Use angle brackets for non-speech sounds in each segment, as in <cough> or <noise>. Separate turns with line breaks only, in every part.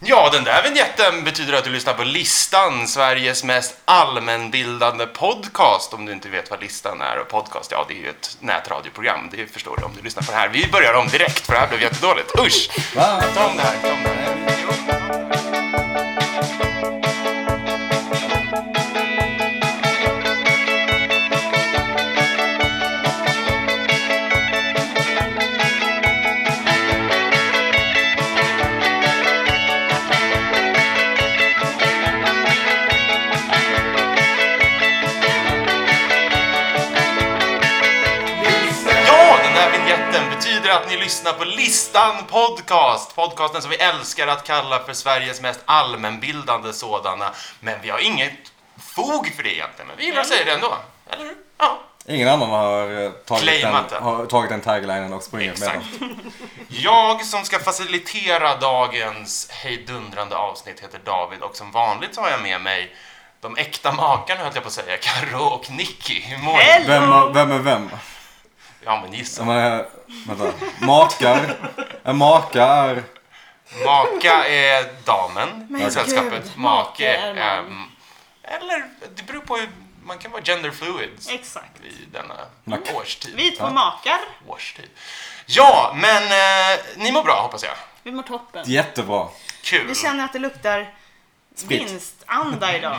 Ja, den där vignetten betyder att du lyssnar på Listan, Sveriges mest allmänbildande podcast. Om du inte vet vad Listan är och podcast, ja det är ju ett nätradioprogram. Det förstår du om du lyssnar på det här. Vi börjar om direkt för det här blev jättedåligt. Usch!
Va?
Ta om det här, ta om det här. Ja, den här vignetten betyder att ni lyssnar på Listan Podcast. Podcasten som vi älskar att kalla för Sveriges mest allmänbildande sådana. Men vi har inget fog för det egentligen, men vi gillar att säga det ändå. Eller hur? Ja.
Ingen annan har eh, tagit den,
Claimat den.
har tagit den taglinen och sprungit med den.
Exakt. Jag som ska facilitera dagens hejdundrande avsnitt heter David och som vanligt så har jag med mig de äkta makarna höll jag på att säga, Karo och Nicky. Hur mår ni?
Hello!
Vem, har- vem är vem?
Ja men
Jag
gissa.
menar, vänta. Makar. En maka är...
Maka är damen i
gud,
sällskapet. Make
make är
är...
man.
Eller, det beror på hur... Man kan vara gender fluid
Exakt.
i denna
Mack.
årstid.
Vi två makar.
årstid. Ja, men eh, ni mår bra hoppas jag.
Vi mår toppen.
Jättebra.
Kul.
Vi känner att det luktar
Sprit.
vinstanda idag.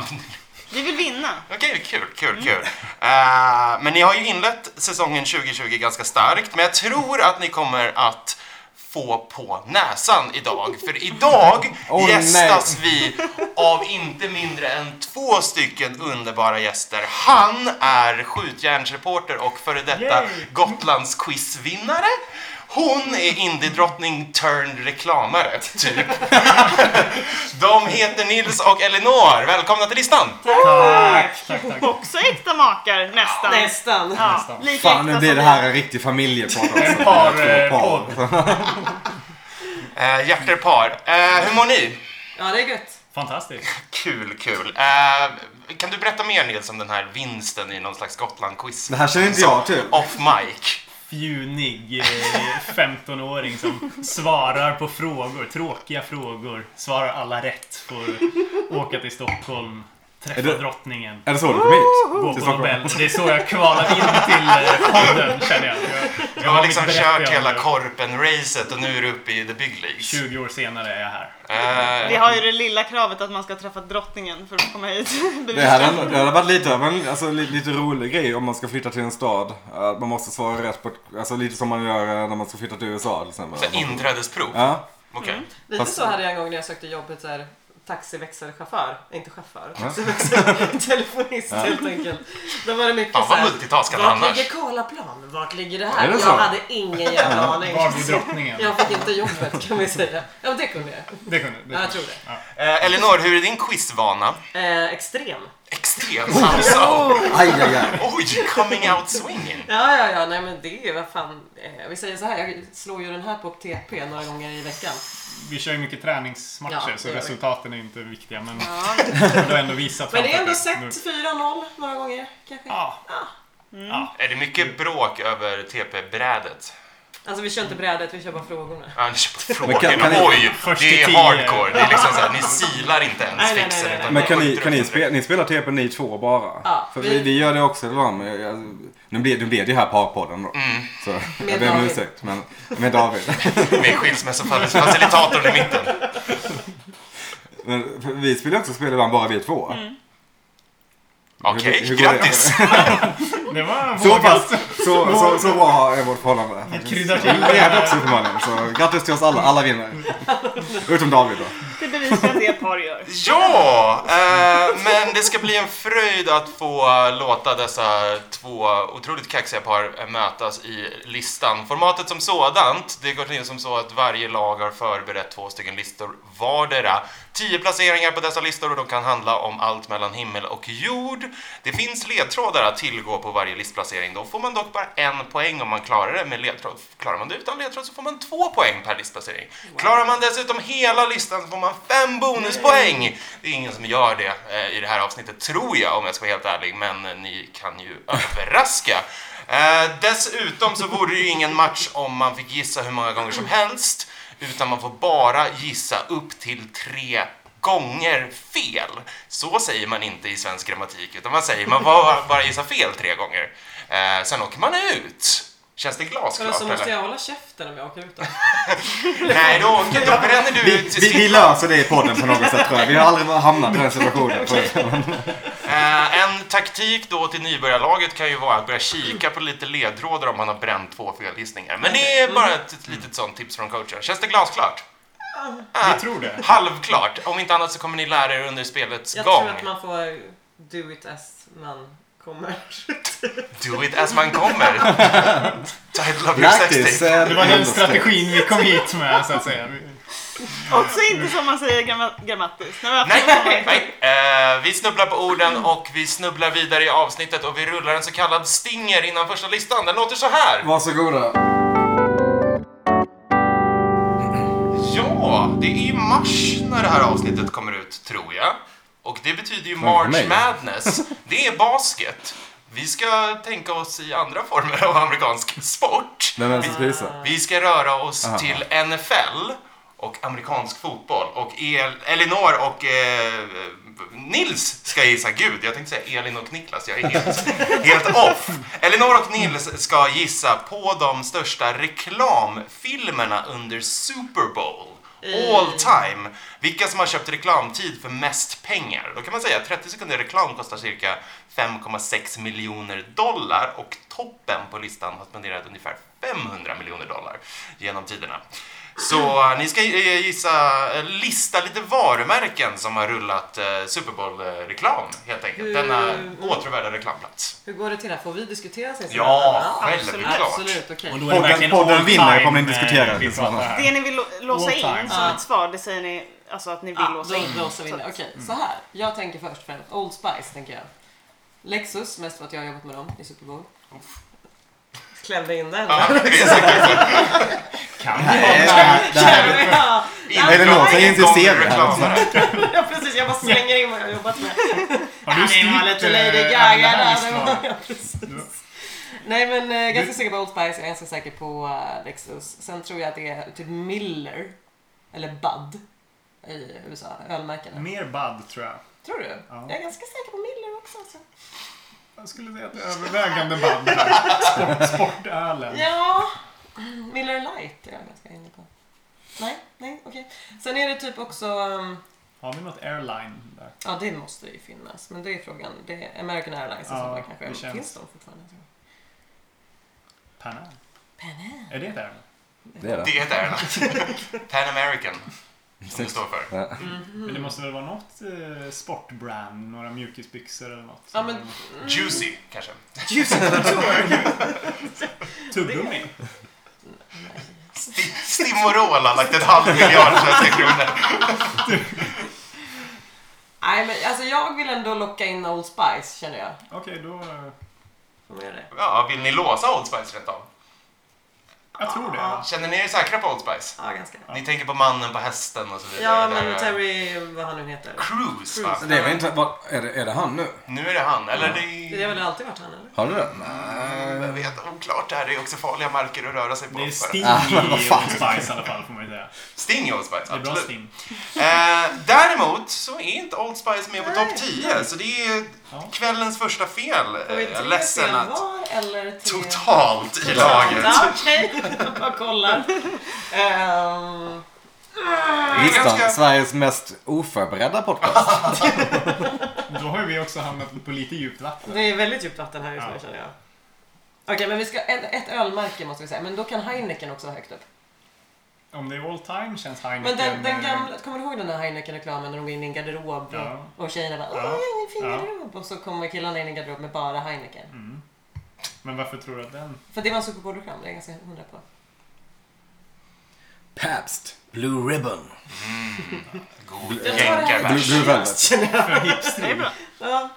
Vi vill vinna.
Okej, kul, kul, kul. Eh, men ni har ju inlett säsongen 2020 ganska starkt, men jag tror att ni kommer att få på näsan idag. För idag
Åh,
gästas vi av inte mindre än två stycken underbara gäster. Han är skjutjärnsreporter och före detta Gotlandsquizvinnare. Hon är indiedrottning turned reklamare, typ. De heter Nils och Elinor. Välkomna till listan!
Tack, tack, tack.
Också äkta makar nästan.
Nästan.
Ja, lika
Fan,
äkta
nu blir
som
det här en riktig familjepodd också.
En par,
Två
eh,
par.
Eh, hjärter par. Eh, hur mår ni?
Ja, det är gött.
Fantastiskt.
Kul, kul. Eh, kan du berätta mer Nils om den här vinsten i någon slags Gotland-quiz?
Det här känner inte jag till.
Off mic.
Fjunig eh, 15-åring som svarar på frågor. Tråkiga frågor. Svarar alla rätt. Får åka till Stockholm. Träffa
Är det-
drottningen.
Är det så du kom hit?
Gå
till
på
Stockholm?
Nobel. Och det är så jag kvalar in till eh, podden känner jag. Jag,
Du har liksom
mitt berättigande.
kört hela korpen-racet och nu är du uppe i the big leagues.
20 år senare är jag här.
Eh,
Vi har ju det lilla kravet att man ska träffa drottningen för att komma hit. <laughs>
Det hade, ändå- det hade varit lite, av en- alltså, li- lite rolig grej om man ska flytta till en stad. Att man måste svara rätt på ett, alltså lite som man gör eh, när man ska flytta till USA till exempel.
så inträdesprov.
Ja,
Okej.
Lite
Fast-
så hade jag en gång när jag sökte jobbet så här taxiväxelchaufför, inte chaufför, taxiväxel, <laughs> telefonist helt enkelt. Då var det mycket
Fan
så
vad
här,
multitaskande
vart
annars.
ligger Karlaplan? Vart ligger det
Är
här?
det
jag
så?
hade ingen jävla aning.
Var blir drottningen?
Jag fick inte jobbet kan vi säga. Ja, men det kunde jag.
Det kunde det
Ja, jag
kunde.
tror det.
Eh, Elinor, hur är din quizvana?
Eh, extrem.
Extremt alltså.
aj, aj, aj.
Oj, coming out swinging.
Ja, ja, ja, nej men det är vad fan. Eh, vi säger så här, jag slår ju den här på TP några gånger i veckan.
Vi kör ju mycket träningsmatcher
Ja,
så
det gör vi.
resultaten är inte viktiga. Men
Ja,
<laughs> du har ändå visat
Men det är
framför
ändå
dig.
sett
Nu-
4-0 några gånger kanske.
Ja. ja.
Är det mycket bråk över TP-brädet?
Alltså vi kör inte brädet, vi kör bara frågorna.
Ja, ni köper
Men kan- kan
frågorna.
ni-
Oj,
Först
det
i
är
tio.
hardcore. Det är liksom såhär, ni silar inte ens
Nej, nej, nej,
fixen.
nej,
utan
Men
ni
kan ni,
skjuter
kan ni,
upp den
spela, ni spelar TP ni två bara?
Ja,
För vi,
vi-
vi gör det också ibland. men jag- jag- Nu blev, nu blev det här parpodden då. Så jag ber om
David.
ursäkt. Men med David.
direkt. Med
<laughs>
skilsmässofacilitatorn i mitten.
Men för vi spelar också spel ibland bara vi två.
Mm.
Okej,
hur går det?
grattis!
Det var
<laughs> Så
vågat. Mm.
pass, så, så, så bra är vårt förhållande.
Ni kryddar till.
Det är det också uppenbarligen. Så grattis till oss alla. Alla
<laughs>
vinner. Utom David då.
det bevisar att det par gör.
Ja, eh, men det ska bli en fröjd att få låta dessa två otroligt kaxiga par eh, mötas i listan. Formatet som sådant, det går till som så att varje lag har förberett två stycken listor vardera. Tio placeringar på dessa listor och de kan handla om allt mellan himmel och jord. Det finns ledtrådar att tillgå på varje listplacering. Då får man dock bara en poäng om man klarar det med ledtråd. Klarar man det utan ledtråd så får man två poäng per listplacering. Klarar man dessutom hela listan så får man fem bonuspoäng. Det är ingen som gör det eh, i det här avsnittet tror jag om jag ska vara helt ärlig, men eh, ni kan ju <laughs> överraska. Eh, dessutom så vore det ju ingen match om man fick gissa hur många gånger som helst. utan man får bara gissa upp till tre gånger fel. Så säger man inte i svensk grammatik, utan man säger man bara, bara gissar fel tre gånger. Eh, sen åker man ut. Känns det
Eller
glasklart?
så Alltså, måste
eller?
jag hålla käften om jag åker ut då.
Nej, då, åker, då bränner du
Vi,
ut
vi, vi
sitt-
löser det i podden på något sätt tror jag. Vi har aldrig hamnat i den situationen.
Eh, en taktik då till nybörjarlaget kan ju vara att börja kika på lite ledtrådar om man har bränt två felgissningar. Men det är
Mm.
bara ett litet sånt tips från coachen. Känns det glasklart?
Vi tror det.
Halvklart. Om inte annat så kommer ni lära er under spelets
Jag
gång.
tror att man får do it as man kommer.
Do it as man
<laughs>
kommer. Title of your
Grattis!
sextape.
eh,
Det var den
Anders.
strategin vi kom hit med så att säga.
Också inte som man säger gramma- grammatiskt. Nej, men
Nej,
vad fan.
nej. Eh, vi snubblar på orden och vi snubblar vidare i avsnittet och vi rullar en så kallad stinger innan första listan. Den låter så här.
Varsågoda.
Ja, det är i mars när det här avsnittet kommer ut, tror jag. Och det betyder ju
för
March
mig.
Madness. Det är basket. Vi ska tänka oss i andra former av amerikansk sport.
Vem är det som ska gissa?
Vi ska röra oss
Aha.
till NFL och amerikansk fotboll. Och El Elinor och eh, Nils ska gissa. Gud, jag tänkte säga Elin och Niklas. Jag är helt, helt off. Elinor och Nils ska gissa på de största reklamfilmerna under Super Bowl. All time. Vilka som har köpt reklamtid för mest pengar. Då kan man säga att 30 sekunder reklam kostar cirka 5,6 miljoner dollar och toppen på listan har spenderat ungefär 500 miljoner dollar genom tiderna. Så eh, ni ska eh, gissa, eh, lista lite varumärken som har rullat eh, Super Bowl-reklam helt enkelt. Denna
Mm.
åtråvärda reklamplats.
<laughs> Hur går det till? här? Får vi diskutera sen?
Ja,
absolut.
självklart.
Absolut, okej.
Och då
Podden-
verkligen
podden
all
vinner,
time,
kommer inte diskutera
eh, vi
det,
pratar
liksom.
här.
Det ni vill lo- låsa
All time.
in som
Ja.
ett svar, det säger ni alltså att ni vill
Ja,
låsa
då
in.
blåser vi in Mm. det. Okej, så här. Jag tänker först och främst Old Spice, tänker jag. Lexus, mest för att jag har jobbat med dem i Super Bowl. Klämde in den.
Ja, det är säkert
Kan
Nej, det här-
Ja,
Elinor,
en
säg inte
gång
ser det
reklam
här.
här.
<laughs> ja, precis. Jag bara slänger in vad jag har jobbat med.
Har du
det var
styrt,
lite
eh,
Lady
alla
Gaga
här
där. Det
listorna?
var, <laughs> ja, precis. Nej men eh, ganska säker på Old Spice, jag är ganska säker på eh, Lexus. Sen tror jag att det är typ Miller, eller Bud, i USA, ölmärkena.
Mer bad tror jag.
Tror du?
Ja.
Jag är ganska säker på Miller också. alltså. Så.
Jag skulle säga att det är övervägande bad. Sport, sportölen.
Ja, Miller Light är jag ganska inne på. Nej, nej, okej. Sen är det typ också, um,
Har vi något airline där?
ja det måste ju finnas, men det är frågan. Det är American Airlines
Ja,
ja, som
det
kanske.
känns-
Finns de fortfarande?
Pan Am. Är det där?
Det är det.
Det är det. Pan American, som det står för.
Mm.
Men det måste väl vara något eh, sportbrand? Några mjukisbyxor eller något?
Ja, men- mm.
Juicy, kanske.
Tuggummi?
Sti- Stimorol har lagt ett halv miljard svenska kronor.
Nej, men alltså jag vill ändå locka in Old Spice känner jag.
Okej, då... eh,
Får man göra det?
Ja, vill ni låsa Old Spice rätt av?
Jag tror det. va?
Känner ni er säkra på Old Spice?
Ja, ganska.
Ni tänker på mannen på hästen och så vidare. där,
Ja, men
eh,
Terry, vad han nu heter.
Cruise, va?
Cruise.
Det är väl inte... vad- Är det, är det han nu?
Nu är det han, eller det...
Det har väl alltid varit han eller?
Har du det?
Jag
Nej.
vet, oklart det här. Det är också farliga marker att röra sig på.
Det är
För-
sting
Ah, <laughs>
i
vad
Old
fan.
Spice i alla fall får man ju säga.
Sting i Old Spice,
Det är bra
absolut.
sting.
Eh, däremot så är inte Old Spice med på topp 10, så det är
Ja.
kvällens första fel. Eh,
Har vi tre
Jag är ledsen
fel
att...
var eller tre?
Totalt i laget.
Ja, Okej, <laughs> jag bara kollar. Ehm,
ganska-
Listan, Sveriges mest oförberedda podcast.
Då har ju vi också hamnat på lite djupt vatten.
det är väldigt djupt vatten här just nu
Ja.
känner jag. Okej, men vi ska, ett, ett ölmärke måste vi säga, men då kan Heineken också vara högt upp.
Om det är all time känns
Men
Heineken...
den, den
eh,
gamla, kommer du ihåg den där Heineken-reklamen när de går in i en garderob
Ja.
och, och tjejerna bara
Ja.
åh, en fin
Ja.
garderob och så kommer killarna in i en garderob med bara Heineken.
Mm. Men varför tror du att den...
För det var en Super Bowl-reklam, det är jag ganska hundra på.
Pabst Blue Ribbon.
God
Jag tar det här.
Blue,
jänkarbärs.
Blue Velvet.
För hipster?
Det är bra.
Ja.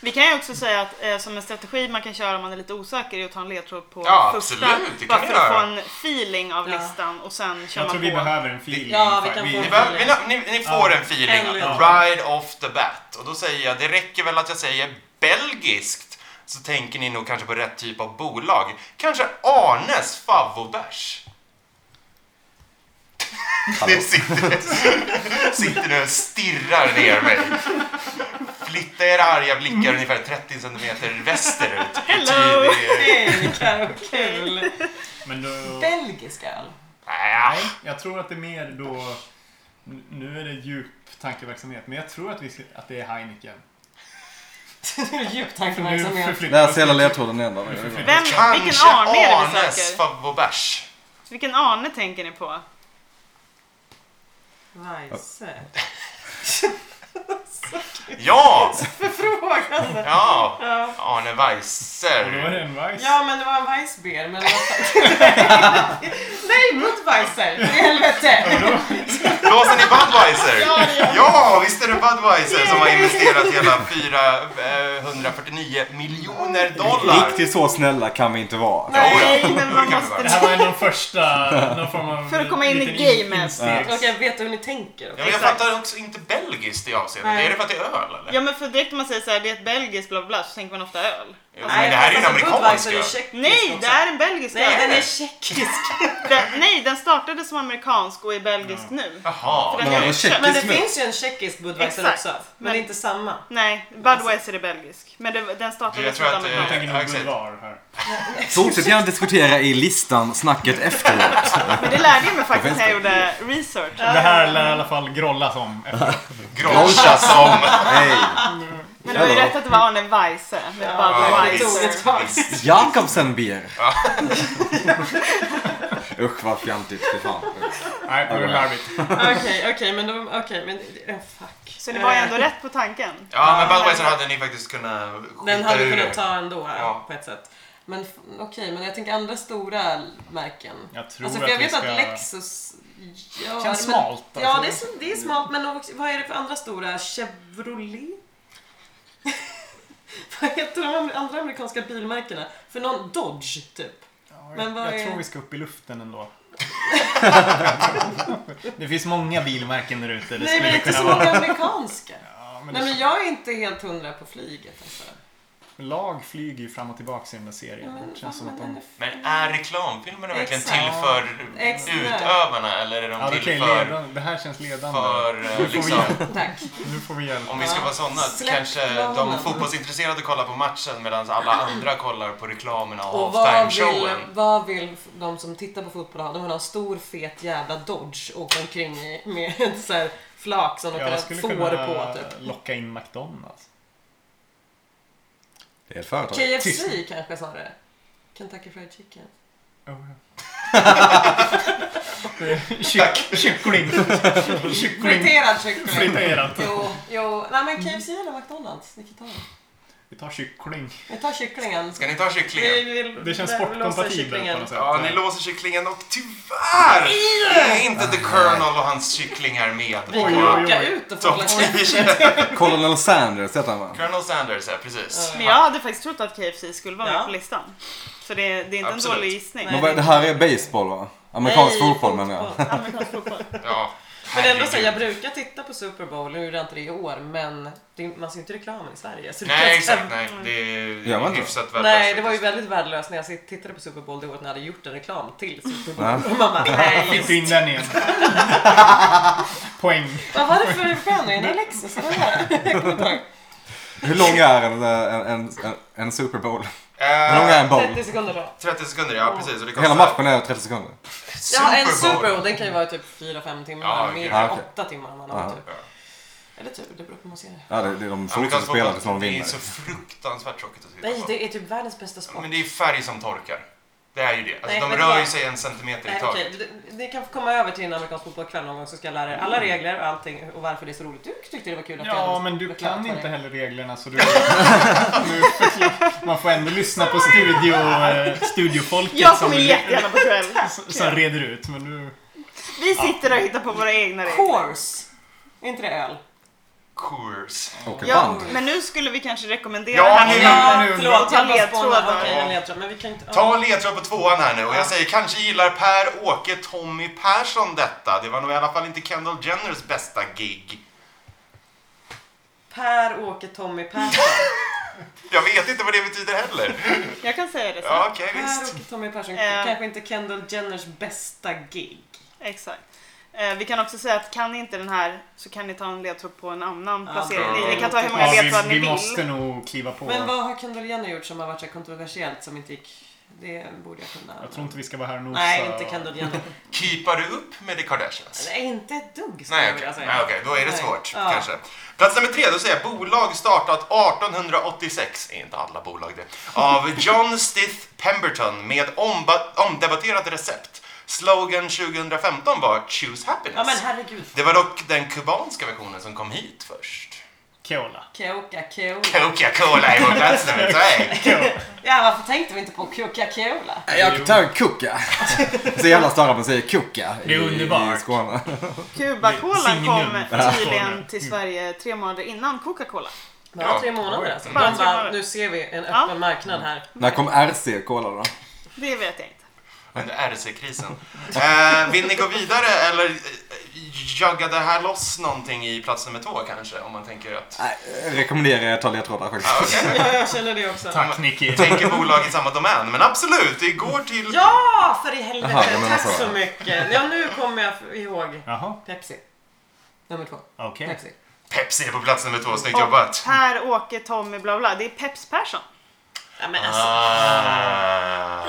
Vi kan ju också säga att eh, som en strategi man kan köra om man är lite osäker är att ta en ledtråd på
Ja,
första.
absolut, det kan
bara
vi
för att få
göra.
en feeling av
Ja.
listan och sen kör
Jag
man
tror
på.
vi behöver en feeling.
Ja, vi kan få-
Ni, behöver- vill- ni, ni får en feeling.
Ja.
Ride off the bat. Och då säger jag, det räcker väl att jag säger belgiskt. Så tänker ni nog kanske på rätt typ av bolag. Kanske Arnes favvobärs. Nu sitter, sitter du och stirrar ner mig. Flytta era arga blickar ungefär 30 centimeter västerut.
Hello.
Tydlig-
Hej, kul!
Men då...
Belgisk öl. <laughs>
Nej,
Jag tror att det är mer då... Nu är det djup tankeverksamhet, men jag tror att, vi ska, att det är Heineken.
Djup
För nu
tankeverksamhet.
förflyttas-
Läs hela ledtråden igen då. Det är bra.
Vem, vilken
kanske
Arne är det vi
Arnes
söker?
favoritbärs.
Vilken Arne tänker ni på?
Weisse.
Ja!
Förfrågande.
Ja!
Ja.
Arne
Och då är
Weiser.
det en Weiss.
Ja, men det var en Weissbier, men... Nej, mot <laughs> Weisser! För helvete!
Blåser ni Budweiser? Ja, visst är det Budweiser som har investerat hela 449 miljoner dollar.
Riktigt så snälla kan vi inte vara.
Ja, ja.
Nej, men man
Det kan vi
Det
vara.
måste...
här var en av de första... Någon form
<laughs>
av
För att komma in i
liten
gamet.
instegs-
Okej, jag vet hur ni tänker.
Ja, men jag
Exakt.
fattar också inte belgiskt i avseendet.
Nej.
Är det för att det är öl eller?
Ja men för direkt när man säger såhär, det är ett belgiskt bla bla, bla så tänker man ofta öl.
Jo, men det här är ju en
alltså,
amerikansk
Budweiser är
öl.
tjeckisk
Nej,
också.
det är en belgisk
Nej,
öl.
den är tjeckisk.
Den, nej, den startade som amerikansk och är belgisk nu.
Jaha.
För den
Men
är
vadå,
uppköpt.
tjeckisk?
Men det
Kismet.
finns ju en tjeckisk Budweiser
Exakt.
också. Men,
Men-
det är inte samma. <laughs>
Nej, Budweiser är belgisk. Men det, den startade
Jag
som
tror
ett
att, eh,
Jag
amerikanskt.
tänker
Ja,
nog
exakt.
Bulvar här.
Fortsätt gärna diskutera i listan snacket efteråt.
Men det lärde jag mig faktiskt när jag
finns
gjorde research.
Det här lär i alla fall grollas om. efter-
Grolscha som...
Hej!
Men det var ju
Hello.
rätt att det var Arne Weise med Budweiser.
Ordet
<laughs>
fast.
Jakobsenbier. Usch vad fjantigt, fy fan.
Nej, det är larvigt.
Okej, okej, men de, okej, men oh, fuck.
Så ni var ju
Eh,
ändå rätt på tanken.
Ja, men Budweiser hade ni faktiskt kunnat skita
Den hade vi
ur
kunnat
er.
ta ändå
Ja.
på ett sätt. Men f- okej, men jag tänker andra stora märken.
Jag tror
Alltså för
att
jag
vi
vet
ska...
att Lexus gör...
Känns
men-
smalt,
Ja,
alltså.
det är, så- det är smalt. Men också, vad är det för andra stora? Chevrolet? <laughs> vad heter de andra- andra amerikanska bilmärkena? För någon Dodge, typ.
Ja,
Men vad
jag
är-
tror vi ska upp i luften ändå. <laughs> det finns många bilmärken där ute. Det
Nej, men
skulle
inte
kunna
så
vara-
många amerikanska.
Ja, men
Nej, men
det...
jag är inte helt hundra på flyget. Alltså.
Lag flyger ju fram och tillbaka i den där serien.
Men,
det känns som
fan,
att
men
de...
den är
Men är reklamfilmerna verkligen
Exakt.
till för
Exakt.
utövarna eller är de
Ja,
till
okej,
för,
ledande. Det här känns ledande.
för eh,
Nu får vi
liksom,
f- Tack.
Nu får vi hjälp.
om vi ska
Ja.
vara sådana,
Släpp
kanske de
planen.
fotbollsintresserade kollar på matchen medan alla andra kollar på reklamerna
Och
och
vad vill,
halftime-showen.
vad vill de som tittar på fotboll ha? De vill ha en stor fet jävla Dodge och åka omkring i med <laughs> en så här flak som de
Jag
kan
skulle
få
kunna
det på typ.
locka in McDonalds.
Det är ett företag.
KFC
Tyst.
kanske snarare. Kentucky Fried Chicken.
Oh, <laughs>
<laughs>
Kyck- Kyckling. Kyckling.
Friterad kyckling.
Friterat.
Jo, jo. Nej men KFC eller McDonalds? Vilket tar vi?
Vi tar kyckling.
Vi tar kycklingen.
Ska ni ta
Vi
kycklingen?
vill,
Det känns
vi vill låsa
sportkompatibelt på
kycklingen.
något sätt.
Ja, ni låser kycklingen och tyvärr är inte The Colonel och hans kycklingar med
Vi
Oj,
kan
oj,
på
oj.
åka ut och få
topp
hålla käften. <laughs>
10.
Colonel Sanders heter han va?
<laughs> Colonel Sanders, ja precis.
Men jag hade faktiskt trott att KFC skulle vara med
Ja.
på listan. Så det, det är inte
Absolut.
en dålig gissning.
Men vad- Det här är baseball va? Amerikansk fotboll menar jag.
Amerikansk fotboll.
Ja,
Men ändå så,
herregud.
jag brukar titta på Super Bowl, nu gjorde jag inte det i år, men det, är- man ser ju inte reklamen i Sverige. Så det
Nej,
kanske-
exakt. Nej, det
Gör
är
man inte?
hyfsat
Nej,
värdelöst
det var ju
faktiskt.
väldigt värdelöst när jag sitt- tittade på Super Bowl det året när jag hade gjort en reklam till Super
Ja.
Bowl. Och man bara, nej.
Fick du in den <laughs> igen? Poäng.
Vad var det för stjärna? Är det Lexus? Eller vad var det? Jag kommer inte ihåg.
Hur lång är en, en, en, en Super Bowl? Hur
Eh,
lång är en bowl?
30 sekunder då.
30 sekunder, ja precis. Och det
Hela
kostar
matchen är 30 sekunder.
Ja, en Super Bowl, den kan ju vara typ 4-5 timmar,
Ja, okej.
mer
Ja,
än
okej.
8 timmar man har
Ja.
typ.
Ja.
Eller tur, det beror på hur man ser det.
Ja, det, det, de fortsätter
Amerikansk
spela
fotboll,
tills någon
alltså, det är
vinner.
så fruktansvärt tråkigt att titta
Nej,
på.
det är typ världens bästa sport.
Men det är färg som torkar. Det är ju det. Alltså,
Nej,
de
men
rör
det
ju
är-
sig en centimeter i
Nej,
taget.
okej, du- ni kan få komma över till en amerikansk fotbollskväll någon gång så ska jag lära er alla regler och allting och varför det är så roligt. Du tyckte det var kul att jag
Ja,
hade
men du
förklarat
kan
för
inte
dig.
heller reglerna så du... <laughs> du- Man får ändå lyssna på studio, eh, studiofolket
Jag
som,
kommer jättegärna på kväll.
som reder ut. Men nu...
Vi sitter och hittar på våra egna regler.
Course! Är inte det öl?
Coors.
Och ett
Ja,
band.
men nu skulle vi kanske rekommendera
Ja,
här
nu-
Ja,
nu-
förlåt. Jag
Ta ledtrådar.
Okej, en ledtråd. Men vi kan inte...
Ta en ledtråd på tvåan här nu och jag
Ja.
säger kanske gillar Per-Åke Tommy Persson detta. Det var nog i alla fall inte Kendall Jenners bästa gig.
Per-Åke Tommy Persson.
Jag vet inte vad det betyder heller.
Jag kan säga det snabbt.
Ja, okej, visst.
Per-Åke Tommy Persson.
Eh.
Kanske inte Kendall Jenners bästa gig.
Exakt. Eh, vi kan också säga att kan ni inte den här så kan ni ta en ledtråd på en annan
Ja,
placering.
bra.
Ni, ni kan ta hur många
Ja,
ledtrådar
vi,
ni
vi måste
vill.
nog kliva på.
Men vad har Kendall Jenner gjort som har varit så här kontroversiellt som inte gick... Det borde jag kunna.
Jag tror inte vi ska vara här och nosa.
Nej, inte Kendall Jenner.
Keepar du upp med The Kardashians?
Nej, inte ett dugg skulle
Nej,
jag
okej.
vilja säga.
Nej, okej. Då är det
Nej.
svårt,
Ja.
kanske. Plats nummer tre, då säger jag bolag startat 1886, är inte alla bolag det,
<laughs>
av John Stith Pemberton med omba- omdebatterat recept. Slogan 2015 var “Choose happiness”.
Ja men herregud.
Det var dock den kubanska versionen som kom hit först.
Cola.
Coca Cola.
Coca-Cola är på plats nummer
<laughs>
tre.
Cola.
Ja varför tänkte vi inte på Coca Cola?
Jag tar kuka. <laughs> Så jävla större att man säger kuka
Det är
i-
underbart.
i Skåne.
Cubakolan
Signum.
kom
Ja.
tydligen till Sverige tre månader innan Coca-Cola.
Bara
Ja.
tre månader alltså.
Bara
Bara
tre månader.
bara, nu ser vi en öppen
Ja. Mm.
marknad här.
När kom RC Cola då?
Det vet jag inte.
Under RC-krisen. Eh, vill ni gå vidare eller eh, jaga det här loss någonting i plats nummer två kanske? Om man tänker att...
Nej, jag rekommenderar jag att ta ledtrådar
Ja,
faktiskt.
okej.
Ja, jag känner det också.
Tack Nicky.
Tänker bolag i samma domän. Men absolut, det går till...
Ja, för i helvete.
Jaha, jag menar
Tack
så.
så mycket. Ja, nu kommer jag f- ihåg.
Jaha,
Pepsi. Nummer två.
okej.
Pepsi.
Pepsi är på plats nummer två, snyggt
Och
jobbat.
Per-Åke Tommy bla bla. Det är Peps Persson.
Ja, men alltså,
Ah.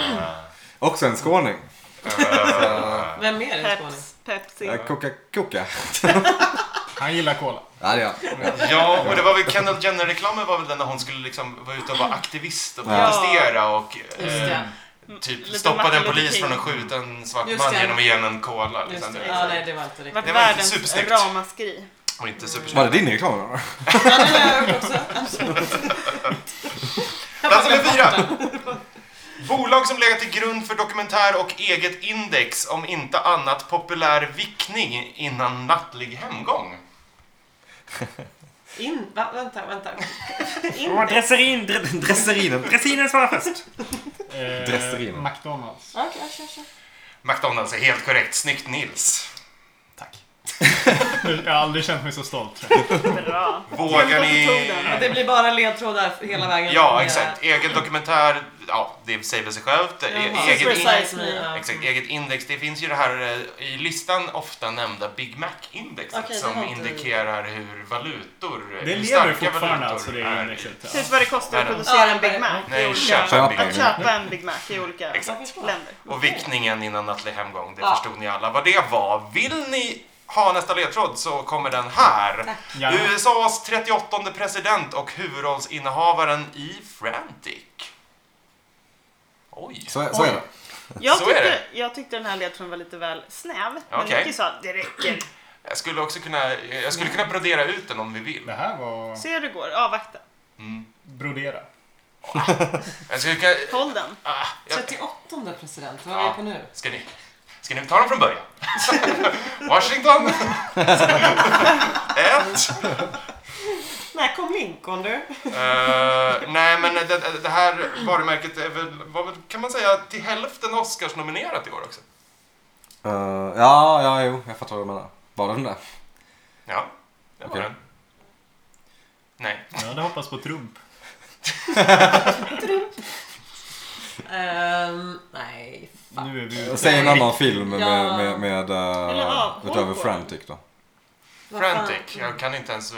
Också en skåning.
vem mer än Skåne?
Peps, Pepsi.
Eh, Koka koka.
Han gillar cola.
Ja, det är jag.
Ja, och det var väl Kendall Jenner-reklamen var väl den där hon skulle liksom vara ute och vara aktivist och
Ja.
protestera och
Just
eh,
det.
typ
Lite
stoppade en
Martin Luther
polis
King.
från att skjuta en svart
Just
man
det.
genom att ge henne en cola. Liksom.
Just det.
Det-
Ja, nej, det var inte
Vart
riktigt.
Det var inte
världens
supersnyggt.
ramaskri.
Och inte
Var
supersnyggt.
det din reklam då?
Ja, den har jag gjort
<laughs>
också. Absolut.
Plats nummer
<laughs>
fyra. Bolag som legat till grund för dokumentär och eget index om inte annat populär vickning innan nattlig hemgång.
In, va, vänta, vänta. In,
Dresserin, dresserinen. Dressinen svarar först.
Eh,
Dresserin.
McDonalds.
Okej, kör, kör.
McDonalds är helt korrekt. Snyggt Nils.
Tack. jag har aldrig känt mig så
<laughs>
stolt tror jag.
Bra.
Vågar
Tänk att du
ni...
tog den.
Det blir bara ledtrådar hela vägen.
Ja, exakt. Egen dokumentär, ja, det säger väl sig självt. E-
Jaha.
Eget, in...
Super size me. ja.
exakt, eget index. Det finns ju det här eh, i listan ofta nämnda Big Mac-indexet
Okej, det
som
har inte vi.
indikerar hur valutor, eh,
Det
hur
lever
starka
fortfarande
valutor
alltså det
är i-
indexet.
Typ vad det kostar att
Ja,
producera
det
en Big
var-
Mac i
Nej,
olika...
köpa
Big
Att
Mac.
köpa en Big Mac i olika
Exakt.
Jag förstår.
länder.
Och vickningen innan nattlig hemgång, det
Ja.
förstod ni alla vad det var. Vill ni ha nästa ledtråd så kommer den här.
Ja.
USAs 38 president och huvudrollsinnehavaren i Frantic. Oj.
Så, så är det.
Jag
Så är
tyckte, jag tyckte den här ledtråden var lite väl snäv. Men
Okej.
Nicky sa det räcker.
Jag skulle också kunna, jag skulle kunna brodera ut den om vi vill.
Det här var
Se hur det går. Avvakta.
brodera.
Jag skulle kunna,
Håll den.
ah, jag,
38 president, vad
Ja.
är vi på nu?
ska ni, ska ni ta den från början? <laughs>
<laughs>
Washington. Ett.
När kom Lincoln du?
Eh, nej, men det, det här varumärket är väl, var väl, kan man säga, till hälften Oscars-nominerat i år också.
Eh, ja, ja, jo, jag fattar vad du menar. Var det den där?
Ja, det var
Okej.
den. Nej.
Jag hade hoppats på Trump.
Ehm, nej, fan.
Nu är vi
Och
ute.
Säg en annan film med,
Ja.
med, med, eh,
Eller, ja,
utöver
Hollywood.
Frantic då.
Vad fan?
Frantic. Jag kan inte ens eh,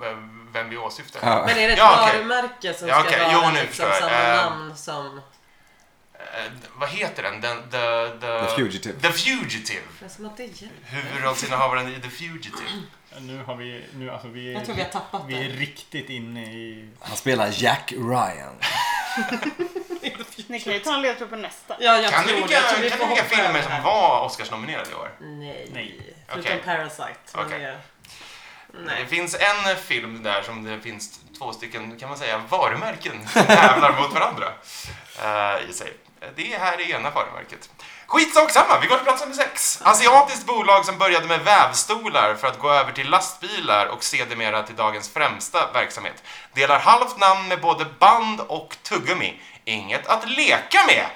vem- vem vi åsyftar.
Ja.
Men är det ett
Ja, okej.
varumärke som
Ja,
ska
okej. Jo,
vara
nu förstår
liksom
jag.
samma
Ehm.
namn som...
Eh, vad heter den? den the, the,
The Fugitive.
The Fugitive.
Det är som att det gäller.
Huvudrollsinnehavaren i The Fugitive.
Nu har vi... Nu, alltså, vi,
Jag tror vi har tappat
vi är
det. <laughs>
riktigt inne i...
Han spelar Jack Ryan.
Ni kan ju ta en ledtråd på nästa.
Ja, jag
Kan du
tror det.
vilka,
Jag tror vi
kan
får
du vilka
hoppa över
filmer
här.
som var Oscars-nominerade i år?
Nej.
Nej.
Förutom
Okej.
Parasite. men
Okej.
det-
Det
Nej.
finns en film där som det finns två stycken, kan man säga, varumärken som <laughs> tävlar mot varandra. eh, i sig. Det här är ena varumärket. Skitsak samma, vi går till plats nummer sex. Asiatiskt bolag som började med vävstolar för att gå över till lastbilar och sedermera till dagens främsta verksamhet. Delar halvt namn med både band och tuggummi. Inget att leka med!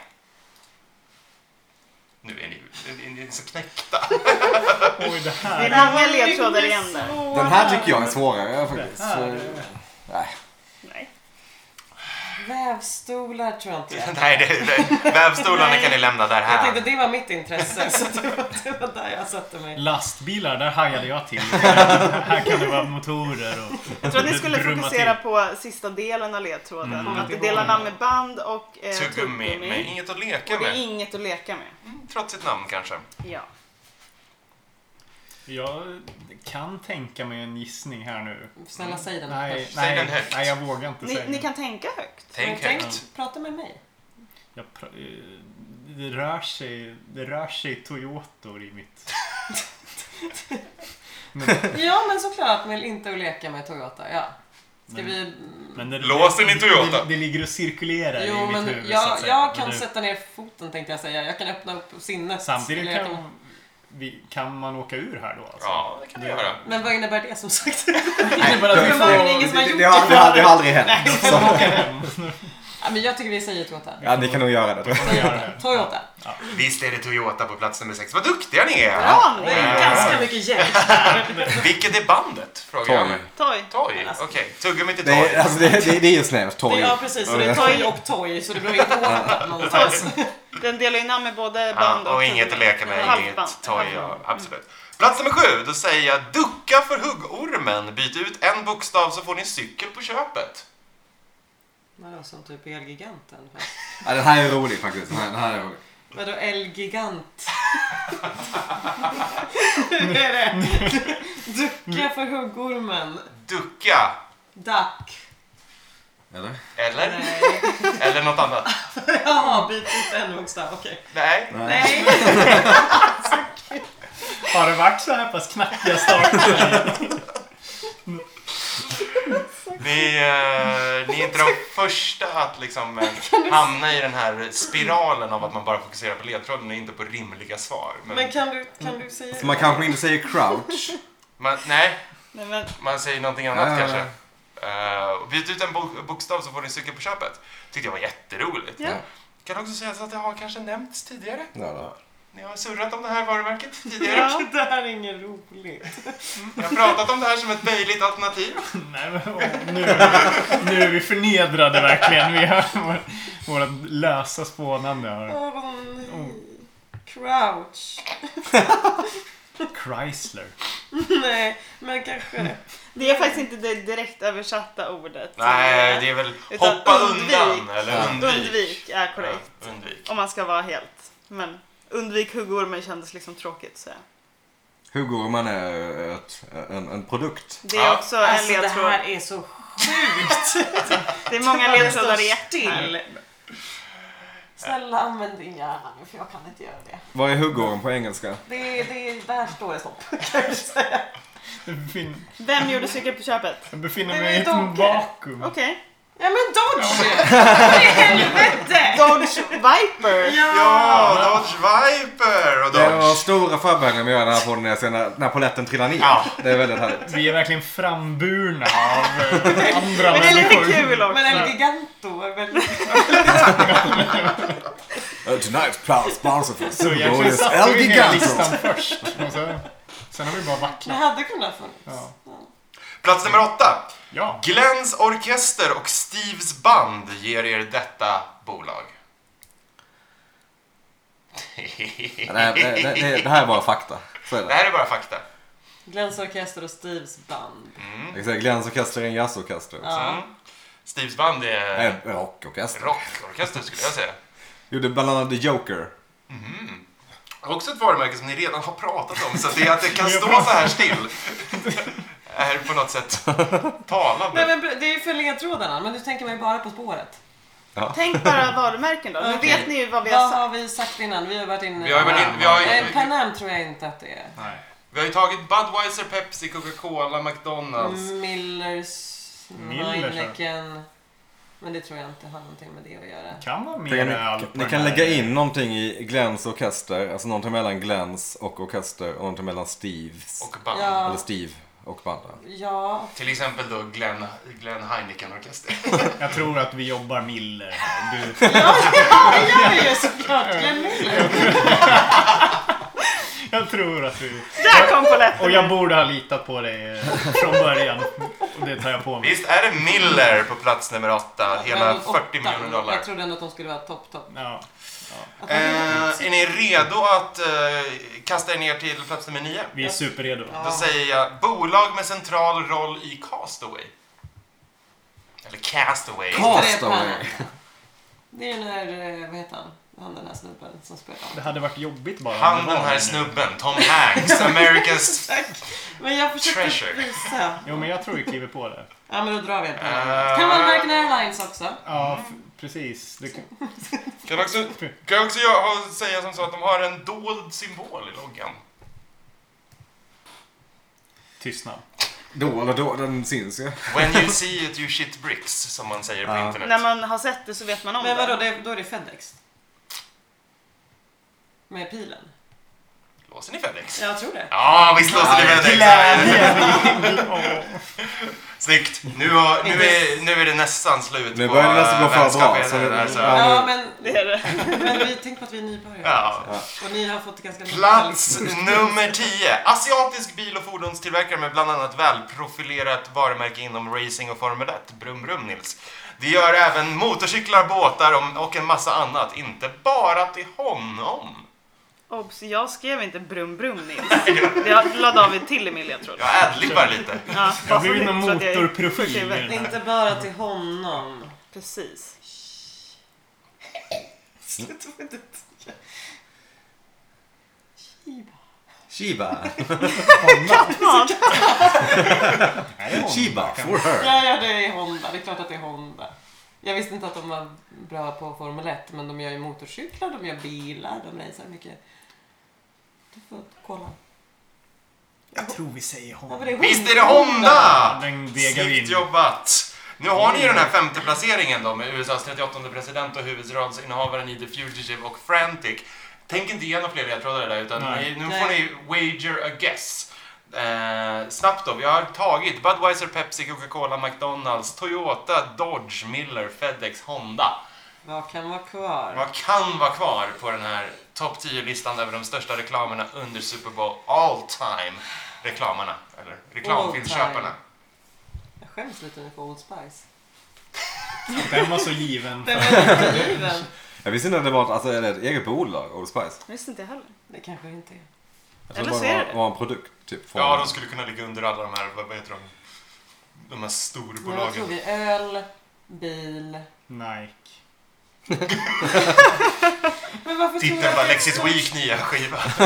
Nu är ni, ni, ni är så
<laughs>
knäckta.
Oj, det
Det är
här...
många ledtrådar igen där.
Den här tycker jag är svårare faktiskt.
Det här
Så- Nej.
Nej.
Vävstolar tror
<laughs>
jag inte jag.
Nej, det, det, vävstolarna
Nej.
kan ni lämna där
Jag
här.
tänkte det var mitt intresse så det var, det var där jag satte mig.
Lastbilar, där hajade jag till. här kan det vara motorer och...
Jag tror att ni skulle
brumma
fokusera på sista delen av ledtråden.
Mm.
Att det delar namn med band och eh,
Tuggummi, men inget att leka
Och det är
med. Mm,
inget att leka med.
Trots sitt namn kanske.
Ja.
till. Jag kan tänka mig en gissning här nu.
Snälla säg den.
Nej,
först.
Säg den
nej,
högt.
nej jag vågar inte
Ni,
säga
ni
den.
kan tänka högt.
Tänk
Men
högt.
Prata med mig.
Jag pr- eh, det, rör sig, det rör sig Toyotor i mitt... men,
Ja men såklart, men inte att leka med Toyota. Ja. Ska
Men-
vi...
men det,
Låser ni Toyota?
Det, det ligger och cirkulerar i
Jo
mitt
men
huvud så att
jag,
säga.
jag
Men
kan
det-
sätta ner foten tänkte jag säga. Jag kan öppna upp sinnet.
Samtidigt
Leka
kan,
med-
vi, kan man åka ur här då alltså?
Ja, det kan du göra.
Men vad innebär det
<laughs>
som sagt?
Uppenbarligen ingen som har
Det,
gjort
det, har, det, har, det har aldrig hänt. Så,
ja, men jag tycker vi säger Toyota.
ja, ni kan nog göra det tror jag.
Får göra det.
Toyota.
Visst är det Toyota på plats nummer sex. Vad duktiga ni är!
Bra
Det är
nu!
ganska mycket hjälp.
Vilket är bandet? Frågar jag mig.
Toy.
Toy?
Alltså.
Okej, tuggummi till
Det är,
Toy.
alltså, det, det, det är ju snällt. Torg.
Ja precis, så det är toy och toy så det behöver inte åka någonstans.
Den delar ju namn med både band
Ja, och inget att leka med,
Halvband.
inget Toy. Ja,
Halvband.
absolut. Plats nummer sju, då säger jag ducka för huggormen. Byt ut en bokstav så får ni cykel på köpet.
Vadå som typ Elgiganten?
Ja, den här är rolig faktiskt. Den här, den här är rolig.
Vadå Elgigant? Hur är det? Ducka för huggormen.
Ducka.
Duck.
Eller?
Eller?
Nej.
Eller något
<laughs>
annat.
Jaha, byt ut en bokstav. Okej.
Nej.
Nej.
Har det varit så här pass knackiga starter? <laughs>
Ni, eh, ni är inte de första att liksom
<laughs>
eh, hamna i den här spiralen av att man bara fokuserar på ledtråden och inte på rimliga svar. Men,
Men kan du, kan du säga
Så man kanske inte säger crouch.
man, nej,
Nej, men,
man säger någonting annat
Ja, ja,
kanske.
ja.
Eh, och byt ut en bo- bokstav så får ni cykel på köpet. Tyckte jag var jätteroligt.
ja.
Kan också sägas att det har kanske nämnts tidigare.
Ja, då.
Ni har surrat om det här varumärket tidigare.
Ja.
<laughs> Det här är inget roligt.
Jag har pratat om det här som ett möjligt
<laughs>
alternativ.
Nej, men, åh, nu, nu är vi förnedrade verkligen. Vi har vår, vårt lösa spånande. Här.
Åh nej. Crouch. <laughs>
Chrysler.
Nej, men kanske.
Det är faktiskt inte det direkt översatta ordet.
Nej, det är väl
Utan
hoppa
undvik.
undan eller
Ja.
undvik.
Undvik är korrekt.
Ja, undvik.
Om man ska vara helt. Men undvik huggormen kändes liksom tråkigt så.
Huggormen är ett, en, en produkt.
Det är
Ja.
också
Alltså
en
det
ledtråd.
här är så sjukt.
Det är
<laughs>
många ledtrådar i ett.
still. Snälla använd din hjärna nu för jag kan inte göra det.
Vad är huggorm på engelska?
Det, är- det, är- där står det stopp kan jag säga.
Jag befinner,
Vem gjorde cykel på köpet?
jag befinner
Men
mig i ett
Donke.
vakuum.
Okej.
Ja men Dodge! <laughs> Vad i <laughs> helvete!
Dodge Viper.
Ja, Dodge Viper och
Det var
Dodge.
stora förbäringar vi gör den här podden när, jag ser när, när poletten trillar ner.
Ja.
Det är väldigt härligt.
Vi är verkligen framburna av eh, andra
Men det är lite
människor.
kul också.
Men El Giganto är väl...
<laughs> Uh, tonight's proud sponsor for
Så egentligen
is
satte
El
vi ner
Giganto.
listan först. Och så, sen har vi bara
Det
vacklat.
hade kunnat funnits.
Ja.
Plats nummer åtta.
ja.
Glens Orkester och Steves band ger er detta bolag.
Det, här- det, det, det, det här är bara fakta. Så är
Det
det.
här är bara fakta.
Glens Orkester och Steves band.
Mm.
Jag säger, Glens Liksom, orkester är en jazzorkester.
Ja.
Mm. Steves band är
En rockorkester.
rockorkester skulle jag säga.
Gjorde bland annat The Joker.
Också ett varumärke som ni redan har pratat om, så det att det <laughs> kan stå så här still är på något sätt
Nej
<laughs> talande.
men det är ju för ledtrådarna men nu tänker man ju bara på spåret.
Tänk bara varumärken då. Nu
Okej.
vet ni ju vad vi har
Vad
sagt.
har vi sagt innan? Vi har varit inne
Vi har, ju varit in, vi, har,
Nej,
ju-
Pan Am tror jag inte att det är.
Nej.
vi har ju tagit Budweiser, Pepsi, Coca-Cola, McDonalds.
Millers,
Mm. Millers, ja.
Heineken. Men det tror jag inte har någonting med det att göra.
Kan vara mer
Tänk
öl
att
på
Ni, ni
den
kan
här-
lägga in någonting i Glens orkester. Alltså någonting mellan Glens och orkester och någonting mellan Steves.
och band.
Ja,
Eller Steve och bandet.
ja.
Till exempel då Glenn, Glenn Heineken Orkester.
Jag tror att vi jobbar Miller här. Du,
det gör vi
<laughs>
ju såklart. Glenn Miller.
jag tror att du...
Där kom polletten!
Och jag borde ha litat på dig eh, från början. Och det tar jag på mig.
Visst är det Miller på plats nummer åtta? Hela
Men åtta,
40 miljoner dollar.
Jag trodde ändå att de skulle vara topp, topp.
Ja.
Att de-
Eh, är ni redo att eh, kasta er ner till plats nummer nio?
Vi är superredo.
Ja.
Då säger jag bolag med central roll i Castaway. Eller Castaway.
Ca-
Tre
Castaway.
pärlor. Det är ju när, eh, vad heter han? Han den här snubben som spelar.
Det hade varit jobbigt bara. om
Han
det var
den här
nu.
snubben, Tom Hanks, Americans...
Men jag försökte
Treasure.
visa.
Jo, men jag tror vi kliver på det.
Ja men då drar vi en
Eh.
pärla. Kan vara American Airlines också.
Ja, f- precis. Det,
Kan också, kan också jag ha- säga som så att de har en dold symbol i loggan.
tystnad.
Då eller då, den syns ju.
When you see it you shit bricks, som man säger på
Ja.
internet.
När man har sett det så vet man om
Men vadå,
det.
det, då är det Fedex? Med pilen?
Låser ni Fedex?
Jag tror det.
Ja, visst låser ni Fedex! Snyggt! Nu, har, nu, är, nu är det nästan slut
Nu
på
börjar det nästan gå för bra,
vänskapen.
så det-
Där, så-
ja.
Ja men,
Det är det.
men vi, tänk på att vi är nybörjare.
Ja.
Och ni har fått ganska mycket
Plats
liksom.
nummer 10. Asiatisk bil och fordonstillverkare med bland annat välprofilerat varumärke inom racing och Formel 1. Brum brum Nils. Det gör även motorcyklar, båtar och- och en massa annat. Inte bara till honom.
Obs, jag skrev inte brum brum Nils. Jag la David till i min ledtråd.
Jag adlibbar lite.
Ja,
Jag har
bara
blivit
så-
någon
så att jag-
motorprofil. i
jag vet.
den här.
Inte bara till honom.
Precis.
Sluta med det. Shiba.
Shiba.
Smart.
Nej, det är hon.
Shiba for her.
Ja, ja, det är Honda. Det är klart att det är Honda. Jag visste inte att de var bra på Formel 1, men de gör ju motorcyklar, de gör bilar, de racear mycket. Du får kolla.
Jag tror vi säger hon.
Ja, men det är
Visst är det Honda!
Den degar vi in.
Snyggt jobbat! Nu har ni ju den här femte placeringen då med USAs 38 president och huvudrollsinnehavaren i The Fugitive och Frantic. Tänk inte igenom fler ledtrådar där utan
Nej.
ni, nu får ni wager a guess. Eh, snabbt då, vi har tagit Budweiser, Pepsi, Coca-Cola, McDonalds, Toyota, Dodge, Miller, Fedex, Honda.
Vad kan vara kvar?
Vad kan vara kvar på den här topp 10-listan över de största reklamerna under Super Bowl all time? Reklamerna, eller reklamfilmsköparna.
Jag skäms lite nu för Old Spice.
Den var så given.
Den var inte given.
Jag visste inte att det var ett, alltså, är det ett eget bolag, Old Spice.
Det visste inte jag heller.
Det kanske det inte är.
Jag trodde
Eller
bara
så
Alltså, det
är
var,
det.
var en produkt. Typ, från-
Ja, de skulle kunna ligga under alla de här, vad vad heter de? De här
Men vad tror
storbolagen.
vi? Öl, bil.
Nike.
Men varför tror, du
Titeln
att,
var Typ Lexis Week nya skiva. <laughs>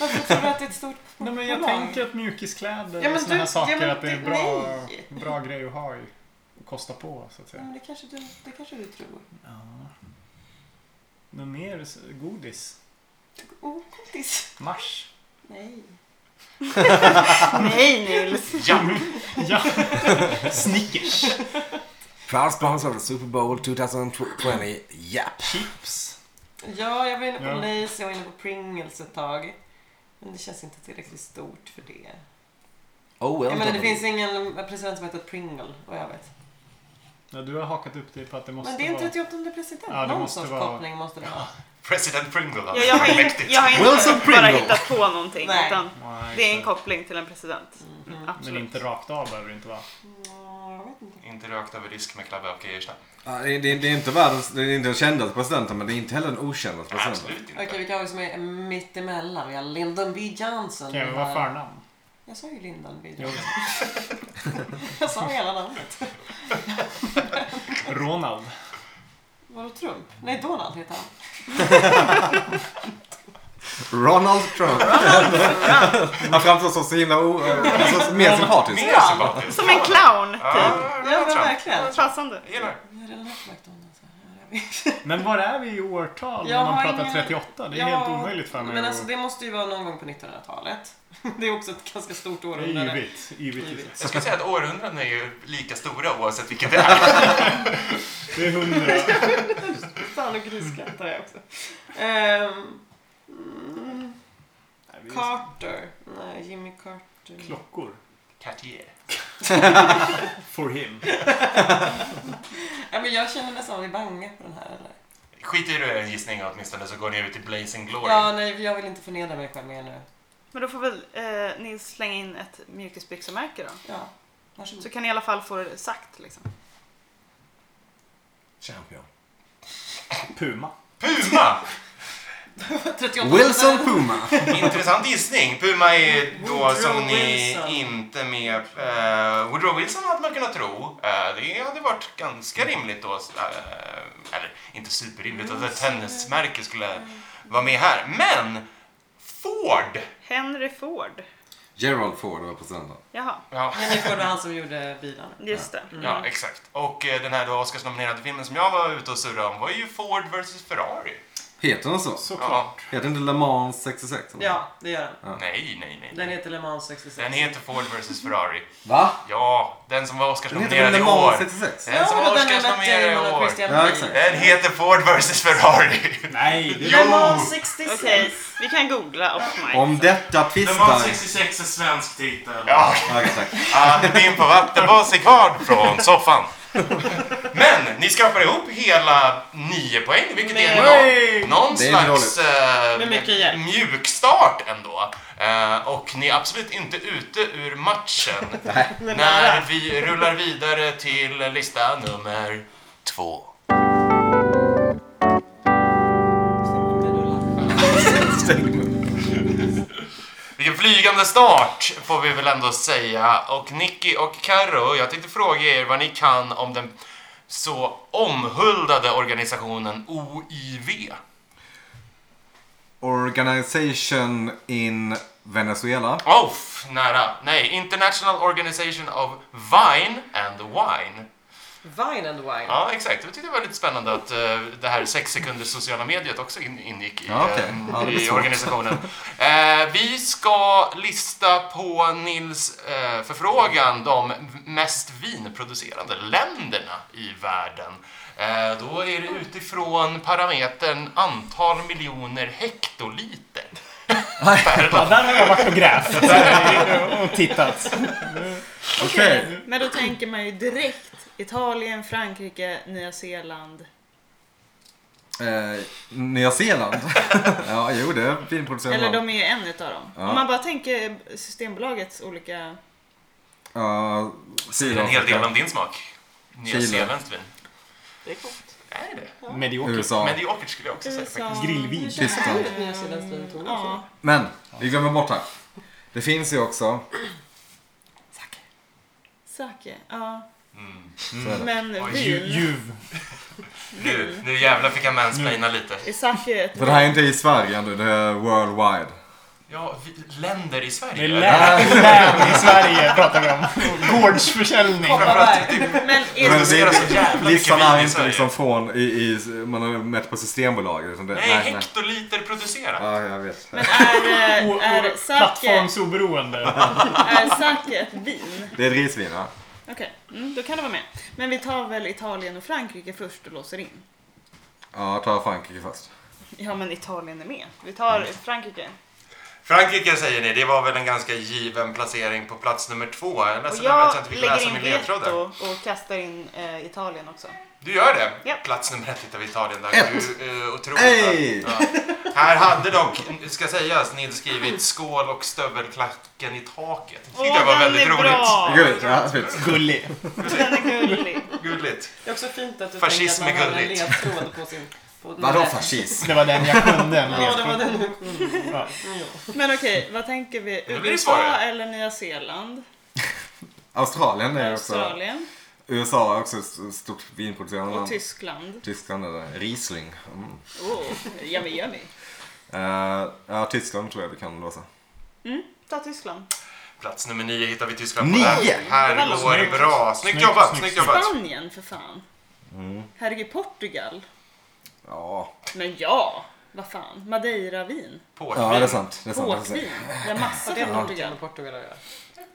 varför tror du att det är ett stort
Nej, men jag
bolag?
tänker att mjukiskläder
Ja, men
och såna här
du-
saker,
ja, men
att det är
du-
bra,
nej.
bra grej att ha i. Och kosta på, så att
Ja,
säga.
men det, kanske du, det kanske du tror.
Ja. Något mer s- godis?
Oh, kompis.
Mars?
Nej.
Nej Nils.
Ja,
<laughs> Ja. Snickers.
Proud sponsor of Super Bowl 2020. Japp.
Chips.
Ja, jag var inne på
Ja.
Lays, jag var inne på Pringles ett tag. Men det känns inte tillräckligt stort för det.
Oh, well
Jag menar, det
done.
finns ingen president som heter Pringle, och jag vet.
Ja, du har hakat upp dig på att det måste
Men det är en
vara...
38 president.
Ja, det
Någon
måste
sorts
vara-
koppling måste det ha.
President Pringle
Ja,
alltså.
jag, har inte,
Mäktigt.
jag har
Wilson
inte bara
Pringle.
hittat på någonting.
Nej.
Utan
Nej,
det är en
så-
koppling till en president.
Mhm.
Men
Absolut.
inte rakt av behöver det inte vara.
Ja, Mm, jag vet inte.
Inte rökt över risk med Clabbe och Geirstein.
Ja, det, det, det är inte världens, det är inte den kändaste presidenten men det är inte heller den okända presidenten.
Absolut inte.
Okej, vilka har vi som är mittemellan? Vi har Lyndon B Johnson.
Kan
vi
jag vara
har-
förnamn?
Jag sa ju Lyndon B
Jo.
Johnson. jag sa hela namnet.
Ronald.
Vadå Trump? Nej, Donald heter han.
Ronald Trump. <laughs> Han framstår som så himla o, alltså, mer sympatisk.
Mer sympatisk.
Som en clown, typ.
Ja,
Ja, men
Trump.
verkligen.
Passande.
Jag gillar det.
Jag har redan haft McDonalds. här. Ja, jag vet.
Men var är vi i årtal
Jag
när man
har
pratar
ingen-
38? Det är helt omöjligt för mig
Men
att-
alltså det måste ju vara någon gång på 1900-talet. <laughs> Det är också ett ganska stort
Det är
århundrade.
yvigt. yvigt.
Jag skulle säga att århundraden är ju lika stora oavsett vilket det är.
Det är 100.
Fan och grisskrattar jag också. Ehm, mm,
Nej, vi är-
Carter. Nej, Jimmy Carter.
Klockor.
Cartier.
For him.
Ja, men jag känner nästan att vi bangar på den här. Eller?
Skit i du en gissning åtminstone så går ni ut i Blazing Glory.
Ja, nej, jag vill inte förnedra mig själv mer nu.
Men då får väl eh, Nils slänga in ett mjukisbyxemärke då.
Ja. Varsågod.
Så kan ni i alla fall få det sagt liksom.
Champion.
Puma.
Puma!
38
Wilson Puma.
Intressant gissning. Puma är då
Woodrow
som ni
Wilson.
inte med... eh, Woodrow Wilson hade man kunnat tro. Eh, det hade varit ganska rimligt då. eh, eller inte superrimligt att ett tennismärke skulle vara med här. Men Ford!
Henry Ford.
Gerald Ford var presidenten.
Jaha,
Ja,
Henrik Ford var han som gjorde bilarna.
just det.
ja exakt. Och eh, den här då Oscarsnominerade filmen som jag var ute och surrade om var ju Ford vs Ferrari.
Heter den så?
Ja.
Heter inte Le Mans 66? eller?
Ja, det gör han.
Nej, nej, nej.
Den heter Le Mans 66.
Den heter Ford vs Ferrari.
Va?
Ja, den som var
Den heter väl
Oscarsnominerad i
Le Mans
år.
66?
Den som
men
var
den är Matt
Oscarsnominerad i
Damon och
år.
Christian
Ja,
Bale.
exakt.
Den heter Ford vs Ferrari.
Nej, det
Le
Jo.
Mans 66.
Okej, vi kan googla off mic.
Om detta
Det var
tvistar...
66 är svensk titel.
Ja,
Okej, tack.
din på vatten var sig kvar från soffan. Men ni skrapar ihop hela nio poäng, vilket är
Nej.
någon, någon
Det är inte
slags eh,
Med mycket hjälp.
mjukstart ändå. Eh, och ni är absolut inte ute ur matchen när vi rullar vidare till lista nummer två. Vilken flygande start får vi väl ändå säga. Och Nicky och Karo, jag tänkte fråga er vad ni kan om den så omhuldade organisationen OIV.
Organization in Venezuela.
Off, nära. Nej, International Organization of Vine and Wine.
Vine and Wine.
Ja, exakt. Jag tyckte det var lite spännande att eh, det här sex sekunders sociala mediet också in, ingick i,
Ja, okej.
eh,
Ja, det blir
i
svårt.
organisationen. Eh, vi ska lista på Nils eh, förfrågan de mest vinproducerande länderna i världen. Eh, då är det utifrån parametern antal miljoner hektoliter.
Ja, där har jag varit och grävt eh, och tittat.
Okej.
Men då tänker man ju direkt Italien, Frankrike, Nya Zeeland.
Eh, Nya Zeeland. <laughs> ja, jo det är vinproducerande
Eller
land.
de är ju en utav dem.
Ja.
Om man bara tänker Systembolagets olika...
Ja,
En hel del om
Sydafrika.
din smak. Nya
Chile.
Zeeländskt vin.
Det är coolt.
Är det?
Mediokert.
USA.
Mediokert skulle jag också säga Alltså, faktiskt.
USA,
Grillvin.
USA.
Tyskland.
Nya Zeelands vin tog
Ja.
Men, vi glömmer bort här. Det finns ju också...
Sake. Ja.
Mm.
Så är det.
Men
Oj,
Ju-
vin.
Ljuv.
Nu, nu jävlar fick jag mansplaina lite.
Är sake
<laughs>
ett
För det här är inte i Sverige nu, det är worldwide.
Ja, vi, länder i Sverige.
Det är län, län i Sverige pratar vi om. Gårdsförsäljning.
typ
Kopparberg.
Men är
Men
det- liksom
det...
producerar så jävla mycket
listan
vin
är
i
inte
Sverige.
liksom från i, i, man har mätt på Systembolaget. Utan det,
Nej, hektoliter producerat.
Ja, jag vet.
Men är,
Och-
eh,
och
är, sake,
Plattformsoberoende.
är sake ett vin?
Det är ett risvin, va?
Okej, mm, då kan det vara med. Men vi tar väl Italien och Frankrike först och låser in.
Ja, ta Frankrike först.
Ja, men Italien är med. Vi tar Frankrike.
Frankrike säger ni, det var väl en ganska given placering på plats nummer två. Jag är
Och
ledsen över att jag
Alltså, jag
inte fick läsa
lägger
min
in
ledtrådar.
veto och kastar in eh, Italien också.
Du gör det?
Ja.
Plats nummer ett hittar vi Italien. Där.
Ett.
Du, eh, otroligt
Ey!
bra. Ja. Här hade dock, ska sägas, Nils skrivit skål och stövelklacken i taket. Det tyckte jag var
den
väldigt
är
roligt.
bra!
Gulligt, ja, fint.
Gullig.
<laughs> Den är gullig.
Gulligt.
Det är också fint att du
Fascism
tänker att
är
man har en
gulligt.
ledtråd på sin... På
Vadå fascism?
Det var den jag kunde. en
Ja, det var
ledtråd.
den du
Men okej, vad tänker vi?
Nu blir det
USA
svårare.
eller Nya Zeeland?
Australien är också...
Australien
USA är också ett stort vinproducerande
och
land.
Tyskland.
Tyskland är det. Riesling. Mm.
Oh, yummy yummy.
Eh, ja, Tyskland tror jag vi kan låsa.
Ta Tyskland.
Plats nummer nio hittar vi Tyskland på.
Nio?
Där. Här
Det var
går det
snyggt.
bra. Snyggt
Snyggt,
jobbat,
snyggt,
snyggt jobbat.
Spanien för fan. Herregud, Portugal.
Ja,
Men ja, vad fan. Madeiravin.
ja alltså- det är
Portvin.
sant. Det är sant. Det är
Portvin.
sant.
Det är massa från Portugal.
med Portugal att göra.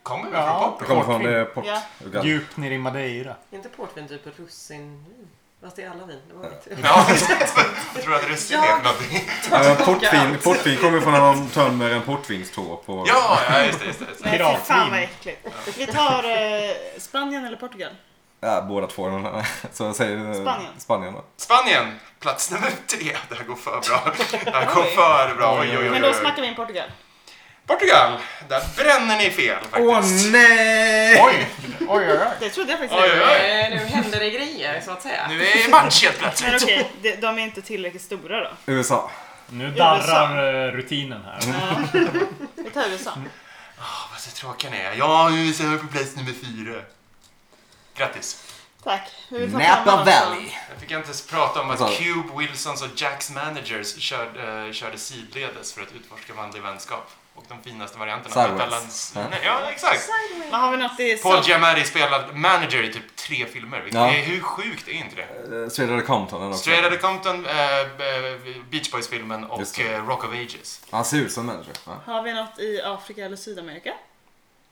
Kommer vi
Ja.
från
Det
Portugal?
kommer från eh, Port.
Ja.
Uganda.
Djupt ner i Madeira.
Inte portvin, typ russinvin. Fast det är alla vin. Det var mitt.
Ja, <laughs> jag tror att russin är
Ja.
för någonting.
Eh, portvin,
<laughs>
portvin kommer från när man tömmer en portvinstå på...
Ja, ja, just det, just det. Just det.
Nej, fy fan
Piratvin.
vad äckligt. Vi tar eh, Spanien eller Portugal?
Ja, båda två. <laughs> men- Så jag säger eh,
Spanien.
Spanien då.
Spanien, plats nummer tre. Det här går för bra. Det här går för bra. Oj, oj, oj,
Men då
oj.
smackar vi in Portugal.
Portugal, där bränner ni fel
Åh
faktiskt.
nej!
Oj! Oj, oj, oj.
Det trodde jag faktiskt
Oj,
inte.
oj, oj.
Eh, Nu händer det grejer så att säga.
Nu är det match helt
Men
plötsligt.
okej, det- de är inte tillräckligt stora då.
USA.
Nu
USA.
darrar eh, rutinen här.
Ja. Vi tar USA.
Åh, vad så tråkiga ni är. Ja, USA är på plats nummer fyra. Grattis.
Tack. Vi vill ta fram
Napa
honom sen.
Valley.
Jag fick inte ens prata om att
Alltså.
Cube, Wilsons och Jacks managers körde, eh, körde sidledes för att utforska manlig vänskap. Och de finaste varianterna. av
Sideways.
Balans...
Ja.
Nej, ja, exakt.
Men har vi något i
Paul
South-
Giamatti spelar manager i typ tre filmer. vilket
Ja.
är- Hur sjukt är inte det?
Eh, Straight Outta Compton eller också.
Straight Outta Compton, eh, b- Beach Boys-filmen
Just
och
det.
eh, Rock of Ages.
Han ser ut som manager. Ja.
Har vi något i Afrika eller Sydamerika?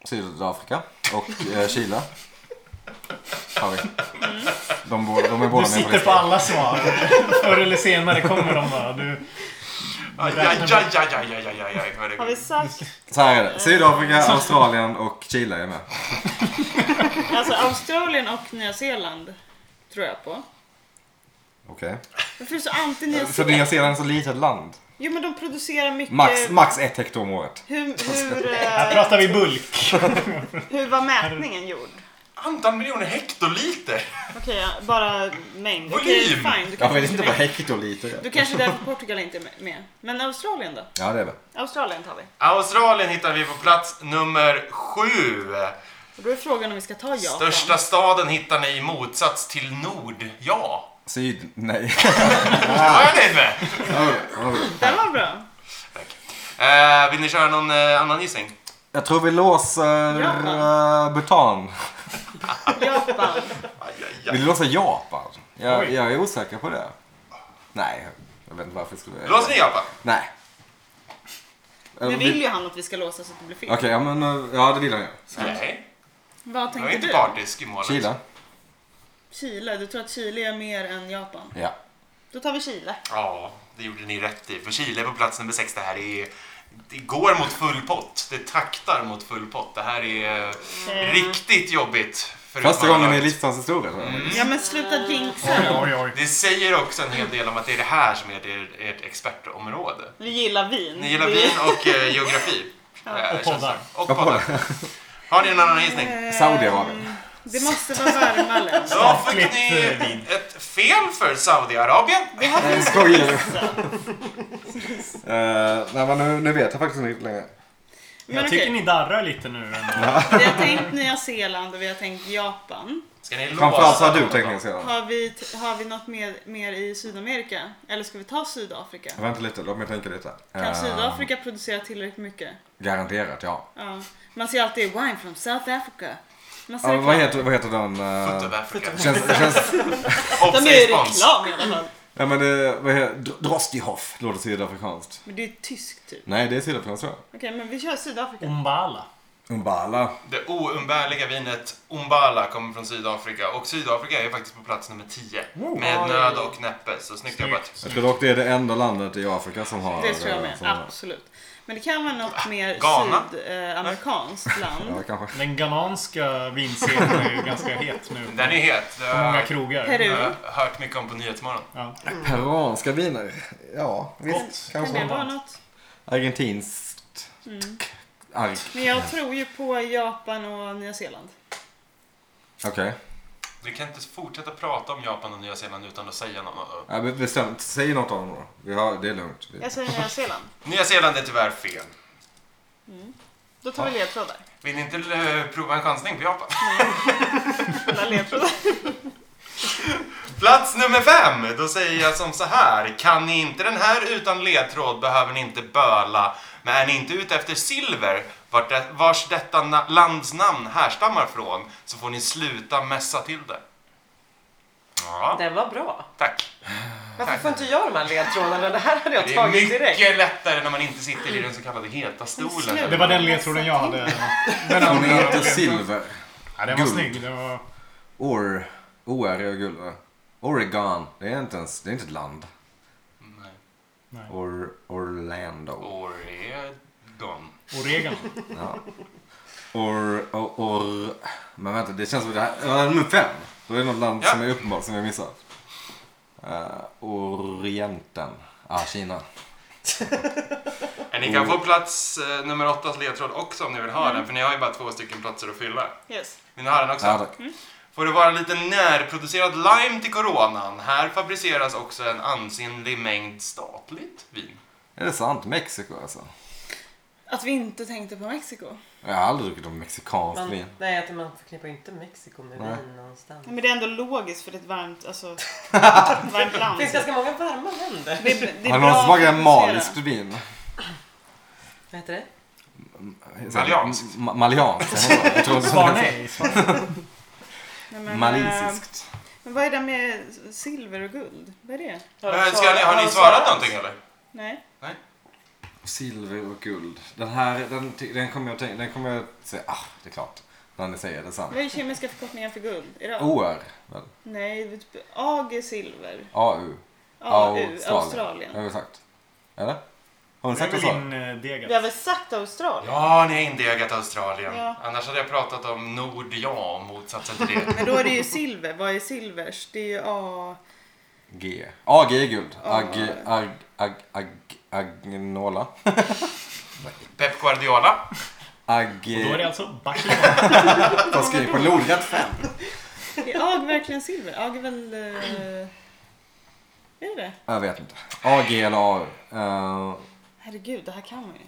Sydafrika och eh, Chile. Har vi. De, bor, de är båda
Du
med på
sitter på
listan.
alla svar. Förr eller senare kommer de bara. Du,
Aj, aj, aj, aj, aj, aj, aj, aj, aj, vad det
Har
går.
vi sagt?
Så här är det. Sydafrika, Australien och Chile är med.
<laughs> Alltså Australien och Nya Zeeland tror jag på.
Okej.
Varför är du så anti Nya
För Nya
Zeeland?
Zeeland är så litet land.
Jo men de producerar mycket...
Max, max ett hektar om året.
Hur, hur,
här
eh,
pratar vi bulk.
hur var mätningen gjord?
Antal miljoner hektoliter!
Okej, ja, bara mängd. Okej,
Volym!
fine. Du
Jag
kanske,
vet inte vad hektoliter
du
är.
kanske därför Portugal inte är med. Men Australien då?
Ja, det är det.
Australien tar vi.
Australien hittar vi på plats nummer sju.
Och då är frågan om vi ska ta Japan.
Största staden hittar ni i motsats till nord. Ja,
Syd... Nej.
det var jag nöjd med.
Den var bra.
Tack. Eh, vill ni köra någon eh, annan gissning?
<laughs> Jag tror vi låser eh, Bhutan.
Japan.
Aj, aj,
Vill
aj.
du låsa Japan? Jag,
Oj.
jag är osäker på det. Nej, jag vet inte varför jag skulle...
Låser ni Japan?
Nej.
Nu vill ju han att vi ska låsa så att det blir fel.
Mm. Okej, ja men eh, ja det vill han ju.
Nej,
Vad
jag är
tänker
inte
du?
partisk i målet.
Chile?
Chile. Du tror att Chile är mer än Japan?
Ja.
Då tar vi Chile.
Ja, det gjorde ni rätt i. För Chile är på plats nummer sex. Det här är... Det går mot full pott. Det taktar mot full pott. Det här är eh,
Eh,
riktigt jobbigt. för
Första gången i
utmanarlaget.
listans historia tror jag.
Ja men sluta jinxa
Oj,
då.
oj, oj.
Det säger också en hel del om att det är det här som är er, ert expertområde.
Vi gillar vin.
Ni gillar
Vi-
vin och eh, geografi. Eh,
Och poddar.
känns det. Och poddar. Har ni en annan gissning?
Eh,
Saudiarabien.
Det måste vara
<laughs>
varma länder.
Då fick
Sakligt,
ni
eh, vin.
ett fel för Saudiarabien.
Nej, Skojar
<laughs>
du? Eh, Nej men nu, nu vet jag faktiskt inte längre.
Men
Jag
okej,
tycker ni darrar lite nu.
vi har tänkt Nya Zeeland och vi har tänkt Japan.
Ska ni
Framförallt så har du
något
tänkt
då?
mig sedan.
Har vi, t- har vi något mer, mer i Sydamerika? Eller ska vi ta Sydafrika?
Vänta lite, låt mig tänka lite.
Kan
Eh,
Sydafrika producera tillräckligt mycket?
Garanterat ja.
Ja. Man ser alltid Wine from South Africa. Massa
Ja,
reklam.
vad, heter, vad heter den? eh,
Foot of Africa.
känns,
<laughs>
känns,
Och
De är ju
respons.
reklam i alla fall.
ja, men, eh, vad heter, Dr- Drostihoff låter sydafrikanskt.
<laughs> Men det är ju tyskt typ.
Nej det är sydafrikanskt tror jag.
Okej, men vi kör Sydafrika.
Umbala.
Umbala.
Det oumbärliga vinet Umbala kommer från Sydafrika och Sydafrika är faktiskt på plats nummer 10. Med nöd och näppe, så snyggt jobbat.
Jag tror dock det är det enda landet i Afrika som har... eh,
Det tror jag med.
som-
Absolut. Men det kan vara något mer
Ghana?
sydamerikanskt land.
Ja, kanske.
Den ghananska vinscenen är ju ganska het nu.
Den är het. Det har
Många
jag
krogar.
Peru.
eh, hört mycket om på Nyhetsmorgon.
Ja.
Peruanska viner? Ja, visst.
Kan det
Kanske.
vara Mm. något?
Argentinskt. Arg.
Men jag tror ju på Japan och Nya Zeeland.
Okej.
Vi kan inte fortsätta prata om Japan och Nya Zeeland utan att säga något.
Ja, men bestämt. Säg något om det då. Vi har, det är lugnt. Vi-
Jag säger Nya Zeeland.
Nya Zeeland är tyvärr fel.
Då tar vi ledtrådar.
Vill ni inte eh, prova en chansning på Japan?
Alla ledtrådar.
Plats nummer fem! Då säger jag som så här. Kan ni inte den här utan ledtråd behöver ni inte böla. Men är ni inte ute efter silver, vart det, vars detta na- lands namn härstammar från, så får ni sluta mässa till det. Ja,
Den var bra.
tack.
Varför får inte jag de här ledtrådarna? Det här hade jag
Det är
tagit direkt.
mycket lättare när man inte sitter i den så kallade heta stolen.
Det var den ledtråden jag hade. Den
Hon
andra.
heter Silver.
Ja, den var
Guld.
snygg. Den var...
Or. OR är guld va? Oregon. Det är inte ens, det är inte ett land.
Nej.
Or, Orlando.
Oregon.
Oregano.
Ja. Or, or, or. Men vänta, det känns som det här, ja, nummer fem. Då är det något land
Ja.
som är uppenbart som jag missat. Uh, Orienten. Ah, Kina.
plats. Men ni kan få plats eh, nummer åttas ledtråd också om ni vill ha den, för ni har ju bara två stycken platser att fylla.
Yes.
Vill ni ha den också?
Ja, tack.
Får det vara lite närproducerad lime till coronan? Här fabriceras också en ansenlig mängd statligt vin.
Är det sant? Mexiko alltså?
Att vi inte tänkte på Mexiko.
Jag har aldrig druckit någon mexikansk
Man,
vin.
nej, att man förknippar ju inte Mexiko med
Nej.
vin någonstans.
Men det är ändå logiskt för det är ett varmt, alltså, varmt
Det
land.
finns ganska många varma länder.
Det, är- det är
Har någon
bra
smakat
att
maliskt
producera.
vin?
Vad heter det?
Malianskt.
Ma- Malianskt. jag vet inte. Jag tror att-
Svar nej. Svar nej.
Nej, men, eh,
Malisiskt.
Men vad är det med silver och guld? Vad är det?
Eh, Ska ni, har ni svarat någonting eller?
Nej.
Silver och guld. Den här, den, ty- den kommer jag tänka, den kommer jag säga, ah det är klart. När ni säger det sant.
Vad är kemiska förkortningen för guld? Är det A?
OR, väl?
Nej, det är typ AG är silver.
AU.
AU, eh, Australien.
Det har vi sagt. Eller? Har ni
Det
sagt
är
det
väl
så?
din eh, dega.
Vi har väl sagt Australien?
Ja, ni har indegat Australien.
Ja.
Annars hade jag pratat om Nordja, motsatsen till det. <laughs>
Men då är det ju silver. Vad är silvers? Det är ju A...
G. AG är guld.
Ja.
Ag, ag, ag, ag, agnola.
Pep Guardiola.
Ag...
Och Då är det alltså Barcelona.
Jag skriver på lodrätt fem.
Är AG verkligen silver? AG är väl... eh, Är det det
Jag vet inte. AG eller AU. Eh,
Herregud, det här kan man ju.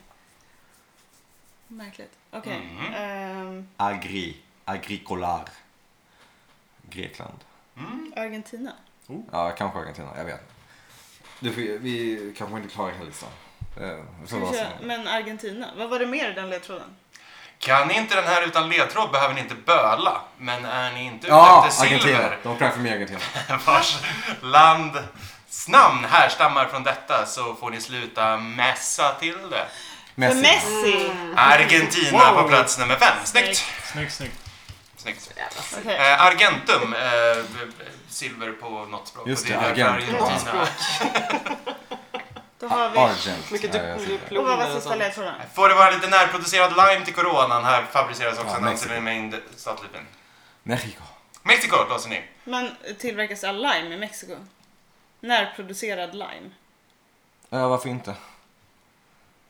Märkligt. Okej.
Mm.
ehm,
agri. Agricolar. Grekland.
Argentina.
Ja, kanske Argentina. Jag vet inte. Du, får- vi kanske inte klarar hela listan. Eh, jag
Ska
tror det
vi
var så.
köra? Men Argentina. Vad var det mer i den ledtråden?
Kan ni inte den här utan ledtråd behöver ni inte böla. Men är ni inte ute
Ja,
efter
Argentina.
silver, <laughs>
De pratar för mig Argentina.
vars landsnamn härstammar från detta, så får ni sluta mässa till det.
För
Messi.
Messi!
Mm. Argentina
Wow.
på plats nummer fem. Snyggt!
Snyggt, snyggt.
Snyggt.
Okej.
Eh, argentum, eh, b- b- silver på något språk.
Just
Och är
det,
därför
argentum.
Argentina.
Då har vi...
Argent.
Mycket
Ja, jag
du-
ser det.
diplom
Och vad var
och
sista
sånt.
ledtråden?
Får det vara lite närproducerad lime till coronan? Här fabriceras också
Ja,
en
Mexiko.
ansenlig mängd statligt vin.
Mexico.
Mexiko låser ni.
Men tillverkas all lime i Mexiko? Närproducerad lime?
Ja, varför inte? <laughs>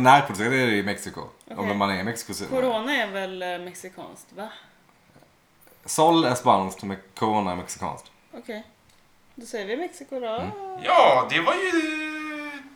Närproducerat är det ju i Mexiko.
Okej.
Om man är i Mexiko så...
Corona är väl eh, mexikanskt, va?
Sol är spanskt, men corona är mexikanskt.
Okej. Då säger vi Mexiko då.
Mm. Ja, det var ju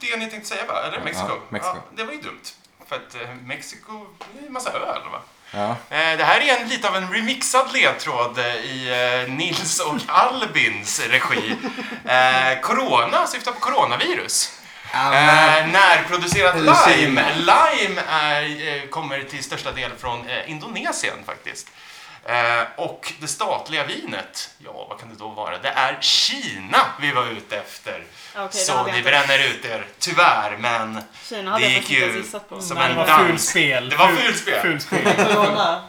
det ni tänkte säga va? Eller
Ja,
Mexiko?
Mexiko.
Ja, det var ju dumt. För att eh, Mexiko, det är en massa öl va?
Ja.
Eh, Det här är en, lite av en remixad ledtråd eh, i eh, Nils och Albins regi. Eh, corona syftar på coronavirus. Eh, närproducerat
Äh. Eller
lime.
Kina.
Lime är, eh, kommer till största del från eh, Indonesien faktiskt. Eh, och det statliga vinet, ja vad kan det då vara? Det är Kina vi var ute efter.
Okej, det
Så
hade jag
ni
inte-
bränner ut er, tyvärr, men
Kina hade
Det
jag
gick
faktiskt inte
ju
ens gissat på.
som
Det
en
var
dans.
fulspel.
Det var
Ful-
fulspel.
Fulspel.
Corona.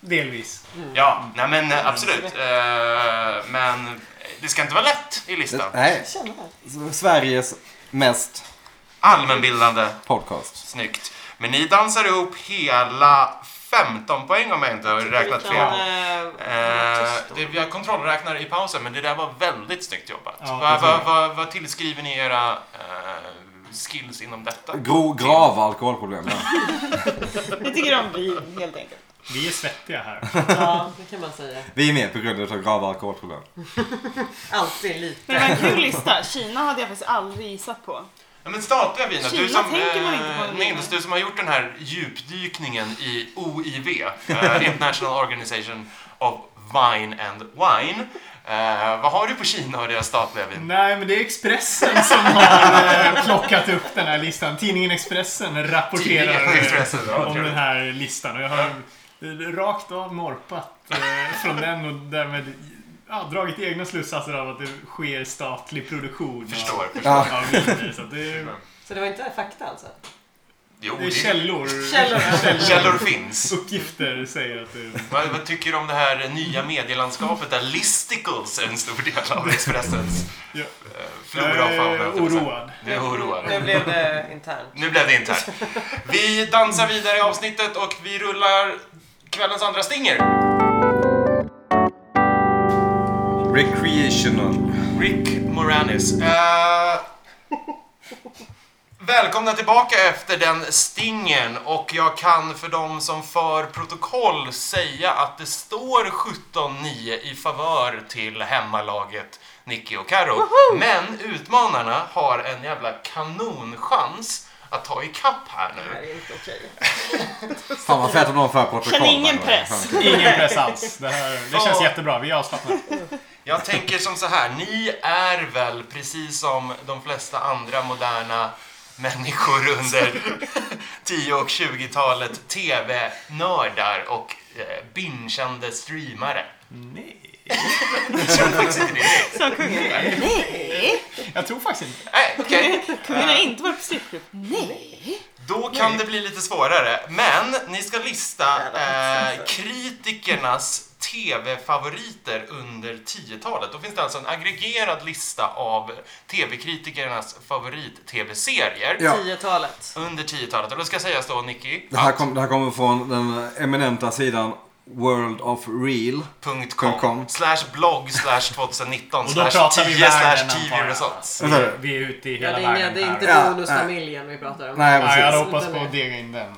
Delvis.
ja, nej men eh, absolut. Eh, men det ska inte vara lätt i listan.
Eh, Nej,
Känner jag.
S- Sveriges mest
Allmänbildande,
podcast.
snyggt. Men ni dansar ihop hela 15 poäng om jag inte har räknat fel. Eh, det, vi har kontrollräknare i pausen, men det där var väldigt snyggt jobbat.
Ja,
vad,
det tror
vad,
jag.
vad, vad tillskriver ni era eh, skills inom detta?
Gro, grava alkoholproblem. Ja.
Vi tycker om vin helt enkelt.
Vi är svettiga här.
Ja, det kan man säga.
Vi är med på grund av grava alkoholproblem.
Alltid lite.
Men det var en kul lista. Kina hade jag faktiskt aldrig gissat på.
Ja, men statliga viner,
Kina
du som,
tänker man inte på
eh,
när man-
Nils, du som har gjort den här djupdykningen i OIV,
<laughs>
eh, International Organization of Wine and Wine. Eh, vad har du på Kina och deras statliga vin?
Nej, men det är Expressen som har eh, plockat upp den här listan. Tidningen Expressen rapporterar
Tidningen
eh,
Expressen, ja,
om
trevligt.
den här listan. Och jag har eh, rakt av norpat eh, från den och därmed ja, dragit egna slutsatser av att det sker statlig produktion
Förstår. förstår.
av,
Ja.
av viner. Så att det, är-
Så det var inte fakta alltså?
Jo,
det är
det,
källor.
Källor.
källor finns.
Uppgifter säger att det
Vad, vad tycker du om det här nya medielandskapet där listicles är en stor del av Expressens
Ja.
eh,
jag
flora och fauna? höll
är
jag på att säga.
oroad.
Det oroar.
Nu blev det internt.
Nu blev det inte här. Vi dansar vidare i avsnittet och vi rullar kvällens andra stinger.
Recreational.
Rick Moranis. Eh, Välkomna tillbaka efter den stingen och jag kan för de som för protokoll säga att det står 17-9 i favör till hemmalaget Nicky och Karo. Men utmanarna har en jävla kanonchans att ta ikapp här
Det här
nu.
är inte okej.
Fan vad fett om någon för protokoll.
Känner ingen
by the way.
press.
Fan.
Ingen press alls. Det, här, det känns
Ja.
jättebra. Vi är avslappnade.
Jag tänker som så här, ni är väl precis som de flesta andra moderna människor under 10 och 20-talet TV-nördar och eh, bingeande streamare.
Nej.
Jag tror faktiskt inte det.
Sa kungen. Nej,
Jag tror faktiskt inte
Nej, okej.
kungen har inte varit på strippklubb.
Nej.
Då kan det bli lite svårare. Men ni ska lista eh, kritikernas TV-favoriter under 10-talet. Då finns det alltså en aggregerad lista av TV-kritikernas favorit-TV-serier
Ja.
10-talet.
under 10-talet. Och då ska sägas då, Nicky,
Det här, kom, det här kommer från den eminenta sidan World of Real.
.com,
.com.
slash blogg slash 2019
<laughs> Och då
slash
pratar vi
10 slash
världen,
10
antar jag.
results.
Vad sa du?
det. Vi är ute i
Ja,
hela
det, är inga,
världen
det är inte
Ja,
bonusfamiljen vi pratar om.
Nej,
Ja, jag hade
precis.
hoppats på att dega in
<laughs>
den.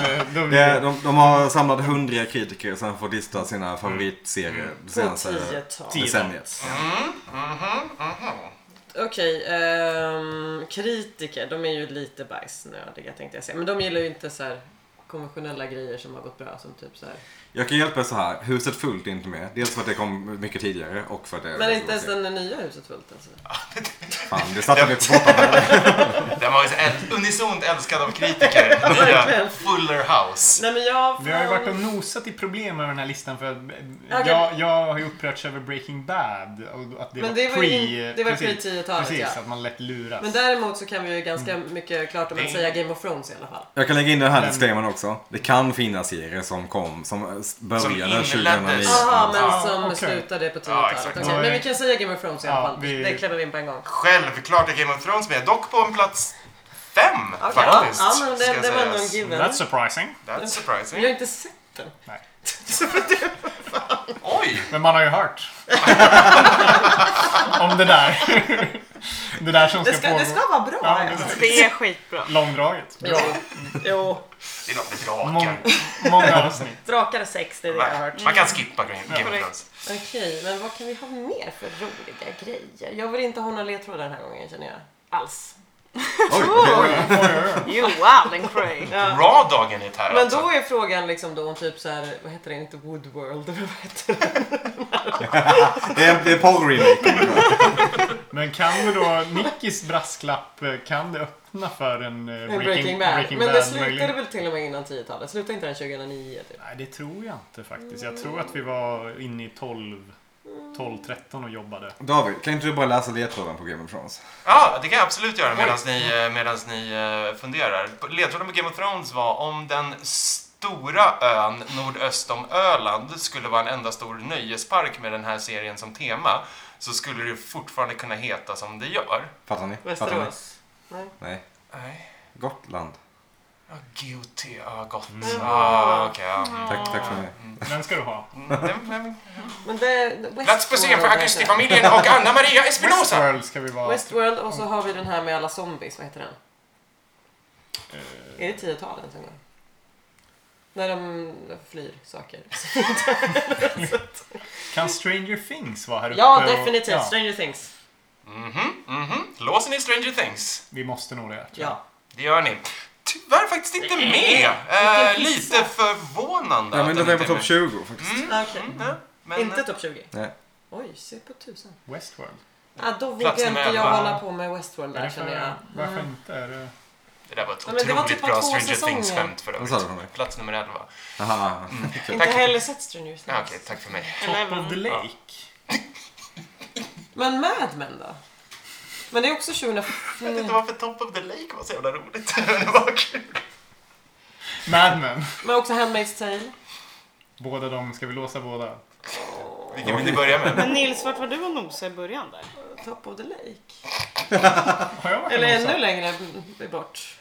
Men, eh, då blir
Det,
det...
de, de har samlat hundra kritiker som får lista sina
Mm.
favoritserier det
På
senaste
10-talet.
Tio.
decenniet.
Mhm.
Okej, ehm, kritiker, de är ju lite bajsnödiga tänkte jag säga. Men de gillar ju inte så här konventionella grejer som har gått bra som typ så här.
Jag kan hjälpa er så här. Huset fullt är inte med. Dels för att det kom mycket tidigare och för att det...
Men inte ens den nya huset fullt alltså.
Fan, det satte mig på botten.
Den var ju så äl- unisont älskad av
<laughs>
kritiker. Nya
Verkligen.
Fuller House.
Nej men jag...
Vi har ju varit och nosat i problem med den här listan för att eh,
Okej.
jag, jag har ju upprörts över Breaking Bad. Och att det
Men
var
det var
pre...
ju in- det var
precis,
pre-10-talet,
Precis,
ja.
att man lätt luras.
Men däremot så kan vi ju ganska mycket klart om att säga Game of Thrones i alla fall.
Jag kan lägga in den här disclaimern också. Det kan finnas serier som kom, som började
inleddes.
2009.
Jaha, men
Ja,
som
okej.
slutade på
Ja,
10-talet.
exakt.
Okej, men vi kan säga Game of Thrones i alla
Ja,
fall.
vi-
Det klämmer vi in på en gång.
Självklart är Game of Thrones med, dock på en plats fem
Okej, ja,
faktiskt.
ja, men
ska
det, det var ändå en
sägas.
given.
That's surprising.
That's
Men jag
surprising.
har inte sett den. <laughs>
Oj!
Men man har ju
<laughs>
hört. Om det där. <laughs> det där som ska,
Det ska,
pågå.
det ska vara bra.
Ja,
ja.
det ska-
Det är skitbra.
Långdraget. Bra.
Jo,
Det är något med drakar.
Mång, många avsnitt.
drakar och sex, det är det jag har hört.
Man kan skippa Game Game of
Korrekt.
Thrones.
Okej, men vad kan vi ha mer för roliga grejer? Jag vill inte ha några ledtrådar den här gången känner jag. Alls.
Oj,
You wild and cray.
Bra dagen är här
Men då
alltså.
är frågan liksom då om typ så här, vad heter det, inte Woodworld <laughs> eller vad heter det?
det är, det är porr-remake.
Men kan du då, Nickis brasklapp, eh, kan det öppna för en eh,
Breaking,
Breaking,
Bad.
Breaking
men
Bad
det slutade
möjlighet?
väl till och med innan 10-talet? Slutade inte den 2009 typ?
Nej, det tror jag inte faktiskt. Jag tror att vi var inne i 12, 12 13 och jobbade.
David, kan inte du bara läsa ledtråden på Game of Thrones?
Ja, det kan jag absolut göra medan ni, eh, medans ni eh, funderar. Ledtråden på Game of Thrones var om den stora ön nordöst om Öland skulle vara en enda stor nöjespark med den här serien som tema så skulle det fortfarande kunna heta som det gör.
Fattar ni? Fattar ni?
Västerås? Nej.
Nej.
Nej.
Gotland.
Ja, Guilty. Ja, gott. Ja, Mm. Ah, okej. ja.
Tack, tack för mig.
Den ska du ha.
Mm, den- den-
Men det... Westworld
Plats på scen för
heter den.
Augusti-familjen och Anna Maria Espinosa.
Westworld ska vi vara.
Westworld och så har vi den här med alla zombies, vad heter den? Är det 10-talet ens en gång? När de flyr saker.
Kan Stranger Things vara här uppe?
Ja,
och-
definitivt.
ja,
Stranger Things.
Mhm, mhm. Låser ni Stranger Things?
vi måste nog det. tror jag.
Ja.
Det gör ni. Tyvärr faktiskt inte med.
vilken
Eh,
pizza.
lite förvånande.
Ja,
att
men den är på
inte
topp 20 faktiskt.
Okej.
med. Mm, ja, men,
Inte topp 20.
Nej.
Oj, se på tusan.
Westworld.
Ah, då vågar
Plats
inte
nummer
jag
elva.
hålla på med Westworld där
Varför,
känner jag. Mm.
varför inte? Är det...
Det där var ett
Ja, men
otroligt
det var typ bara
bra
två
Stranger
säsonger.
Things-skämt för övrigt.
Vad sa du för mig?
Plats nummer 11.
Aha.
Inte
Tack.
heller sett Stranger Things.
Ja, Okej, tack för mig.
Top of the Lake.
Men Mad Men då? Men det är också 2004.
Jag vet inte varför Top of the Lake var så jävla roligt. <laughs> Men det var kul.
Mad Men.
Men också Handmaid's Tale.
Båda de, ska vi låsa båda?
Vilken vill ni börja med?
Men Nils, vart var du och nosade i början där?
Top of the Lake.
Har jag varit
Eller
och nosat?
ännu längre b- bort.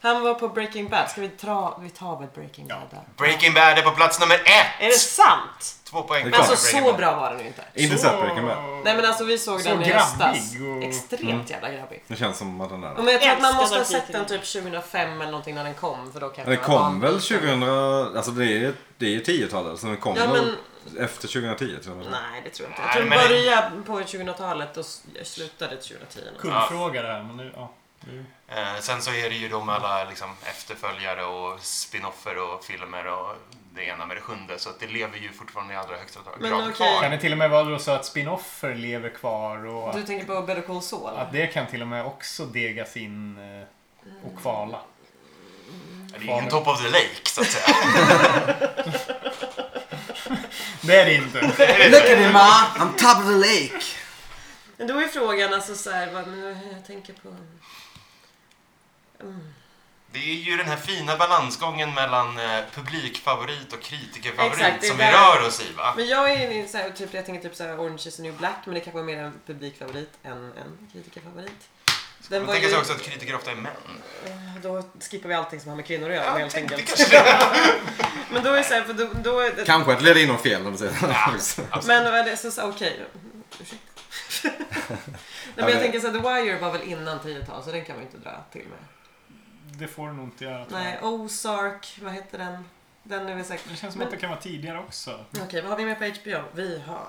Han var på Breaking Bad. Ska vi, tra, vi tar väl Breaking
Ja.
Bad där?
Breaking Bad är på plats nummer ett!
Är det sant?
Två poäng.
Men
Men alltså
för Breaking
så
Bad.
bra var den ju inte.
Inte
Så-
sett Breaking Bad.
Nej men alltså vi såg
Så
den i
grabbig
höstas.
och-
Extremt jävla grabbig.
Det känns som att den är
Men jag tror att man
Älskar
måste ha
den
sett den
titeln.
typ 2005 eller någonting när den kom. För då kanske
Den
man
kom
var-
väl 2000, alltså det är det är ju 10-talet så den kom
Ja,
väl
men-
efter 2010 tror jag.
Nej det tror jag inte.
Nej,
Jag tror den
men-
började på 2000-talet och s- slutade 2010.
Kullfråga det här, men nu... Ja. Nu-
Eh, sen så är det ju då med alla liksom, efterföljare och spinoffer och filmer och det ena med det sjunde. Så att det lever ju fortfarande i allra högsta
Men
grad
okej.
kvar.
Kan det till och med vara då så att spinoffer lever kvar och
Du
att,
tänker på Better Call Saul?
att det kan till och med också degas in eh,
Mm.
och kvala?
Det är ju ingen top of the lake så att säga.
<laughs>
Det är det inte.
<laughs>
Look at him ma, I'm top of the lake!
Men då är frågan alltså såhär, vad, men jag tänker på... Mm.
Det är ju den här fina balansgången mellan eh, publikfavorit och kritikerfavorit
Exakt, det är
som vi
där-
rör oss i va?
Men jag är inne i så här, typ, jag tänker typ såhär Orange is the new black, men det kanske är mer en publikfavorit än en kritikerfavorit. Den Eh,
Man tänker sig också att kritiker ofta är män.
Då skippar vi allting som har med kvinnor att göra
Ja,
helt
tänk- det
enkelt.
kanske det är.
<laughs> Men då är det såhär, för då... då är det,
Kanske att det leder in någon fel om du säger <laughs>
men vad är det så, så okej. Ursäkta. Nej, men
men-
jag tänker såhär, The Wire var väl innan 10-tal, så den kan man ju inte dra till med.
Det får du nog inte göra. tror jag.
Nej, Ozark, vad heter den? Den är väl
Det
säkert...
känns som
Men-
att det kan vara tidigare också.
Okej, vad har vi med på HBO? Vi har...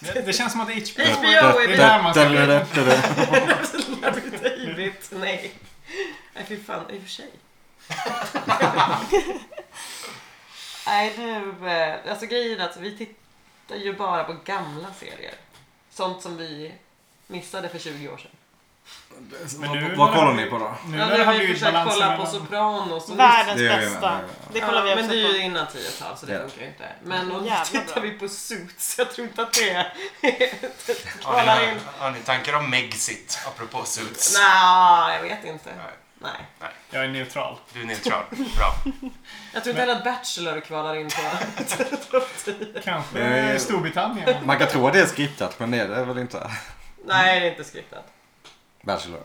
Det, det känns som att HBO...
HBO är
Det är där man ska leta.
David, nej. Nej fy fan, i och för sig. <laughs> Nej du, eh, alltså grejen är att vi tittar ju bara på gamla serier. Sånt som vi missade för 20 år sedan.
Men nu-
Vad kollar ni på då?
Nu
ja,
när det har
har vi
blivit
försökt
balans
kolla på
mellan...
Sopranos och
Världens
Det är ju-
bästa. Det
Ja,
kollar vi
men det är ju
också på.
innan 10-tal så det
Ja.
funkar ju inte. Men
Mm,
och nu
jävla
tittar
bra.
vi på Suits. Jag tror inte att det är...
Har
kvalar
ni,
in.
har ni tankar om Megxit apropå Suits?
Nej, jag vet inte.
Nej.
Nej.
Jag är neutral.
Du är neutral. Bra.
Jag tror inte heller att Bachelor kvalar in på
<laughs>
<laughs>
Kanske
Eh,
Storbritannien.
Man kan tro att det är skriptat men det är det väl inte?
Nej, det är inte skriptat.
Bachelor.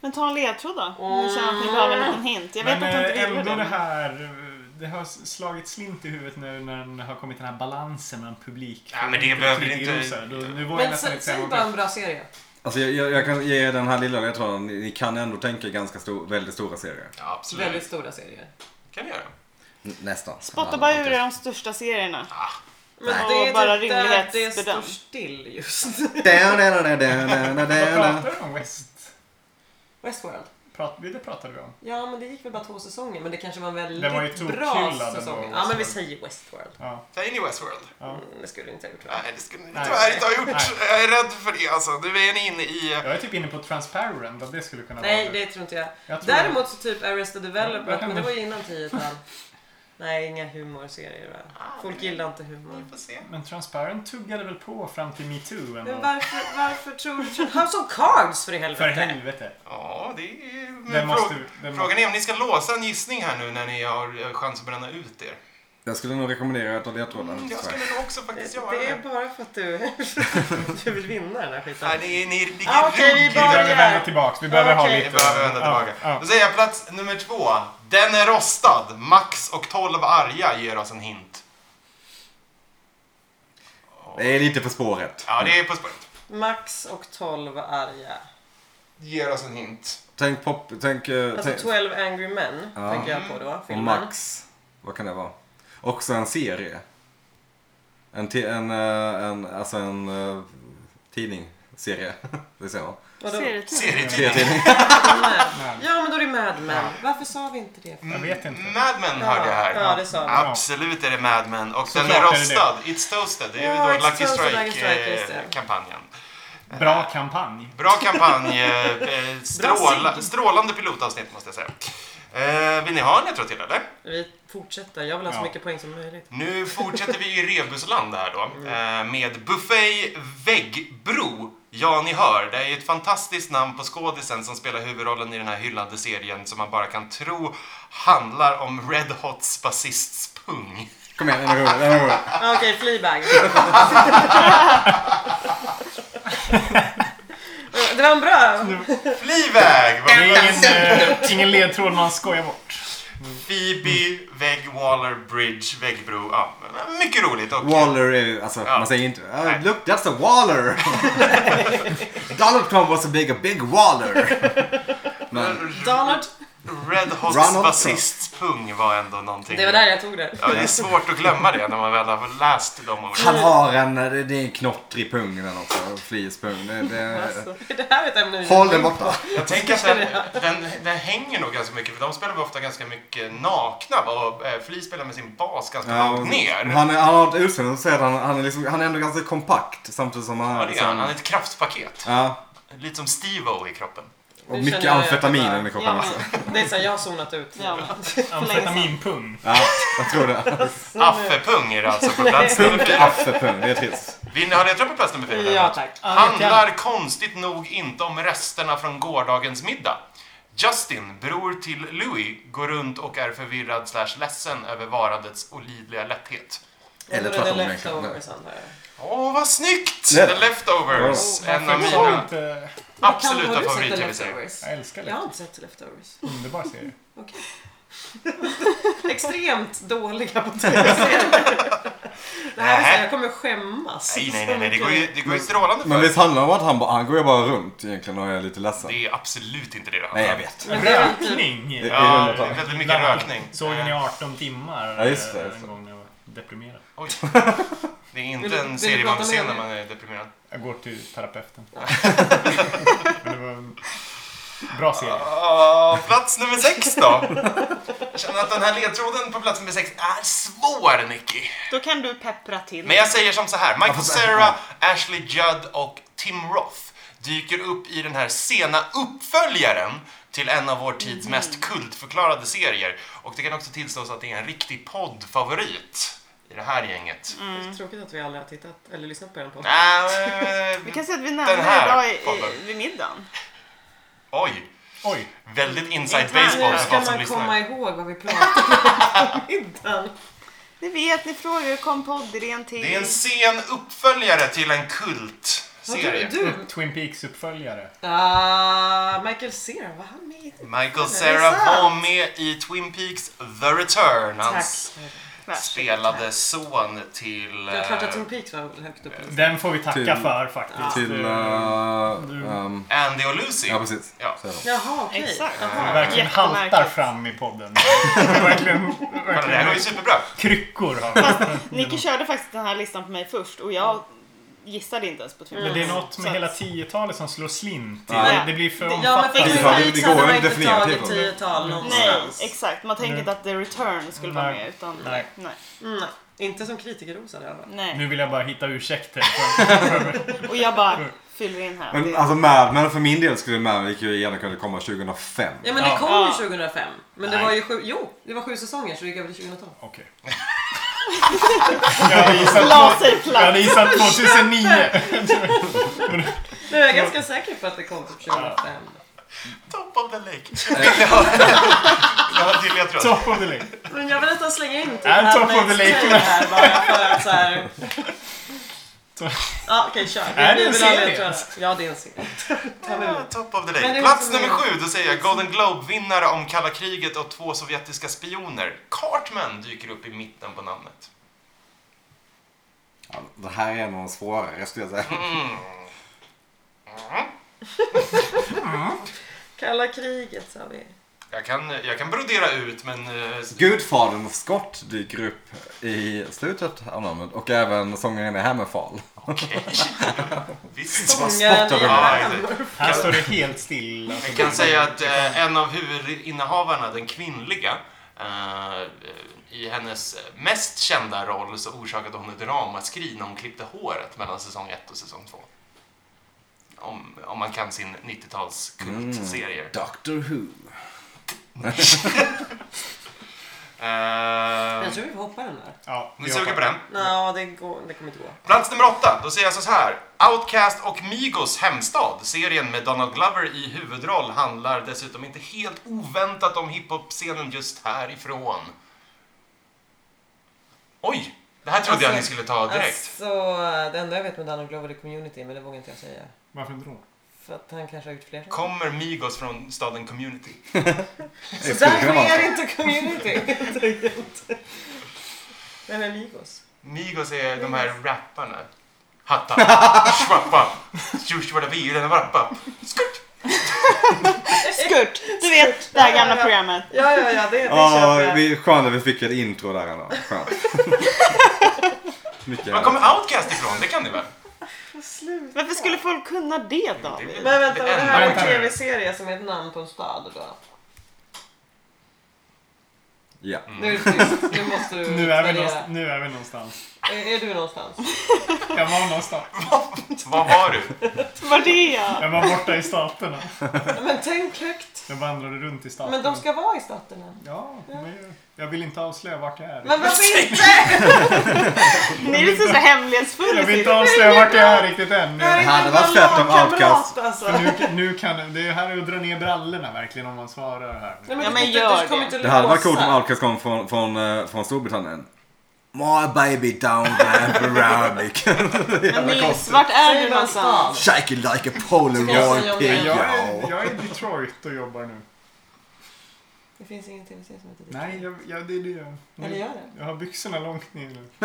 Men ta en ledtråd då. Om ni känner att ni behöver en liten hint. Jag vet
Men
att du
eh,
inte vill
ändå det
det.
här... eh, Det har slagit slint i huvudet nu när det har kommit den här balansen mellan publik
Ja, men det behöver vi inte-
kritikerrosar. Då- Nu vågar jag
Men
nästan
sä-
inte säga
säg
något.
bara en bra serie.
Alltså jag, jag, jag kan ge er den här lilla ledtråden, ni kan ändå tänka ganska stor, väldigt stora serier.
Ja,
Väldigt
absolut.
stora serier.
kan du göra.
N- Nästan.
Spotta
Ja,
bara
alltid.
ur er de största serierna.
Men
Nej.
det är
Och bara
typ där det står
rimlighetsbedöm.
still just.
Da, da, da, da, da, da,
Vad
da, da.
pratar du om West?
<laughs> Westworld.
Prat, det pratade vi om.
Ja, men det gick väl bara två säsonger, men det kanske var en väldigt
Den var ju
bra
tokkullad ändå,
säsong. Ja,
Westworld.
men vi säger Westworld.
Ja.
Ta in i Westworld.
Ja.
Mm, det skulle du inte ha gjort. va?
Nej, det skulle ni
Nej.
tyvärr inte ha gjort.
Nej.
Jag är rädd för det alltså. Nu är ni inne i...
Jag är typ inne på Transparent, att det skulle kunna
Nej,
vara
det tror inte jag.
Jag tror-
Däremot så typ Arrested
Ja, det
Development,
kan
men det
vi-
var ju innan
<laughs>
10-tal. Nej, inga humorserier va?
Ah,
Folk gillar inte humor.
Vi får se.
Men Transparent tuggade väl på fram till metoo
Men
ändå?
varför, varför tror du... House of Cards för i
För
helvete!
helvete.
Ja, det är... Men
Den måste,
frå-
den måste,
Frågan är om ni ska låsa en gissning här nu när ni har eh, chans att bränna ut er.
Jag skulle nog rekommendera att ta ledtråden.
Mm, jag
tror jag.
skulle nog också faktiskt göra
Det är
det.
bara för att du, <laughs> du vill vinna den här skiten.
Nej, ni, ni ligger
Ah, okej, vi
ruggigt.
vi behöver
börjar.
vända tillbaks. Vi behöver ha
Okej.
lite...
Vi behöver vända tillbaka.
Ja,
Då säger jag plats nummer två. Den är rostad. Max och 12 arga ger oss en hint.
Det är lite på spåret.
Ja, det är På spåret.
Max och 12 arga.
Ger oss en hint.
Tänk pop, tänk... eh,
Alltså
tänk
12 Angry Men
Ja.
tänker jag på då.
och
Filmen.
Max. Vad kan det vara? Också en serie. En, te, en, eh, en, alltså en eh, tidning. Serie. <laughs> Det säger man.
Vadå?
Serietidning.
Serietidning.
Serietidning.
Mad-
ja.
Ja men då är det Mad Men.
Ja.
Varför sa vi inte det?
Jag vet inte.
Mad Men hörde jag här.
Ja, det sa vi.
Absolut är det Mad Men och den är
klart är det
rostad. It's toasted. Det är
Ja,
väl
It's
då Lucky
Toasted, Lucky Strike, just det.
Strike-kampanjen.
Bra kampanj.
Bra kampanj.
<laughs>
eh, eh, Stråla,
sig.
strålande pilotavsnitt måste jag säga. Eh, vill ni ha en jag tror till eller?
Vi fortsätter. Jag vill ha så
Ja.
mycket poäng som möjligt.
Nu fortsätter vi i rebusland här då. eh, Med Buffet Väggbro. Ja, ni hör. Det är ju ett fantastiskt namn på skådisen som spelar huvudrollen i den här hyllade serien som man bara kan tro handlar om Red Hots basists pung.
Kom igen, den är rolig. Den är rolig.
Ah, Okej,
<laughs>
Fleabag. det var en bra.
Fly iväg!
Det
Vad
är
bra.
ingen, eh, ingen ledtråd man skojar bort.
Phoebe, vägg, Waller, bridge, väggbro. Ja, men mycket roligt. Och,
Waller är ju, alltså
Ja.
man säger inte "Ah,
Nej.
look that's a Waller.
<laughs>
Donald Trump was a big, a big Waller. Men
Donald.
Red Hots
Ronald
basistpung var ändå någonting.
Det var där jag tog det.
Ja, det är svårt att glömma det när man väl har läst de orden.
han har en, det det är en knottrig pung den också, flispung. Det, det,
Alltså, det här är ett ämne vi-
håll den borta.
Jag tänker att den, den, den hänger nog ganska mycket, för de spelar väl ofta ganska mycket nakna och eh, Fli spelar med sin bas ganska långt ner.
Han, är, han har ett utseende som säger att han, han, är liksom, han är ändå ganska kompakt samtidigt som han
Ja,
är
det är han. Han är
liksom,
ett kraftpaket.
Ja,
Lite som Steve-O i kroppen.
och
Nu
mycket
känner jag
amfetamin
att jag
i alltså. kroppen
bara-
också.
Det är såhär, jag har zonat ut.
Ja, men.
Amfetaminpung.
Ja, jag
<laughs>
tror det.
eh,
Affepung är det alltså
<laughs>
på plats nummer fyra.
Affepung, det är trist.
Vill ni ha ledtråd på plats nummer fyra?
Ja tack.
Handlar konstigt nog inte om resterna från gårdagens middag. Justin, bror till Louis, går runt och är förvirrad slash ledsen över varandets olidliga lätthet.
Eller
Då är
tvärtom,
det
men kanske.
leftovers, antar jag.
Åh, vad snyggt!
Det är
The
det.
Leftovers, en av
Jag har
mina
inte-
Kan- har
absoluta
du sett The
favorit-tv-serier.
Leftovers?
eh, Jag älskar
Jag har
det.
inte sett The Leftovers. <laughs>
Underbar serie.
Extremt dåliga på tv-serier. Det här är så här, jag kommer skämmas.
Nej, nej, nej, nej, det går ju, det går ju strålande
Men
för
visst handlar det om att han, bara- han går ju bara runt egentligen och är lite ledsen?
Det är absolut inte det det
Nej,
handlar
jag
om.
vet.
Men det är väl typ-
Rökning!
Det-
Ja, det är väldigt mycket Eh, rökning.
Såg den i 18 timmar
Ja, just det,
eh,
just det.
en gång när jag var deprimerad.
<laughs>
Oj. Det är
Vill
inte
du-
en
vill
serie
du
man
prata
vill se
mer
när
om
man är deprimerad.
Jag går till terapeuten. <laughs> Men det var en bra serie.
Ah, plats nummer sex
<laughs>
då. Jag känner att den här ledtråden på plats nummer sex är svår, Nicky.
Då kan du peppra till.
Men jag säger som så här, Michael
Varför-
Cera, Ashley Judd och Tim Roth dyker upp i den här sena uppföljaren till en av vår tids
Mm.
mest kultförklarade serier. Och det kan också tillstås att det är en riktig poddfavorit i det här gänget.
Det är Tråkigt att vi aldrig har tittat eller lyssnat på den på.
Nej,
Vi
men-
kan säga att vi
Den
nämner
här
idag i,
podden.
i, vid middagen.
Oj,
Oj!
väldigt inside
Inte
baseball
här.
för
Ska
folk som
man
lyssnar.
komma ihåg vad vi pratade om på middagen?
Ni vet, ni frågar hur kom poddidén till?
Det är en sen uppföljare till en
Vad trodde
kultserie.
du?
Twin Peaks-uppföljare.
Ah, Michael Cera, var han med i det?
Michael
Det är
Cera
sant.
var med i Twin Peaks The Return.
Tack.
Hans spelade son till...
Det är klart att
eh,
Twin Peaks var högt upp. på listan.
Den får vi tacka
Till-
för faktiskt.
Till...
Eh,
eh,
du-
ehm,
Andy och Lucy.
ja, precis.
Ja.
Så är det.
Jaha, okej.
Exakt.
vi
Jaha.
verkligen
Jättemärkligt.
haltar fram i podden. <laughs> Vi verkligen,
Kolla, det här går ju
verkligen
superbra.
kryckor har vi.
Nicky körde faktiskt den här listan på mig först och jag gissade inte ens på Twin
Men
Peaks.
det är något med
Så
hela
att-
10-talet som slår slint. i-
Ja.
Det blir för
Ja, men
omfattande.
Twin
Det
Peaks
går
hade
ju
man
inte
inte
definiera
tagit
tillgången.
tiotal
Nej,
någonstans.
exakt. Man tänkte
Nu-
inte att The Return skulle vara
Nej.
med utan...
Nej.
Nej.
Mm, nej. Inte som kritikerrosad i alla fall.
Nej.
Nu vill jag bara hitta ursäkter. för-
Och jag bara fyller in här.
Men
Det-
alltså Mad Men för min del skulle Mad Men ju gärna kunna komma 2005.
Ja men det
Ja.
kom
Ja.
ju 2005. Men det
Nej.
var ju sju, jo, det var sju säsonger så det gick över till 2012.
Okej. Jag hade gissat,
La sig
jag
platt.
hade gissat 2009. <laughs>
Nu är jag ganska säker på att det kom typ 2005.
Top of the lake. <laughs> Vill ni ha- vill ni ha en till ledtråd?
Top of the lake.
Men jag vill nästan slänga in typ
Är top of the
Handmaid's
lake.
Tale här bara för
<laughs>
att såhär... Ja okej kör.
Är det en
Vi vill ha
serie?
ledtrådar. Ja det är en serie. Ta med
Ja,
det.
Top of the
Men det
lake.
är
Plats
också-
nummer sju, då säger jag Golden Globe-vinnare om kalla kriget och två sovjetiska spioner. Cartman dyker upp i mitten på namnet.
Ja, det här är en av de svårare skulle jag
Mm.
säga.
Kalla kriget sa vi.
Jag kan, jag kan brodera ut, men... eh, <laughs>
Gudfadern Scott dyker upp i slutet av namnet och även sångaren i Hammerfall.
Okej. Visst.
Vad
Sångaren
spottar
i
du?
Ja,
Hammer.
exakt.
Här står det helt still. Alltså,
Jag kan säga att eh, en av huvudinnehavarna, den kvinnliga, eh, eh, i hennes mest kända roll så orsakade hon ett ramaskri när hon klippte håret mellan säsong 1 och säsong 2. Om, om man kan sin 90-tals kultserie.
Doctor Who.
Eh,
Jag tror vi hoppar den där.
Ja,
ni suger på den?
Nå, det, går, det kommer inte gå.
Plats nummer åtta, då säger jag så här. Outcast och Migos hemstad, serien med Donald Glover i huvudroll, handlar dessutom inte helt oväntat om hiphop-scenen just härifrån. Oj! Det här trodde jag ni skulle ta direkt.
Alltså, det enda jag vet med Donald Glover är community men det vågar inte jag säga.
Varför inte då?
För att han kanske har gjort fler.
Kommer Migos från staden Community?
Så
skulle
därför
kunna vara
är det
så.
inte community. helt enkelt. Vem är Migos?
Migos är de här rapparna. Hatta, schwappa, tjoschwadavira, varpa. Skurt!
Skurt! Du vet det här gamla programmet.
Ja, ja, ja, det, det
Ja,
köper jag.
vi- skönt att vi fick ett intro där ändå. Skönt. Mycket.
Var kommer Outcast ifrån? Det kan ni väl?
Sluta.
Varför skulle folk kunna det då?
Det är väl
Men vänta,
det
det
enda.
här är en
Vänta nu.
tv-serie som är ett namn på en stad då?
Ja.
Nu är det tyst. Nu måste du
Nu är, vi
utvärdera.
någonstans, nu är vi någonstans.
Är, är du någonstans?
Jag var någonstans.
Vad var du?
Vad det är?
Jag var borta i staterna.
Men tänk högt.
Jag vandrade runt i staterna.
Men de ska vara i staterna.
Ja, men jag vill inte avslöja vart jag är.
Men varför inte?
Ni är lite så hemlighetsfulla.
Jag vill
typ.
inte avslöja vart jag är riktigt än. Nu,
Det hade varit fett om Outcast.
Alltså.
för nu, nu kan, det är här är att dra ner brallorna verkligen om man svarar här.
Nej,
Ja,
du-
men
du-
gör
du kommer
det.
inte
Det hade varit coolt om
låsa.
Outcast kom från, från, eh, från Storbritannien. My baby don't dance around me.
Men Nils, vart är
Säg
du
bara en
någonstans?
stad.
Shake it like a
Jag säger
polaroid
om
pig.
jag-
Jag är,
ja.
jag är i Detroit och jobbar nu.
Det finns ingen tv-serie som heter det.
Nej, jag, jag, det är det jag...
Eller gör
Nu,
det.
jag har byxorna långt ner nu. <laughs>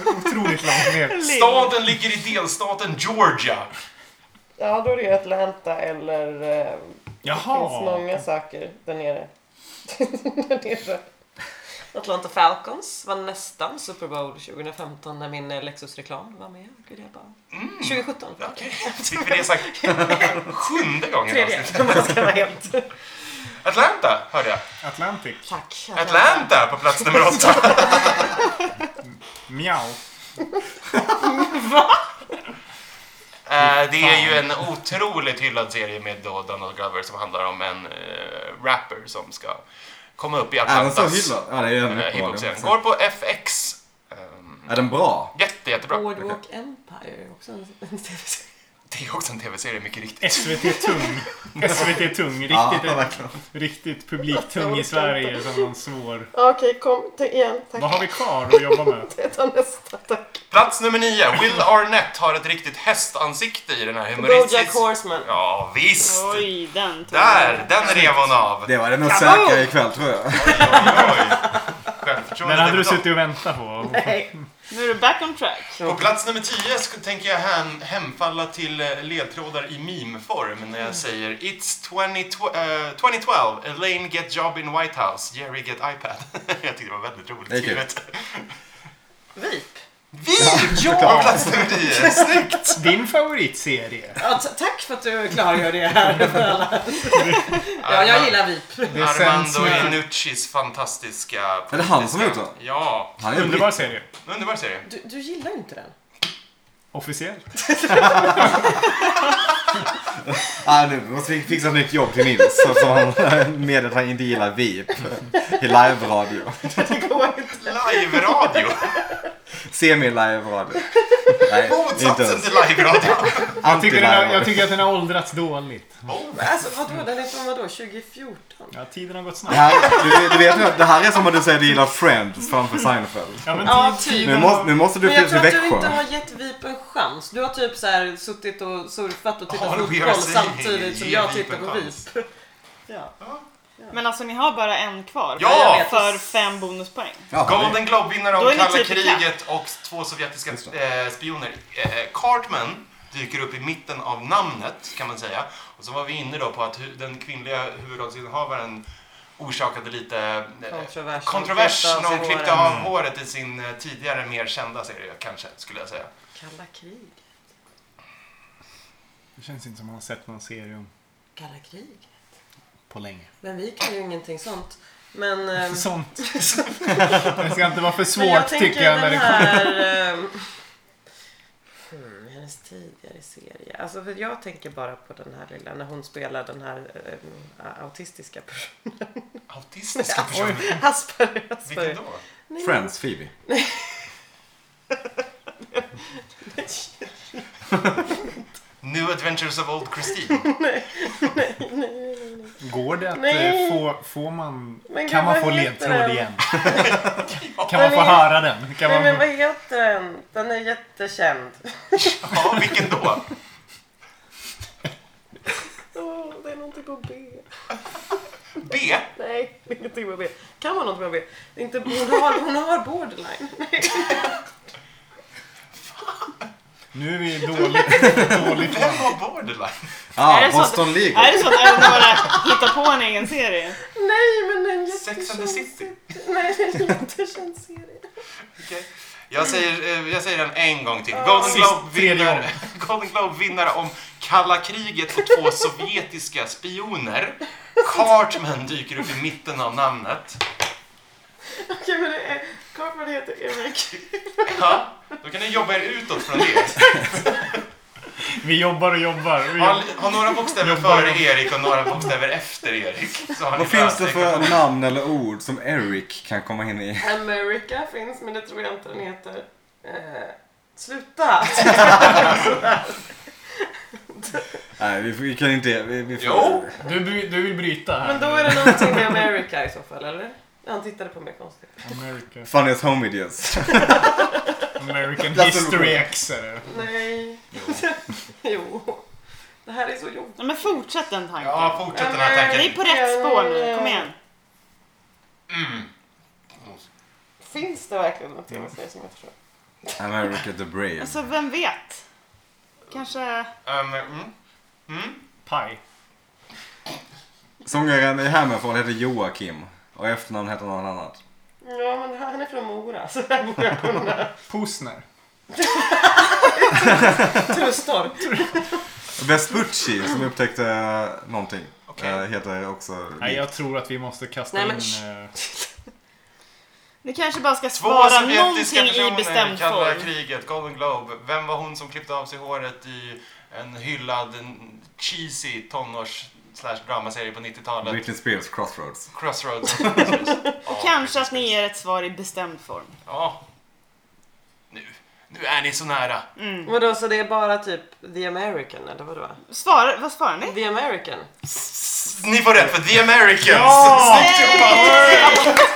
Otroligt långt ner.
Staden ligger i delstaten Georgia.
Ja, då är det Atlanta eller eh,
Jaha!
saker där nere. <laughs> där nere. Atlanta Falcons var nästan Super Bowl 2015 när min eh, Lexus-reklam var med. Gud, jag bara... 2017 förlåt.
Okej, fick vi det sagt sjunde gången. i
Tredje,
avsnittet.
<laughs> om man ska vara helt...
Atlanta, hörde jag.
Atlantic.
Tack.
Atlanta på plats nummer åtta.
Mjau.
Eh, Det är ju en otroligt hyllad serie med då Donald Glover som handlar om en eh, rapper som ska komma upp i
Är den så
Atlantas
hyllad? Ja, det är den
eh, hiphop-scen.
uppenbarligen.
Går på FX. ehm,
Är den bra?
Jätte, jättebra.
Boardwalk Empire är också en, en tv-serie.
Det är också en tv-serie, mycket riktigt.
SVT Tung. SVT Tung.
Ja,
Riktigt,
verkligen.
riktigt publiktung i Sverige som någon svår...
Okej, kom till igen. Tack.
Vad har vi kvar att jobba med?
Jag tar nästa. Tack.
Plats nummer nio. Will Arnett har ett riktigt hästansikte i den här
Bojack
humoristiska...
Horseman.
Ja, visst!
Oj, den tog
Där! Den rev hon av.
Det var den nog säkra ikväll tror jag.
Den hade du
Självförtroendet är
suttit och väntat på.
Nej.
Nu är du back on track.
bra. På plats nummer 10 så tänker jag hem, hemfalla till eh, ledtrådar i meme-form när jag säger It's 2012, eh, 2012, Elaine get job in White House, Jerry get iPad. <laughs> jag tyckte det var väldigt roligt
Det är kul. <laughs>
skrivet.
Vip.
Vi! På plats nummer 10, snyggt!
Din favoritserie.
Ja, t- tack för att du klargör det här för alla. Ja, jag gillar Vip.
Det sänds
Armando
med-
Iannuccis fantastiska...
Är det han som har gjort
politiska-
den?
Ja,
Han är
Underbar serie.
underbar serie.
Du, du gillar ju inte den.
Officiellt.
Ja, Ah, nu måste vi fixa ett nytt jobb till Nils. så- Som han <laughs> meddelar att han inte gillar VIP. I live-radio.
Det går inte.
<laughs>
Live-radio!
Semi-live-radio. Nej, inte
Motsatsen
ens.
till live-radio!
Jag tycker, den har, jag
Anti-live-radio.
tycker att den har åldrats dåligt.
Alltså vadå, den är från vadå, 2014?
Ja, tiden har gått
Det
snabbt.
här- Du, du vet ju att det här är som att du säger att du gillar Friends framför Seinfeld.
Ja, men
Ja,
tid-
typ.
tiden
Nu
har-
måste, nu måste du
Men jag
flytta till
tror att du
Växjö.
inte har gett Vip en chans. Du har typ så här suttit och surfat och tittat
All
på
we
fotboll
are saying
samtidigt som
is
jag
ge Vip
tittar
en
på
chans.
Vip. <laughs> Ja.
Men alltså ni har bara en kvar.
Ja!
Jag vet.
För fem bonuspoäng.
Ja, det-
Golden Globe-vinnare
Då
om
är ni
kalla
typ i kapp.
kriget och två sovjetiska
Just
eh, spioner. Eh, Cartman dyker upp i mitten av namnet, kan man säga. Och så var vi inne då på att hu- den kvinnliga huvudrollsinnehavaren orsakade lite eh,
Kontrovers.
kontrovers när hon klippte
håret.
av
Mm.
håret i sin eh, tidigare mer kända serie, kanske, skulle jag säga.
Kalla krig.
Det känns inte som att man har sett någon serie om-
Kalla krig.
på länge.
Men vi kan ju ingenting sånt. Men... ehm,
Sånt. <laughs> Det ska inte vara för
Men jag
svårt
tänker
tycker jag. När
den
det kommer.
här... ehm, hmm, hennes tidigare serie. Alltså för jag tänker bara på den här lilla när hon spelar den här ehm, autistiska personen.
Autistiska personer.
<laughs> Asperger.
Vilken
Asperger.
då?
Friends, Phoebe.
New Adventures of Old Christine.
Går det att
Nej.
eh, få, får man,
Men
kan man
gud,
få
vad heter
ledtråd
den? <laughs>
igen? Kan man få
Men-
höra den? Kan
Nej men
man,
vad heter den? Den är jättekänd.
Ja, vilken då?
på B.
B.
Nej, <laughs> ingenting med B. Kan vara något med B. Det är inte, hon, har, hon har borderline.
Nu är vi dåligt, dåligt
Vem har borderline?
Ah,
Är det så att-
Boston Legal.
Är det så att Eleonora hittar på en egen serie?
Nej, men en
Sex and the City.
Nej, en jättekänd serie.
Okej. Jag säger, eh, jag säger den en gång till. Golden
Sist, tredje
Globe-vinnare <laughs>
gång.
Golden Globe om kalla kriget och två sovjetiska spioner. Cartman dyker upp i mitten av namnet.
Okej, men det är... Cartman heter Erik.
Ja, då kan ni jobba er utåt från det.
Vi jobbar och jobbar. Vi
Ha,
jobbar.
ha några bokstäver
Jobbar.
före Erik och några bokstäver efter Erik. Så har ni
Vad finns
löst
det för namn eller ord som Eric kan komma in i?
America finns, men det tror jag inte den heter. Eh, <laughs> sluta!
Nej, vi, vi kan inte... Vi, vi får...
Jo.
Du, bry- du vill bryta här.
Men då är det någonting med America i så fall, eller? Han tittade på mig konstigt.
America.
Funniest home videos.
American
Lasse
History
Lukon.
X är det.
Nej. Jo. <laughs> Det här är så jobbigt.
Nej, men fortsätt den tanken.
Ja, fortsätt den här
Vi är
tanken.
på rätt spår nu, kom igen.
Mm.
Finns det verkligen en tv-serie som jag inte förstår?
America the Brave.
Alltså, vem vet? Kanske...
Um, mm. Mm.
Paj.
Sångaren i Hammerfall heter Joakim. Och i efternamn heter någon annat.
Ja, men han är från Mora, så det här borde jag kunna.
Posner.
Trustorp.
Vespucci som upptäckte någonting.
Okej.
eh, Heter också...
Nej, jag tror att vi måste kasta
Nej, men
in...
sh-
eh,
Ni kanske bara ska
Två
svara någonting
sovjetiska
i
personer,
bestämd
kalla
form.
kriget, Golden Globe. Vem var hon som klippte av sig håret i en hyllad, en cheesy tonårs slash dramaserie på 90-talet?
Britney Spears Crossroads.
<laughs>
Crossroads. Ja,
Kanske att ni ger ett svar i bestämd form.
Ja. Nu. Nu är ni så nära.
Mm.
Vadå, så det är bara typ The American, eller vadå?
Svar, vad svarar ni?
The American?
Ni får rätt för The Americans!
Ja!
Snyggt jobbat!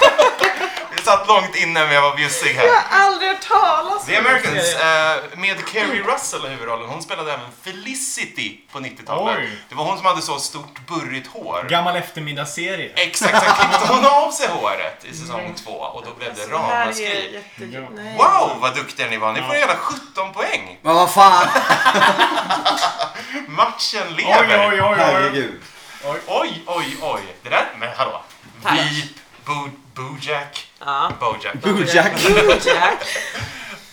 Vi satt långt inne men jag var bjussig här.
Jag har aldrig hört talas om
The Americans
serien.
eh, med Kerry Russell i huvudrollen. Hon spelade även Felicity på 90-talet.
Oj.
Det var hon som hade så stort burrigt hår.
Gammal eftermiddagsserie.
Exakt, sen klippte hon av sig håret i
Mm.
säsong två och då blev det
Alltså, Det här är
ramaskri.
jätte...
Ja.
Nej.
Wow vad duktiga ni var! Ni får hela 17 poäng!
Men vad fan!
Matchen
Oj,
lever!
oj, oj, oj.
Herregud.
Oj, oj, oj! Det där, men hallå!
Tack.
Veep, Bo, Bojack,
Ja.
Bojack.
Bojack.
Bojack.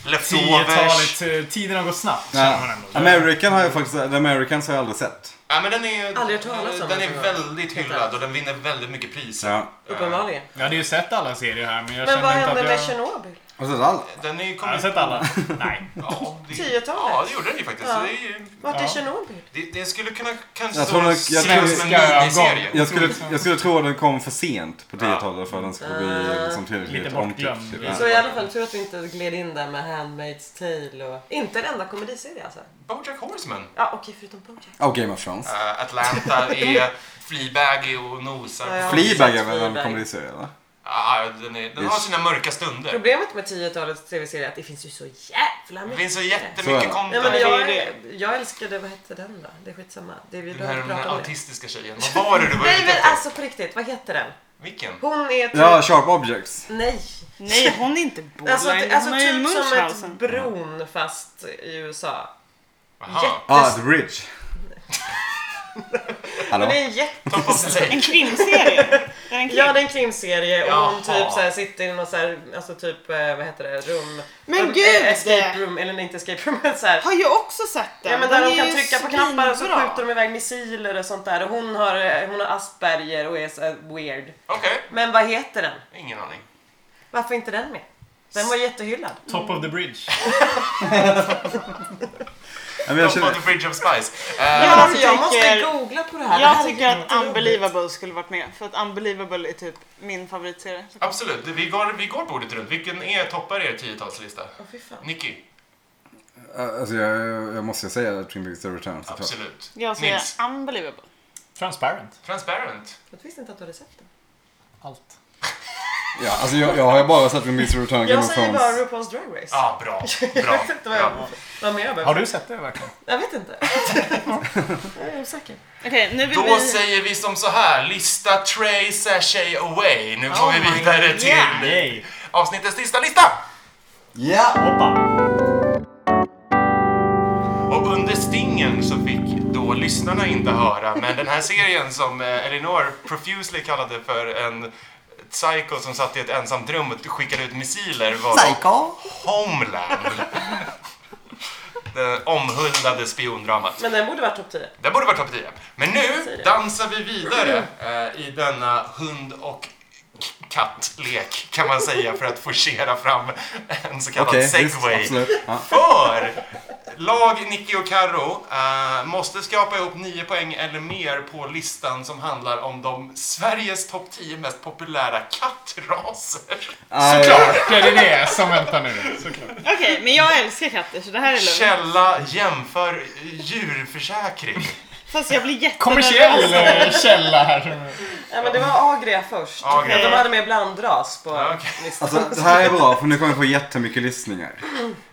Leftovers.
Tiotalet. eh, Tiden har gått snabbt, känner man
Ja.
ändå.
American har jag faktiskt... The Americans har jag aldrig sett.
Ja, men den är,
Aldrig hört talas om
den
den,
är
tror jag.
väldigt hyllad och den vinner väldigt mycket priser.
Ja.
Uppenbarligen.
Jag hade ju sett alla serier här, men jag
Men vad
kände inte
hände
att
med
jag...
Tjernobyl?
Har du sett alla?
Den är ju
Jag har
kommit...
sett alla. Nej.
Ja, det,
Tiotalet.
Ja, det gjorde den ju faktiskt.
Ja.
Det, är ju,
Vart är
Ja.
Tjernobyl?
det, det skulle kunna kanske
Jag tror nog- jag tror-
ses som
Ska jag
en miniserie.
gå?
Jag skulle, jag skulle tro att den kom för sent på 10-talet för att den skulle bli liksom tillräckligt
Lite bortglömd.
omtyckt. Typ.
Ja.
Så i alla fall tur att vi inte gled in där med Handmaid's Tale och... Inte en enda komediserie alltså?
Bojack Horseman.
Ja, okej, förutom Bojack.
Och Game of Thrones.
Eh, Atlanta är
<laughs>
Fleabag och nosar.
Ja, ja.
på-
Fleabag är väl
Fleabag.
en komediserie va?
Ja, den, är, den har sina mörka stunder.
Problemet med 10-talets tv-serier är att det finns ju så jävla
Det
mycket.
finns så
Så är det.
jättemycket
Ja,
content.
men jag,
Det är
jag älskade, vad hette den då? Det är skitsamma. Det vi
Den här,
behöver
den här
prata om det.
autistiska tjejen. Vad var det du var ute
Nej men
efter?
alltså på riktigt, vad heter den?
Vilken?
Hon är typ...
Ja, Sharp Objects.
Nej.
Nej, hon är inte
Alltså,
borderline.
alltså
hon har ju
typ som ett
Munchhausen.
bron fast i USA.
Jaha.
Ah, The <laughs> Ridge. Hallå?
Hon är en jätte...
Top of the
<laughs>
En
lake.
krimserie. Det är en krim.
Ja det är en krimserie och hon
Jaha.
typ så här sitter i någon så här, alltså typ, eh, vad heter det, rum...
Men
eh,
gud!
Escape room, eller nej, inte escape room <laughs> men så här.
Har ju också sett den.
Ja men där
Den
de
är
kan
ju
trycka på knappar och så
svinbra.
skjuter de iväg missiler och sånt där och hon har, eh, hon har asperger och är så här weird.
Okej,
Men vad heter den?
ingen aning.
Varför inte den med? Den var jättehyllad.
Top of the bridge.
Ja, men jag
Top
känner,
of the bridge of spice. Eh,
Ja, alltså, jag
jag
måste
tycker-
googla på det här. det här
Jag
är
tycker att
jätteroligt.
Unbelievable skulle varit med. För att Unbelievable är typ min favoritserie.
Absolut, vi går, vi går bordet runt. Vilken är toppar er 10-talslista?
Åh, fy fan.
Nicky?
alltså, jag, jag måste säga Twin Peaks The Return. såklart.
Absolut.
Jag säger
Nils?
Unbelievable.
Transparent.
Transparent?
Jag visste inte att du hade sett den.
Allt.
Ja, alltså jag, jag har ju bara sett Miss Return of Game
Jag
of
säger
Thrones.
bara RuPaul's Drag Race.
Ja, bra. Bra.
<laughs> Jag vet inte vad jag,
bra.
vad mer jag behöver.
Har du sett det verkligen?
Jag vet
<laughs>
inte. jag är osäker.
Okej, nu vill
Då
vi...
säger vi som så här, lista Trey Sashay away. Nu går
Oh
vi
my-
vidare till
yeah.
Nej.
avsnittets sista lista.
Ja!
Hoppa.
Och under stingen så fick då lyssnarna inte höra, men den här serien som eh, Elinor profusely kallade för en psycho som satt i ett ensamt rum och skickade ut missiler var Homeland. <laughs> Det omhuldade spiondramat.
Men den borde vara topp 10.
Det borde vara topp 10. Men nu dansar vi vidare eh, i denna hund och k- kattlek kan man säga för att forcera fram en så kallad
Okej, visst,
segway.
absolut.
<laughs>
Ja.
För lag Nicky och Karo eh, måste skrapa ihop 9 poäng eller mer på listan som handlar om de Sveriges topp 10 mest populära kattraser.
Såklart!
Det är det som väntar nu. Såklart.
Okej, men jag älskar katter så det här är lugnt.
Källa jämför
<laughs>
djurförsäkring.
Fast jag blir
Kommersiell
jättenervös.
eh, källa här.
Ja, men det var Agria först.
Agria.
De hade med blandras på
Ja, okej.
listan.
Alltså
<laughs>
det här är bra för nu kommer jag få jättemycket lyssningar.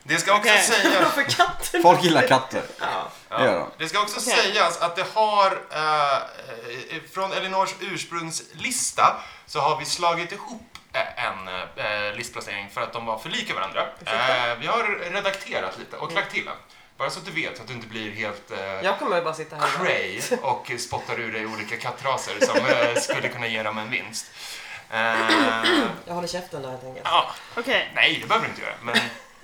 Det ska också
Okej.
sägas
För katten.
Folk gillar katter.
Ja.
Det gör de.
Det ska också
Okej.
sägas att det har, eh, eh, från Elinors ursprungslista, så har vi slagit ihop eh, en eh, listplacering för att de var för lika varandra. Eh, vi har redakterat lite
Mm.
och lagt till en. Bara så att du vet, så att du inte blir helt eh,
Jag kommer ju bara sitta här.
cray och spottar ur dig olika kattraser som eh, skulle kunna ge dem en vinst. Eh,
Jag håller käften då helt enkelt.
ja,
Okej.
nej, det behöver du inte göra, men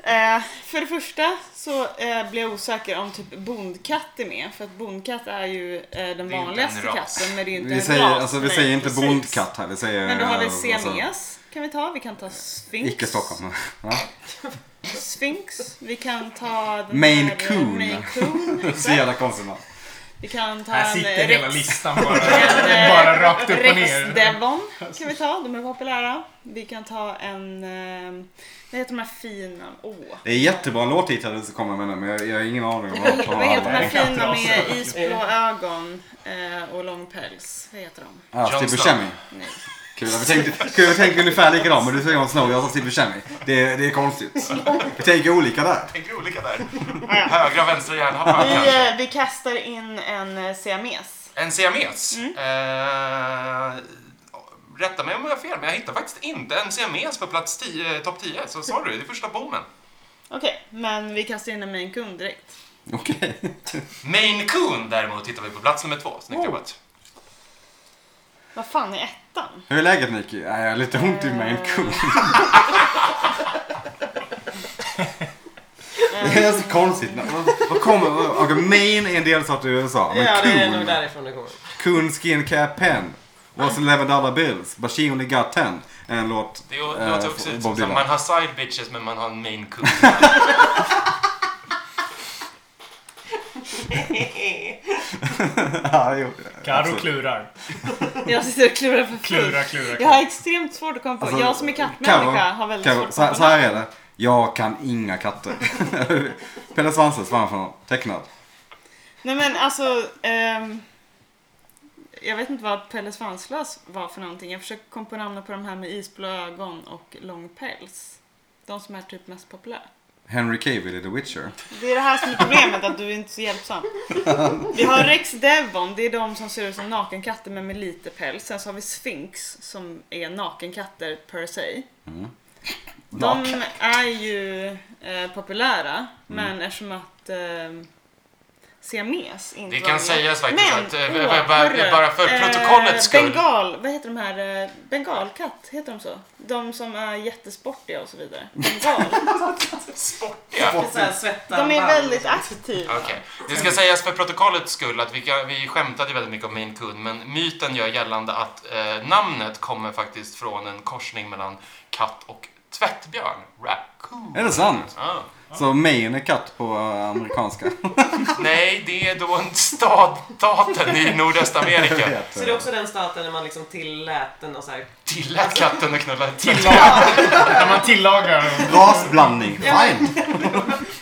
Eh, för det första så eh, blir jag osäker om typ bondkatt är med. För att bondkatt är ju eh, den
Det är
vanligaste
inte en ras.
katten. Men det är ju inte
Vi
en
säger,
ras.
alltså, vi
Nej,
säger inte
precis.
bondkatt här, vi säger...
Men då har vi
eh, alltså,
semias. Kan vi ta? Vi kan ta sphinx.
Icke Stockholm. <laughs> Ja.
Sphinx. Vi kan ta den
Maine
här, eh,
Coon.
Maine
<laughs>
Coon.
Så jävla konstigt namn.
Vi kan ta
Här
en
sitter
eh,
hela
rex-
listan
<laughs>
bara.
eh,
Bara rakt upp och
Rex
ner.
Devon kan vi ta, de är populära. Vi kan ta en, eh, vad heter de här fina, åh.
Det är jättebra låttitel som kommer med nu men jag, jag har ingen aning om vad
<laughs>
de
Vad heter de
alla är.
här fina med isblå ögon eh, och lång päls? Vad heter de?
Ja,
John
Steve
Snow.
Buscemi.
Nej.
Kul att vi tänkte, kul att vi tänkte ungefär likadant men du säger Jon Snow jag sa Steve Buscemi. Det, det är konstigt. Vi tänker olika där.
tänker olika där.
ja.
Högra, vänstra hjärnhalvan
Vi,
kanske.
eh, vi kastar in en eh, siames.
En siames. Eh, rätta mig om jag har fel, men jag hittar faktiskt inte en siames på plats 10, eh, topp 10. Så sorry, det är första bommen.
Okej, men vi kastar in en main coon direkt.
Okej.
Maine Coon däremot hittar vi på plats nummer två. Snyggt
Oh.
jobbat.
Vad fan är ettan?
Hur är läget Nicky? Ja, jag har lite ont i mig. Cool. Det är så konstigt. namn. Vad- Vad kommer... vad- Okej, Maine är en delstat i USA. Men
Ja, det är nog
Coon-
därifrån det kommer.
Coon Skin Care Pen. Was 11 dollar bills. But she only got 10. En låt.
Det lå-
eh,
låter också
från
ut
Bob
som att
Dylan.
man har side bitches, men man har en Maine Coon.
<laughs> ja, jo,
Karo
absolut.
klurar.
Jag sitter och klurar för
Klura,
fullt.
klura,
Jag har
klura.
extremt svårt att komma på,
Alltså,
jag som är
Karo,
kattmänniska har väldigt
Karo,
svårt att
så,
komma
så
på
här är det. Jag kan inga katter. <laughs> Pelle Svanslös var han från. Tecknad.
Nej men alltså, ehm, jag vet inte vad Pelle Svanslös var för någonting. Jag försöker komma på namnen på de här med isblå ögon och lång päls. De som är typ mest populära.
Henry Cavill i The Witcher.
Det är det här som är problemet, att du är inte så hjälpsam. Vi har Rex Devon, det är de som ser ut som nakenkatter men med lite päls. Sen så har vi Sphinx som är nakenkatter per se. De är ju eh, populära, men eftersom att eh, siames inte
Det
var
kan
med-
sägas faktiskt
Men,
att, eh,
åh,
b- b- b- bara för
hörru, eh,
protokollets skull.
Bengal, vad heter de här? eh, Bengalkatt, heter de så? De som är jättesportiga och så vidare. Bengal.
Sportiga.
Så här svettar
De är
varm.
väldigt aktiva.
Okej. Det ska sägas för protokollets skull att vi, kan, vi skämtade väldigt mycket om Maine Coon, men myten gör gällande att eh, namnet kommer faktiskt från en korsning mellan katt och tvättbjörn. Raccoon.
Är det sant?
Ah.
Så Maine är katt på eh,
<laughs>
amerikanska.
Nej, det är då en stad, staten i
Jag
Nordöstamerika.
vet.
Så det är också den staten där man liksom tillät den och så här.
Tillät katten att knulla ett
När man tillagar.
Rasblandning. Fine.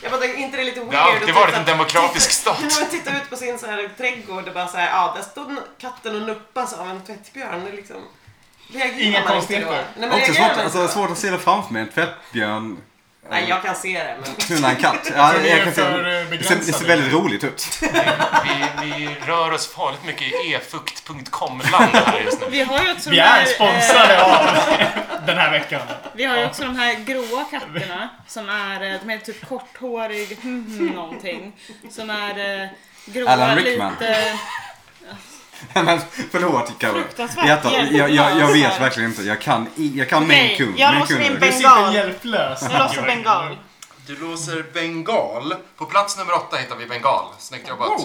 Jag bara tänkte, inte det är lite weird?
Det har alltid
typ att
varit
titta-
en demokratisk
När
stat.
man tittar ut på sin så här trädgård och bara så här, ja, där stod katten och nuppas av en tvättbjörn. Det är liksom, reagerar
Inga
man inte
konstigheter.
då? Nej, men
Också
reagerar
svårt,
man
alltså,
inte då?
svårt att se det framför mig. En tvättbjörn
Nej, jag kan se det. Men...
knulla en katt. Ja,
Vi
jag
är
kan se det.
för
Det ser,
eh,
det ser
begränsade.
väldigt roligt ut. <laughs>
Vi, vi rör oss farligt mycket i efukt.com-land här just nu.
Vi har ju också
Vi
de här,
är
eh,
sponsrade av den här veckan.
vi har ju också de här gråa katterna som är, eh, de heter typ korthårig <laughs> hmm, hmm, någonting. Som är eh, gråa
Alan Rickman.
lite...
Men förlåt Carro.
Fruktansvärt
Jag, tar- jag, jag, jag vet
hjälplös.
verkligen inte. Jag kan, i- jag kan
Okej,
min kung.
jag
min
låser
kung
in
är-
Du
Bengal.
sitter hjälplös.
Jag låser
Joakim.
bengal.
Du låser bengal. På plats nummer åtta hittar vi bengal. Snyggt jobbat.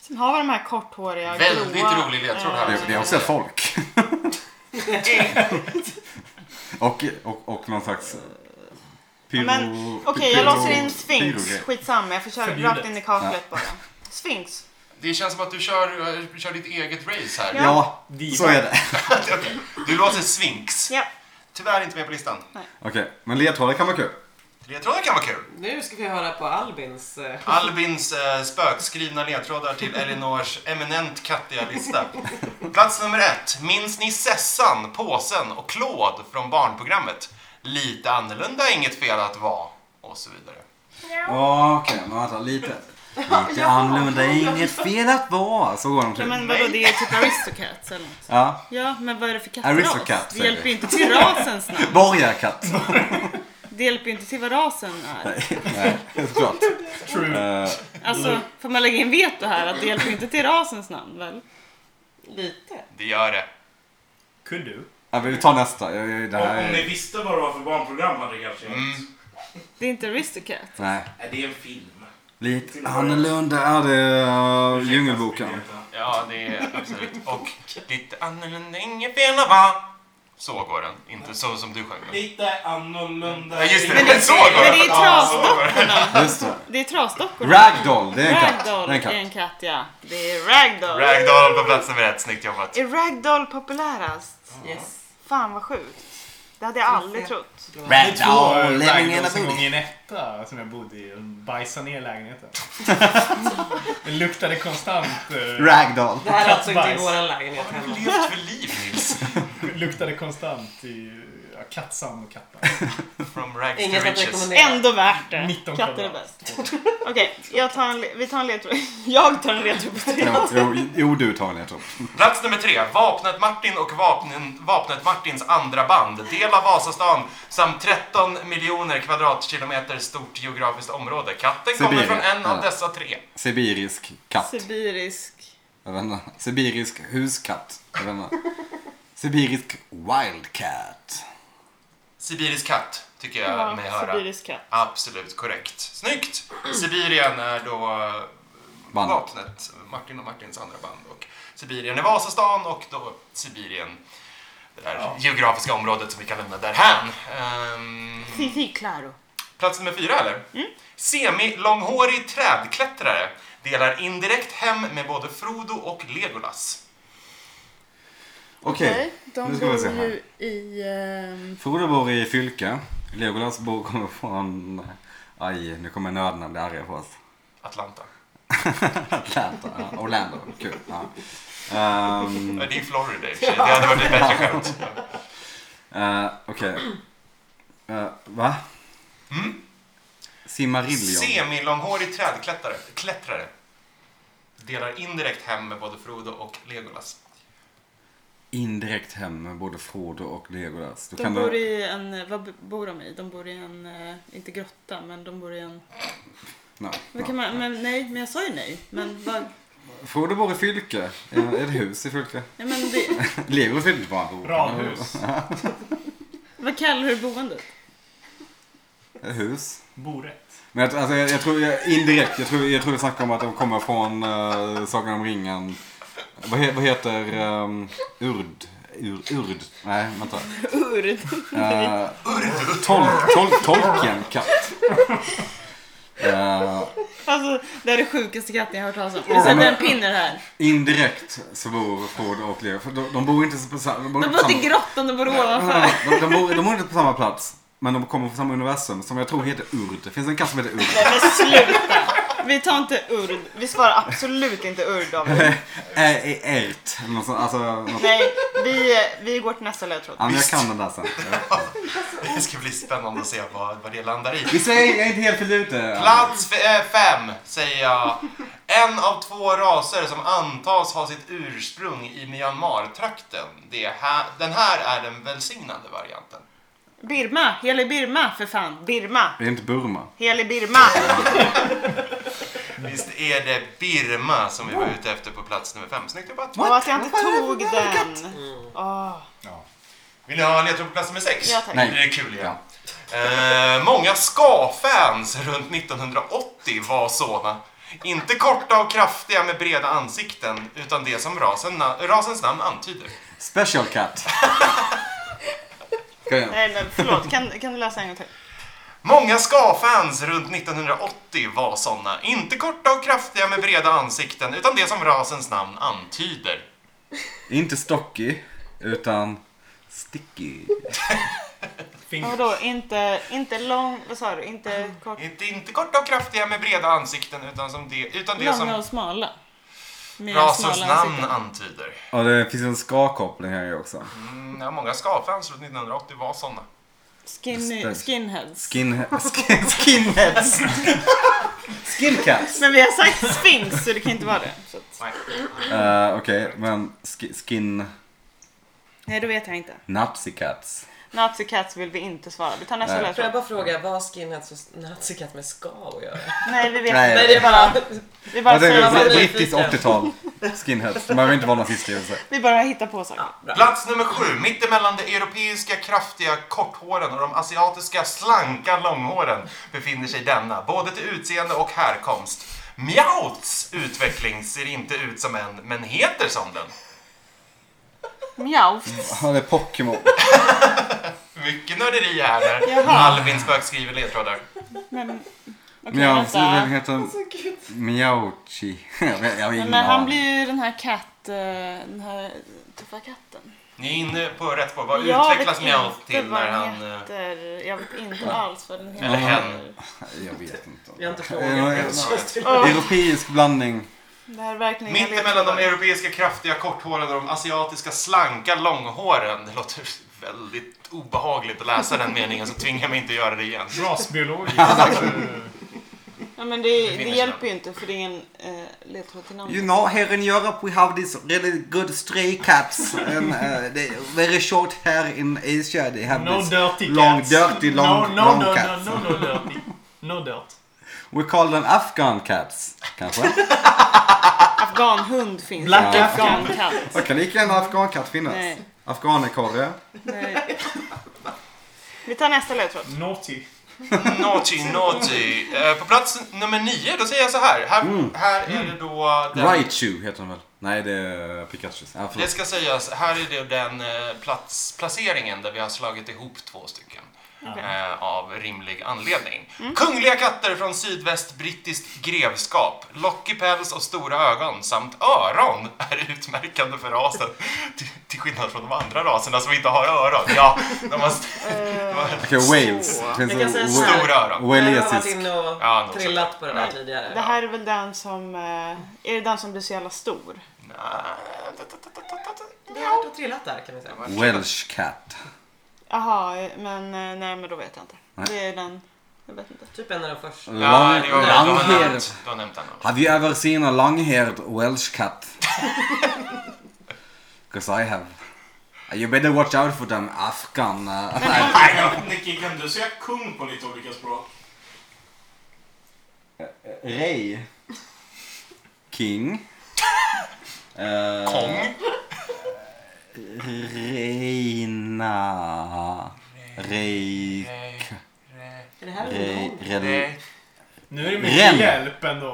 Sen har vi de här korthåriga
Väldigt
gråa,
rolig ledtråd
eh,
här.
Det, det är
<laughs>
också folk. och, och, och någon slags... eh, Pyro...
Men okej, jag
pyro-
låser in sphinx.
pyrogrej.
Skitsamma, jag får köra
Förbjudet.
rakt in i kaklet bara. Sphinx.
Det känns som att du kör, eh, kör ditt eget race här. <laughs>
Ja,
Diva.
så är det.
Du låser Sphinx.
Ja.
Tyvärr inte med på listan.
Okej, men ledtrådar kan vara kul.
Ledtrådar kan vara kul.
Nu ska vi höra på Albins... eh,
Albins eh, spökskrivna ledtrådar till Elinors eminent kattiga lista. Plats nummer ett. Minns ni Sessan, Påsen och Claude från barnprogrammet? Lite annorlunda, inget fel att vara. Och så vidare.
Ja, Okej, men
<laughs>
vänta lite. Lite annorlunda, inget fel att vara. Så går de
Ja,
till.
men vadå, det är typ Aristocats eller något.
Ja,
Ja, men vad är det för
Aristocats,
kattras? Det
säger
hjälper
vi.
ju inte till rasens namn.
<laughs>
borgarkatt.
Det hjälper ju inte till vad rasen är.
Nej, såklart.
True.
Eh,
Alltså, får man lägga in veto här att det hjälper ju inte till rasens namn väl?
Lite.
Det gör det.
Could du?
ja, men vi tar nästa. Jag- jag- Det
Om,
här
om ni
är...
visste vad det var för barnprogram hade det kanske mm.
Det är inte Aristocats.
Nej.
Är det en film?
Lite annorlunda är det uh, Djungelboken.
Ja, det är absolut. Och lite annorlunda, inget fel att vara. Så går den. Inte så som du sjöng den.
Lite annorlunda.
Ja, just det. <laughs>
Men
Men så går den.
Men det är
Ja, så går den.
trasdockorna.
Just det.
Det är trasdockor.
Ragdoll, det är en katt.
Ragdoll
Det är en katt.
ja. Det är ragdoll.
Ragdoll på plats nummer ett. Snyggt jobbat.
Är ragdoll populärast?
Yes.
Fan vad sjukt. Det hade jag aldrig trott.
Två
Ragdoll, living in a
ragdolls en gång
booty.
i en etta som jag bodde i och bajsade
<laughs>
ner lägenheten. Det luktade konstant. eh,
Ragdoll.
Det här är alltså inte i
Kattbajs.
våran lägenhet hemma.
Levt för liv, Nils.
luktade konstant i ja, kattsand och kattbajs.
From rags
Inget
to
att
riches.
rekommendera.
Ändå värt det.
19
Katter är
kvadrat.
bäst. Okej, jag tar en, le- vi tar en ledtråd. <laughs> Jag tar en ledtråd på tre.
Jo, jo, jo, du tar en ledtråd.
Plats nummer tre. Vapnet Martin och vapnen, Vapnet Martins andra band. Del av Vasastan samt 13 miljoner kvadratkilometer stort geografiskt område. Katten kommer
Sibirien.
från en av
Ja.
dessa tre.
Sibirisk katt.
Sibirisk.
Jag vet inte. Sibirisk huskatt. Jag vet inte. Sibirisk wildcat.
Sibirisk katt, tycker jag
Ja,
mig höra.
Sibirisk katt.
Absolut korrekt. Snyggt! Sibirien är då eh,
Bandet.
vapnet, Martin och Martins andra band. Och Sibirien är Vasastan och då Sibirien, det där geografiska området som vi kan lämna därhän. Ehm,
Fifi Claro.
Plats nummer fyra eller? Semi-långhårig trädklättrare delar indirekt hem med både Frodo och Legolas.
Okej, nu ska vi se här.
i...
ehm,
Frodo bor i Fylke. Legolas bor kommer från... Aj, nu kommer nördarna bli arga på oss.
Atlanta.
Atlanta. ja. Orlando. Kul. Ja. Ehm,
Mm. Det är Florida i och för sig. Det hade varit ett bättre skämt.
eh, Okej. Eh, va? Simmarillion.
Semi-långhårig trädklättrare klättrare, delar indirekt hem med både Frodo och Legolas. <laughs>
Indirekt hem med både Frodo och Legolas. Då
De bor i en... Vad bor de i? De bor i en... eh, Inte grotta, men de bor i en...
No,
Vad kan man, men nej, men jag sa ju nej. Men vad...
Frodo bor i Fylke. Eh, Ett hus i Fylke. <laughs>
Nej, men det,
Lego fyllde inte bara bo.
Radhus.
Mm.
vad kallar du boendet?
Ett hus.
Borätt.
Men jag, alltså, jag, jag tror jag, indirekt, jag tror, jag tror vi snackar om att de kommer från uh, Sagan om ringen. Vad, he, vad heter ehm, Urd? Ur, urd? Nej,
<laughs>
vänta.
Urd.
Uh, tolk, tolk, tolken katt. Eh,
Alltså, det här är det sjukaste katten jag har hört talas om. Vi sätter en pinne här.
indirekt så bor Frodo och Leo. för De, de bor inte på samma...
De
inte på
bor inte i
samma-
grottan, de bor ovanför.
Nej, De, de, bor, de bor inte på samma plats. Men de kommer från samma universum som jag tror heter Urd. Det finns en katt som heter Urd.
Nej men sluta.
Vi tar inte urd. Vi svarar absolut inte urd David.
Ä- ä- Ält. Någon sån- Alltså, något-
Nej, vi, vi går till nästa ledtråd.
ja, men jag kan den där sen.
Det ska bli spännande att se vad, vad det landar i.
Vi säger, jag är inte helt fel ute.
Plats f- eh, fem, säger jag. En av två raser som antas ha sitt ursprung i Myanmar-trakten. Det här, den här är den välsignade varianten.
Birma, helig Birma för fan. Birma,
Det är inte Burma.
helig Birma.
Visst är det Birma som vi var ute efter på plats nummer fem. Snyggt jobbat!
Och att jag inte tog den. Åh,
Vill ni ha en ledtråd på plats nummer sex?
Ja, tack.
Nej.
Det är kul igen. Eh, många ska-fans runt 1980 var såna. Inte korta och kraftiga med breda ansikten, utan det som rasen na- rasens namn antyder.
Special cat. Ska jag?
Nej men förlåt, kan, kan du läsa en gång till?
Många ska-fans runt 1980 var såna. Inte korta och kraftiga med breda ansikten, utan det som rasens namn antyder.
Inte stocky, utan sticky.
Fingers.
Vadå, inte, inte lång, vad sa du? Inte kort?
Inte, inte korta och kraftiga med breda ansikten, utan, som det, utan det
Långa
som
och smala. Mer
rasens
smala
namn
ansikten.
antyder.
Och det finns en ska-koppling här ju också.
Mm, ja, många ska-fans runt 1980 var såna.
Skinny,
Just det.
skinheads.
Skin, skin, skinheads. Skincats.
Men vi har sagt sphinx så det kan inte vara det. Så att,
Uh, Okej, men ski- skin...
nej, då vet jag inte.
Nazicats.
Nazi cats vill vi inte svara. Vi tar nästa
Nej.
Får jag
ledtråd.
bara fråga, vad har skinheads och nazikatt med ska att göra?
Nej, vi vet
Nej.
inte.
<laughs> Nej det är bara...
Vi bara,
Vad tänker
säger,
Alltså,
vad
du?
är
Brittiskt
nyfiken?
80-tal. Skinheads. Man behöver inte vara nazister. alltså.
vi bara hittar på saker.
Ja, bra.
Plats nummer sju, mittemellan de europeiska kraftiga korthåren och de asiatiska slanka långhåren befinner sig denna, både till utseende och härkomst. Mjauts utveckling ser inte ut som en, men heter som den.
Mjau.
Ja, det är Pokémon.
Mycket nörderi här när
Jaha.
Albin spökskriver ledtrådar.
Men, okej
Mjau,
Alltså,
så den
vänta.
heter Mjauchi. <laughs> Jag vet- jag har ingen
Men han
aning.
blir ju den här katt... eh, Den här tuffa katten.
Ni är inne på rätt spår. Vad
Jag vet
utvecklas Mjaut
inte
till
vad
när
den
han... eh,
Heter, jag vet inte alls vad den heter.
Eller hen.
Jag vet inte.
Jag har inte
Eh,
frågat.
Åh,
Europeisk blandning.
det här är verkligen inga
Mittemellan de
ledtrådar.
europeiska kraftiga korthåren och de asiatiska slanka långhåren. Det låter väldigt obehagligt att läsa den meningen så tvingar jag mig inte att göra det igen.
Rasbiologiskt. alltså,
Ja, men det, det
befinner sig
hjälper
där.
ju inte för det är ingen eh, ledtråd till namn.
You know, here in Europe we have these really good stray cats. And, uh, they very short hair in Asia. They have
Eh, No
this
dirty
long,
cats.
dirty, long,
no, no,
long
no,
cats.
No, no, no dirty. No dirt.
We call them Afghan cats, kanske?
<laughs>
Afghanhund finns.
Black
Ja.
Afghan.
Afghankatt.
Det kan lika gärna afghankatt finnas.
Nej.
Afghanekorre.
Nej. Vi tar nästa ledtråd.
Naughty.
Naughty, naughty. Eh, På plats nummer nio, då säger jag så här. Här, här är det då... Den,
Raichu heter de väl? Nej, det är Pikachu. Ja,
Det
förlåt.
ska sägas, här är det den eh, plats, placeringen där vi har slagit ihop två stycken. Eh, av rimlig anledning. Kungliga katter från sydvästbrittiskt grevskap. Lockig päls och stora ögon samt öron är utmärkande för rasen. Till, till skillnad från de andra raserna som inte har öron. Ja, de har st- de har
Okej, Wales.
Så.
Finns
Jag
det
kan säga
wa-
så här.
stora öron.
Jag har varit
walesisk?
inne och
Ja, nog så.
trillat på den här tidigare.
Det här är väl den som... Eh, är det den som blir så jävla stor?
Du har trillat där kan vi säga.
Welsh cat.
Jaha, eh, men eh, nej men då vet jag inte. Det är den... Jag vet inte.
Typ en av de första.
Long,
Ja, det var- de har
longhaired.
nämnt- de har nämnt den.
Have you ever seen a long-haired Welsh cat? Because I have. You better watch out for them Afghan. uh, <laughs>
Nicky, kan du säga kung på lite olika språk?
Ray. King. Eh,
Kong.
Reina. Rey.
Eh,
Är det här
Rey.
en
Rey.
Nu är det mycket
Ren.
hjälp ändå.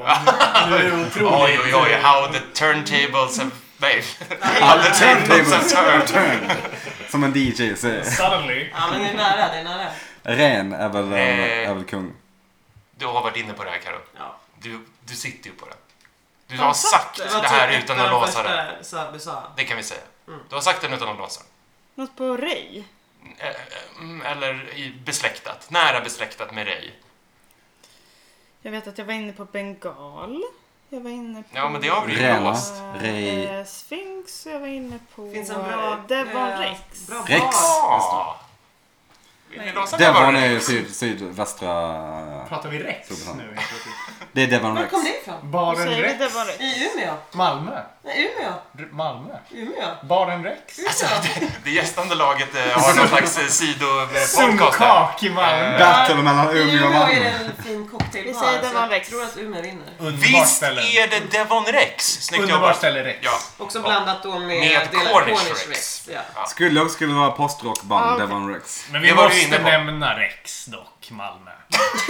Nu är det otroligt.
Oj, oj, oj, how the turntables have... Nej. How the turntables have turned.
Turn. Som en DJ säger.
Suddenly.
Ja men det är nära, det är nära.
Ren är väl,
Eh.
är väl kung.
Du har varit inne på det här Karo.
Ja.
Du, du sitter ju på det. Du har sagt
Det var
det här
typ
utan
ett
att
av de
låsa det.
första sa- du sa.
Det kan vi säga. Du har sagt den utan att låsa den.
Något på Ray?
Eh, eh, mm, Eller i- besläktat. Nära besläktat med dig.
Jag vet att jag var inne på bengal. Jag var inne på...
Ja, men det har vi ju
Räva.
låst.
Rej.
eh, Sphinx och jag var inne på...
Finns en bra-
Devon
eh,
Rex.
Bra
Rex.
val.
Ja. Vill ni låsa
Devon
Navarre?
är ju syd, sydvästra...
Pratar vi Rex
Superbra.
nu helt plötsligt?
Det är Devon
Var
Rex.
kom det ifrån?
Vad
Baren
säger vi?
Rex?
Devon Rex.
I Umeå?
Malmö?
Nej, Umeå.
R- Malmö?
Umeå.
Baren Rex?
Alltså,
Det gästande laget eh, har någon slags eh, sidopodcast där.
Sunkak i Malmö!
Äh,
Battle mellan
I
Umeå och
Umeå är det
Malmö.
en fin cocktailbar.
Vi säger
så
Devon
jag
Rex.
tror att Umeå vinner.
Underbart
Visst
ställe.
är det Devon Rex? Snyggt
Underbart
jobbat.
ställe Rex.
Ja.
Också blandat då med,
Med
del-
Cornish Rex.
Ja.
Skulle också skulle vara
Ah,
Ja,
postrockband
okej.
Devon Rex.
Men vi
Det var du
måste
inne på.
nämna Rex dock, Malmö. <laughs>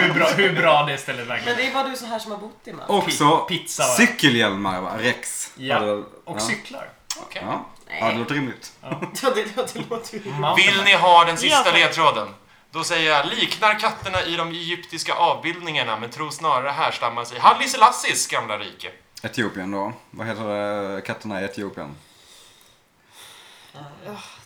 hur, bra, hur bra det stället
Men
verkligen är.
det är bara du så här som har bott i Malmö.
Också
pizza, va?
cykelhjälmar va? Rex. Hade
Ja,
väl-
och cyklar.
Okej.
Ja, ja det låter rimligt.
Ja, det, ja, det låter ju...
Vill ni ha den sista
Ja.
ledtråden? Då säger jag, liknar katterna i de egyptiska avbildningarna men tror snarare härstammar sig Haile Selassies gamla rike.
Etiopien då. Vad heter det? katterna i Etiopien?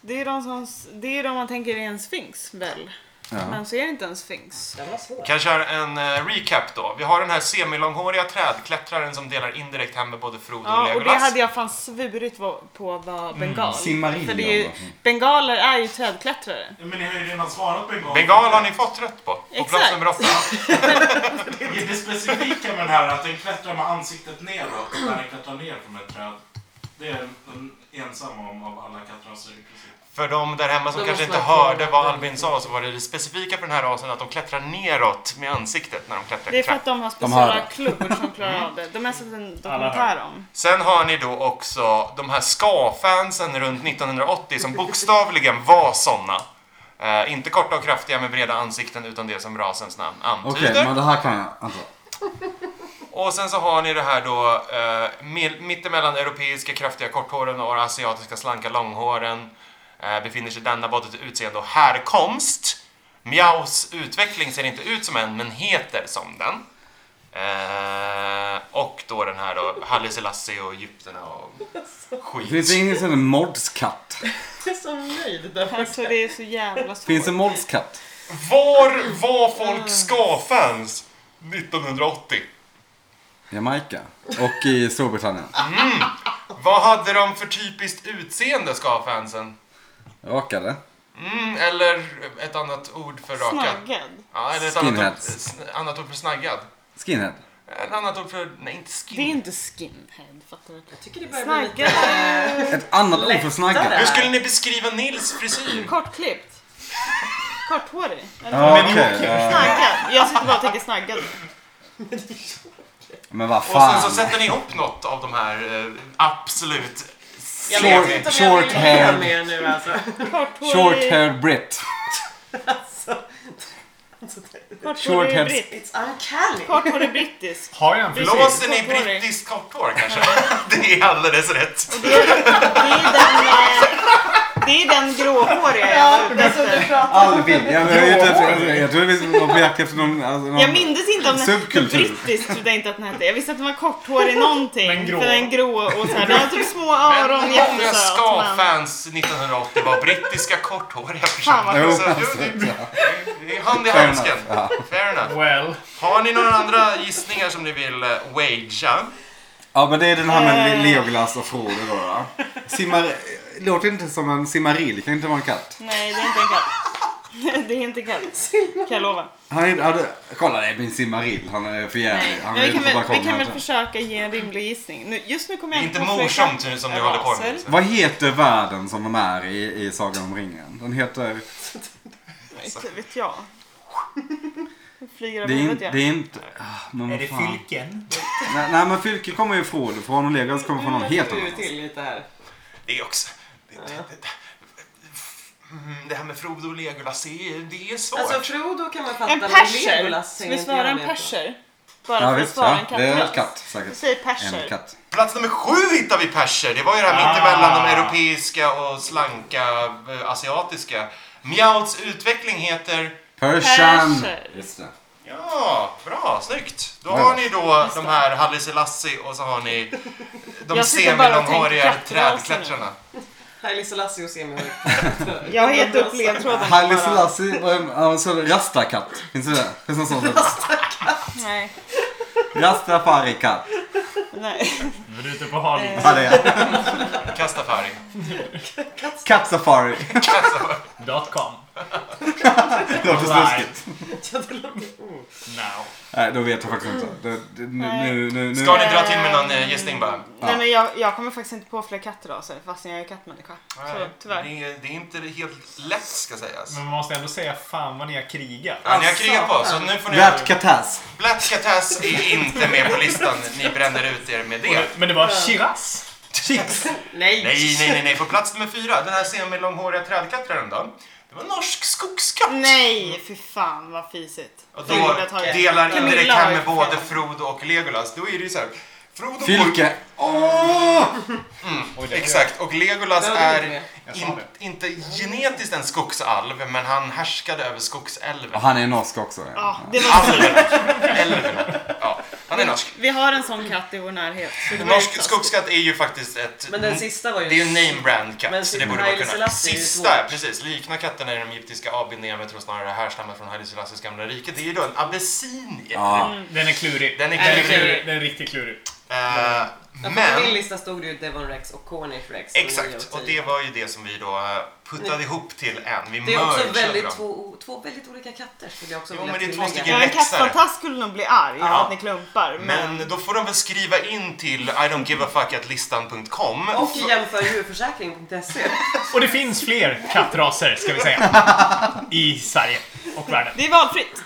Det är de som... Det är de man tänker är en sphinx väl?
Ja.
Men så är det inte en sphinx.
Den var svår.
Kan jag köra en eh, recap då? Vi har den här semilånghåriga trädklättraren som delar indirekt hem med både Frodo och
Ja, och det
Legolas.
hade jag fan svurit va- på
Mm,
var bengal.
Silmarillion
För det är ju,
då.
bengaler är ju trädklättrare.
Men ni har ju redan svarat bengal.
Bengal har ni fått rätt på. På plats
Exakt.
nummer åtta.
Är det specifika med den här att den klättrar med ansiktet neråt när den klättrar ner från ett träd? Det är den ensamma om av alla kattrasar i princip.
För de där hemma som
Då
kanske
måste
inte
man ta-
hörde vad Albin sa så var det, det specifika för den här rasen att de klättrar neråt med ansiktet när de klättrar
Det är
i
för
trappan.
att de har
har
speciella
det.
klor
<laughs>
som klarar av det. De har sett en dokumentär om.
Sen har ni då också de här ska-fansen runt 1980 som bokstavligen var såna. Eh, inte korta och kraftiga med breda ansikten utan det som rasens namn
Okej,
antyder.
men det här kan jag anta.
Och sen så har ni det här då eh, mil- mittemellan europeiska kraftiga korthåren och asiatiska slanka långhåren eh, befinner sig denna både till utseende och härkomst. Miaos utveckling ser inte ut som en, men heter som den. Eh, och då den här då, Haile Selassie och Egypterna och
Finns det
skit.
ingen sån här modskatt?
Jag är så nöjd. Där.
Alltså det är så jävla svårt.
<laughs> Finns det modskatt?
Var var folk ska-fans 1980?
Jamaica. Och i Storbritannien.
Vad hade de för typiskt utseende, ska-fansen?
Rakade.
Mm, eller ett annat ord för raka.
Snaggad.
Ja, eller ett annat ord,
Skinheads.
sn- annat ord för snaggad.
Skinhead.
Ett annat ord för, nej inte
Det är
skin.
inte skinhead, fattar du?
Jag tycker det börjar bli
Snaggad
lite...
Ett annat ord för snaggad.
Hur skulle ni beskriva Nils frisyr?
Kortklippt.
<laughs>
Korthårig. Eller?
Ja, okej. eh,
Snaggad. Jag sitter bara och tänker snaggad.
Men vad
Och sen så
fan.
sätter ni ihop något av de här eh, absolut...
Jag vet inte om jag vill
Short
leva
hair.
mer nu alltså.
Short
Korthårig.
haired Brit. Short
Korthårig
hair-
britt.
It's uncanny.
Korthårig brittisk.
Har jag en frisyr?
Blåser ni
Korthårig.
brittiskt korthår kanske? <laughs> Det är alldeles rätt.
Det är den, eh, det är den gråhåriga jag var ute efter.
Alvin. Jag, jag, jag, jag, jag trodde vi var på jakt efter någon... Alltså, någon
Jag mindes inte om den
Subkultur.
brittisk trodde jag inte att den hette. Jag visste att den var korthårig någonting.
Men grå.
För den grå och så här. Den har typ små
Men
öron,
många
jättesöt. Men...
ska-fans 1980 var brittiska korthåriga personer.
Jo,
Så, jo,
alltså,
det- det är hand i
Fair
handsken.
enough, ja.
Fair enough.
Well,
Har ni några andra gissningar som ni vill eh, wagea?
Ja men det är den här med
Eh.
Le- Legolas och Frodo då. va? Simmar... Låter inte som en simmarill. Kan inte vara en katt.
Nej, det är inte en katt. <laughs> Det är inte en katt. Kan jag lova.
Han är... hade- Kolla det är min simmarill. Han är för jävlig. Han
Men
är
vi
ute
kan
på
väl, vi
balkongen.
kan väl
här.
försöka ge en rimlig gissning. Nu, just nu kommer
Det är
jag
inte
på fler
morsomt
katt-
nu som ni håller på med.
raser.
Vad heter världen som de är i, i Sagan om ringen? Den heter...
Inte vet jag. Nu Flyger av
Det är, in,
huvudet
det är
igen.
inte... Ah, men
är
vad
det
fan.
fylken?
Nej, nej men Fylke kommer ju ifrån från och Legolas kommer från någon helt
Nu
annan.
till lite här.
Det är också... Det, det, det, Mm, det här med Frodo och Legolas, det är, det är svårt.
Alltså Frodo kan man fatta.
En
men
perser.
Legolas
Ska
hänger
vi
inte
svara
jag
en
med på.
perser? Bara
Ja
för att
visst,
svara
ja.
en
det är
kattrass.
ett katt
Vi
säkert.
säger
En
perser.
katt.
Plats nummer sju hittar vi perser. Det var ju det här mittemellan de
Ah.
europeiska och slanka eh, asiatiska. Mjauts utveckling heter...
Persian!
Perser.
Just det.
Ja, bra, snyggt. Då
Ja,
har
ja.
ni då de här Halle Selassie och så har ni de
Mm. Jag sitter bara och tänker
semilånghåriga
klätterraserna.
trädklättrarna.
Haile Selassie och Semi.
Jag har
<laughs>
gett upp ledtråden.
Haile Selassie var en, han var en sån rastakatt. Finns det det? Finns det en sån?
Nej.
Rastafari-katt.
Nej.
Nu är du ute på hal
Eh.
is.
Ja, det är
Kastafari.
<laughs>
Katt-safari.
Dot com.
Det låter snuskigt.
Now.
Nej, då vet jag faktiskt inte. Det, det, nu, nu, nu, nu.
Ska ni dra till med någon eh, gissning bara?
Nej men jag, jag kommer faktiskt inte på fler kattraser fastän jag är kattmänniska. Så tyvärr.
Det är, det är inte helt lätt ska sägas.
Men
Mm.
man måste ändå säga fan vad ni har krigat.
Ja, ni har krigat på
Alltså.
så nu får ni...
Bert Katas.
Blatskatas är inte med på listan. Ni bränner ut er med det.
Men det var Shiraz.
Chicks.
Nej, nej, nej, nej. På plats nummer fyra, den här semilånghåriga trädkattraren då. Det var norsk skogskatt.
Nej, fy fan vad fisigt.
Och då
Filip har tagit-
delar in det
Camilla har
kan
ju
med både
fel.
Frodo och Legolas. Då är det ju så här. Frodo
Fylke.
Oj, det-
Exakt, och Legolas
Ja, det är
är
det.
Jag sa
in,
det.
inte genetiskt en skogsalv, men han härskade över skogsälven.
Och han är norsk också. Ja.
Det var,
Alven. Elven. Ja, han är norsk.
vi har en sån katt i vår närhet. Så det var ju
Norsk
taskigt.
skogskatt är ju faktiskt ett...
Men den sista var ju...
Det är ju en name brand katt,
Men
så det borde man
Haile
kunna.
Selassie är ju
Sista,
svår.
precis. Liknar katterna i de egyptiska avbildningarna men tror snarare härstammar från Haile Selassies gamla rike. Det är ju då en abessinier.
Ja.
Mm.
Den är klurig.
Den är
Den
klurig.
Den är riktigt klurig.
Eh,
Ja, för På min
men,
lista stod det ju Devon Rex och Cornish Rex. som nio
exakt. Och
tio.
det var ju det som vi då eh, puttade ihop till en. Vi
Det är också
mergeade
väldigt,
dem.
två, två väldigt olika katter skulle jag också
Jo,
vilja
men det är två
tillägga.
stycken
Ja, en
Läxare.
kattfantast skulle nog bli arg
Ja.
för att ni klumpar. Men,
Men då får de väl skriva in till idon'tgiveafuckatlistan.com.
Och jämför djurförsäkring.se.
Och det finns fler kattraser, ska
<laughs>
vi säga. I Sverige och världen.
det är valfritt.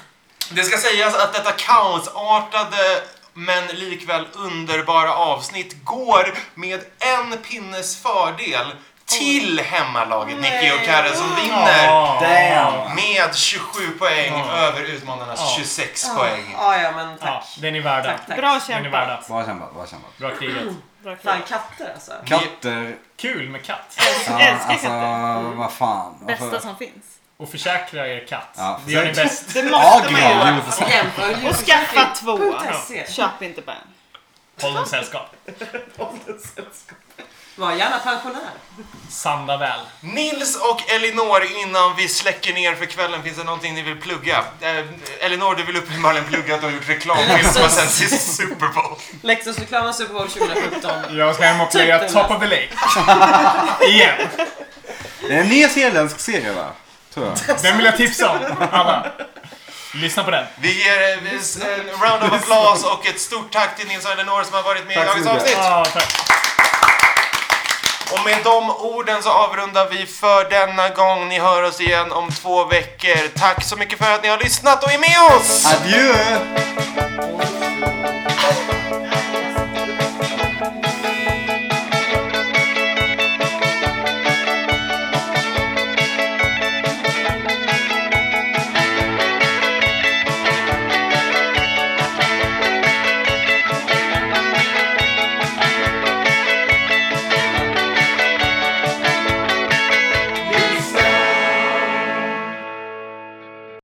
Det ska sägas att detta kaosartade men likväl underbara avsnitt går med en pinnes fördel till hemmalaget Nicky och Karre som vinner
Åh.
Damn.
med 27 poäng
Ja.
över utmanarnas
Ja.
26 poäng.
Ja, ja, men
Ja,
tack.
den är värda.
Tack, tack.
Bra
Den är
kämpat.
värda.
Bra kämpat, bra kämpat.
Bra krigat.
Bra
Fan,
kämpat.
katter alltså.
Katter.
Kul med katt.
Ja,
älskar
alltså, vad fan.
Bästa
Varför-
som finns.
Och försäkra er katt.
Ja,
det gör ni bäst.
Det
Ja,
måste man
gud,
göra.
jo, för fan.
Och jämför
Och skaffa två.
djurförsäkring.se.
Köp inte på en.
Håll dem sällskap.
Var gärna pensionär.
Sanda väl.
Nils och Elinor, innan vi släcker ner för kvällen, finns det någonting ni vill plugga? Eh, Elinor, du vill uppenbarligen plugga att du har gjort reklamfilm som har sänts i Super Bowl.
Lexus-reklamen Super Bowl 2017.
Jag ska hem och plöja
Tutten.
Top of the Lake. <laughs> Igen.
Det är en nyzeeländsk serie va? Tror jag.
<laughs>
Den vill jag tipsa om. Alla. Lyssna på den.
Vi ger eh, vi- en round of applause och ett stort tack till Nils och Elinor som har varit med i
Tack så
dagens
mycket.
avsnitt.
Ja, tack.
Och med de orden så avrundar vi för denna gång. Ni hör oss igen om två veckor. Tack så mycket för att ni har lyssnat och är med oss!
Adjö!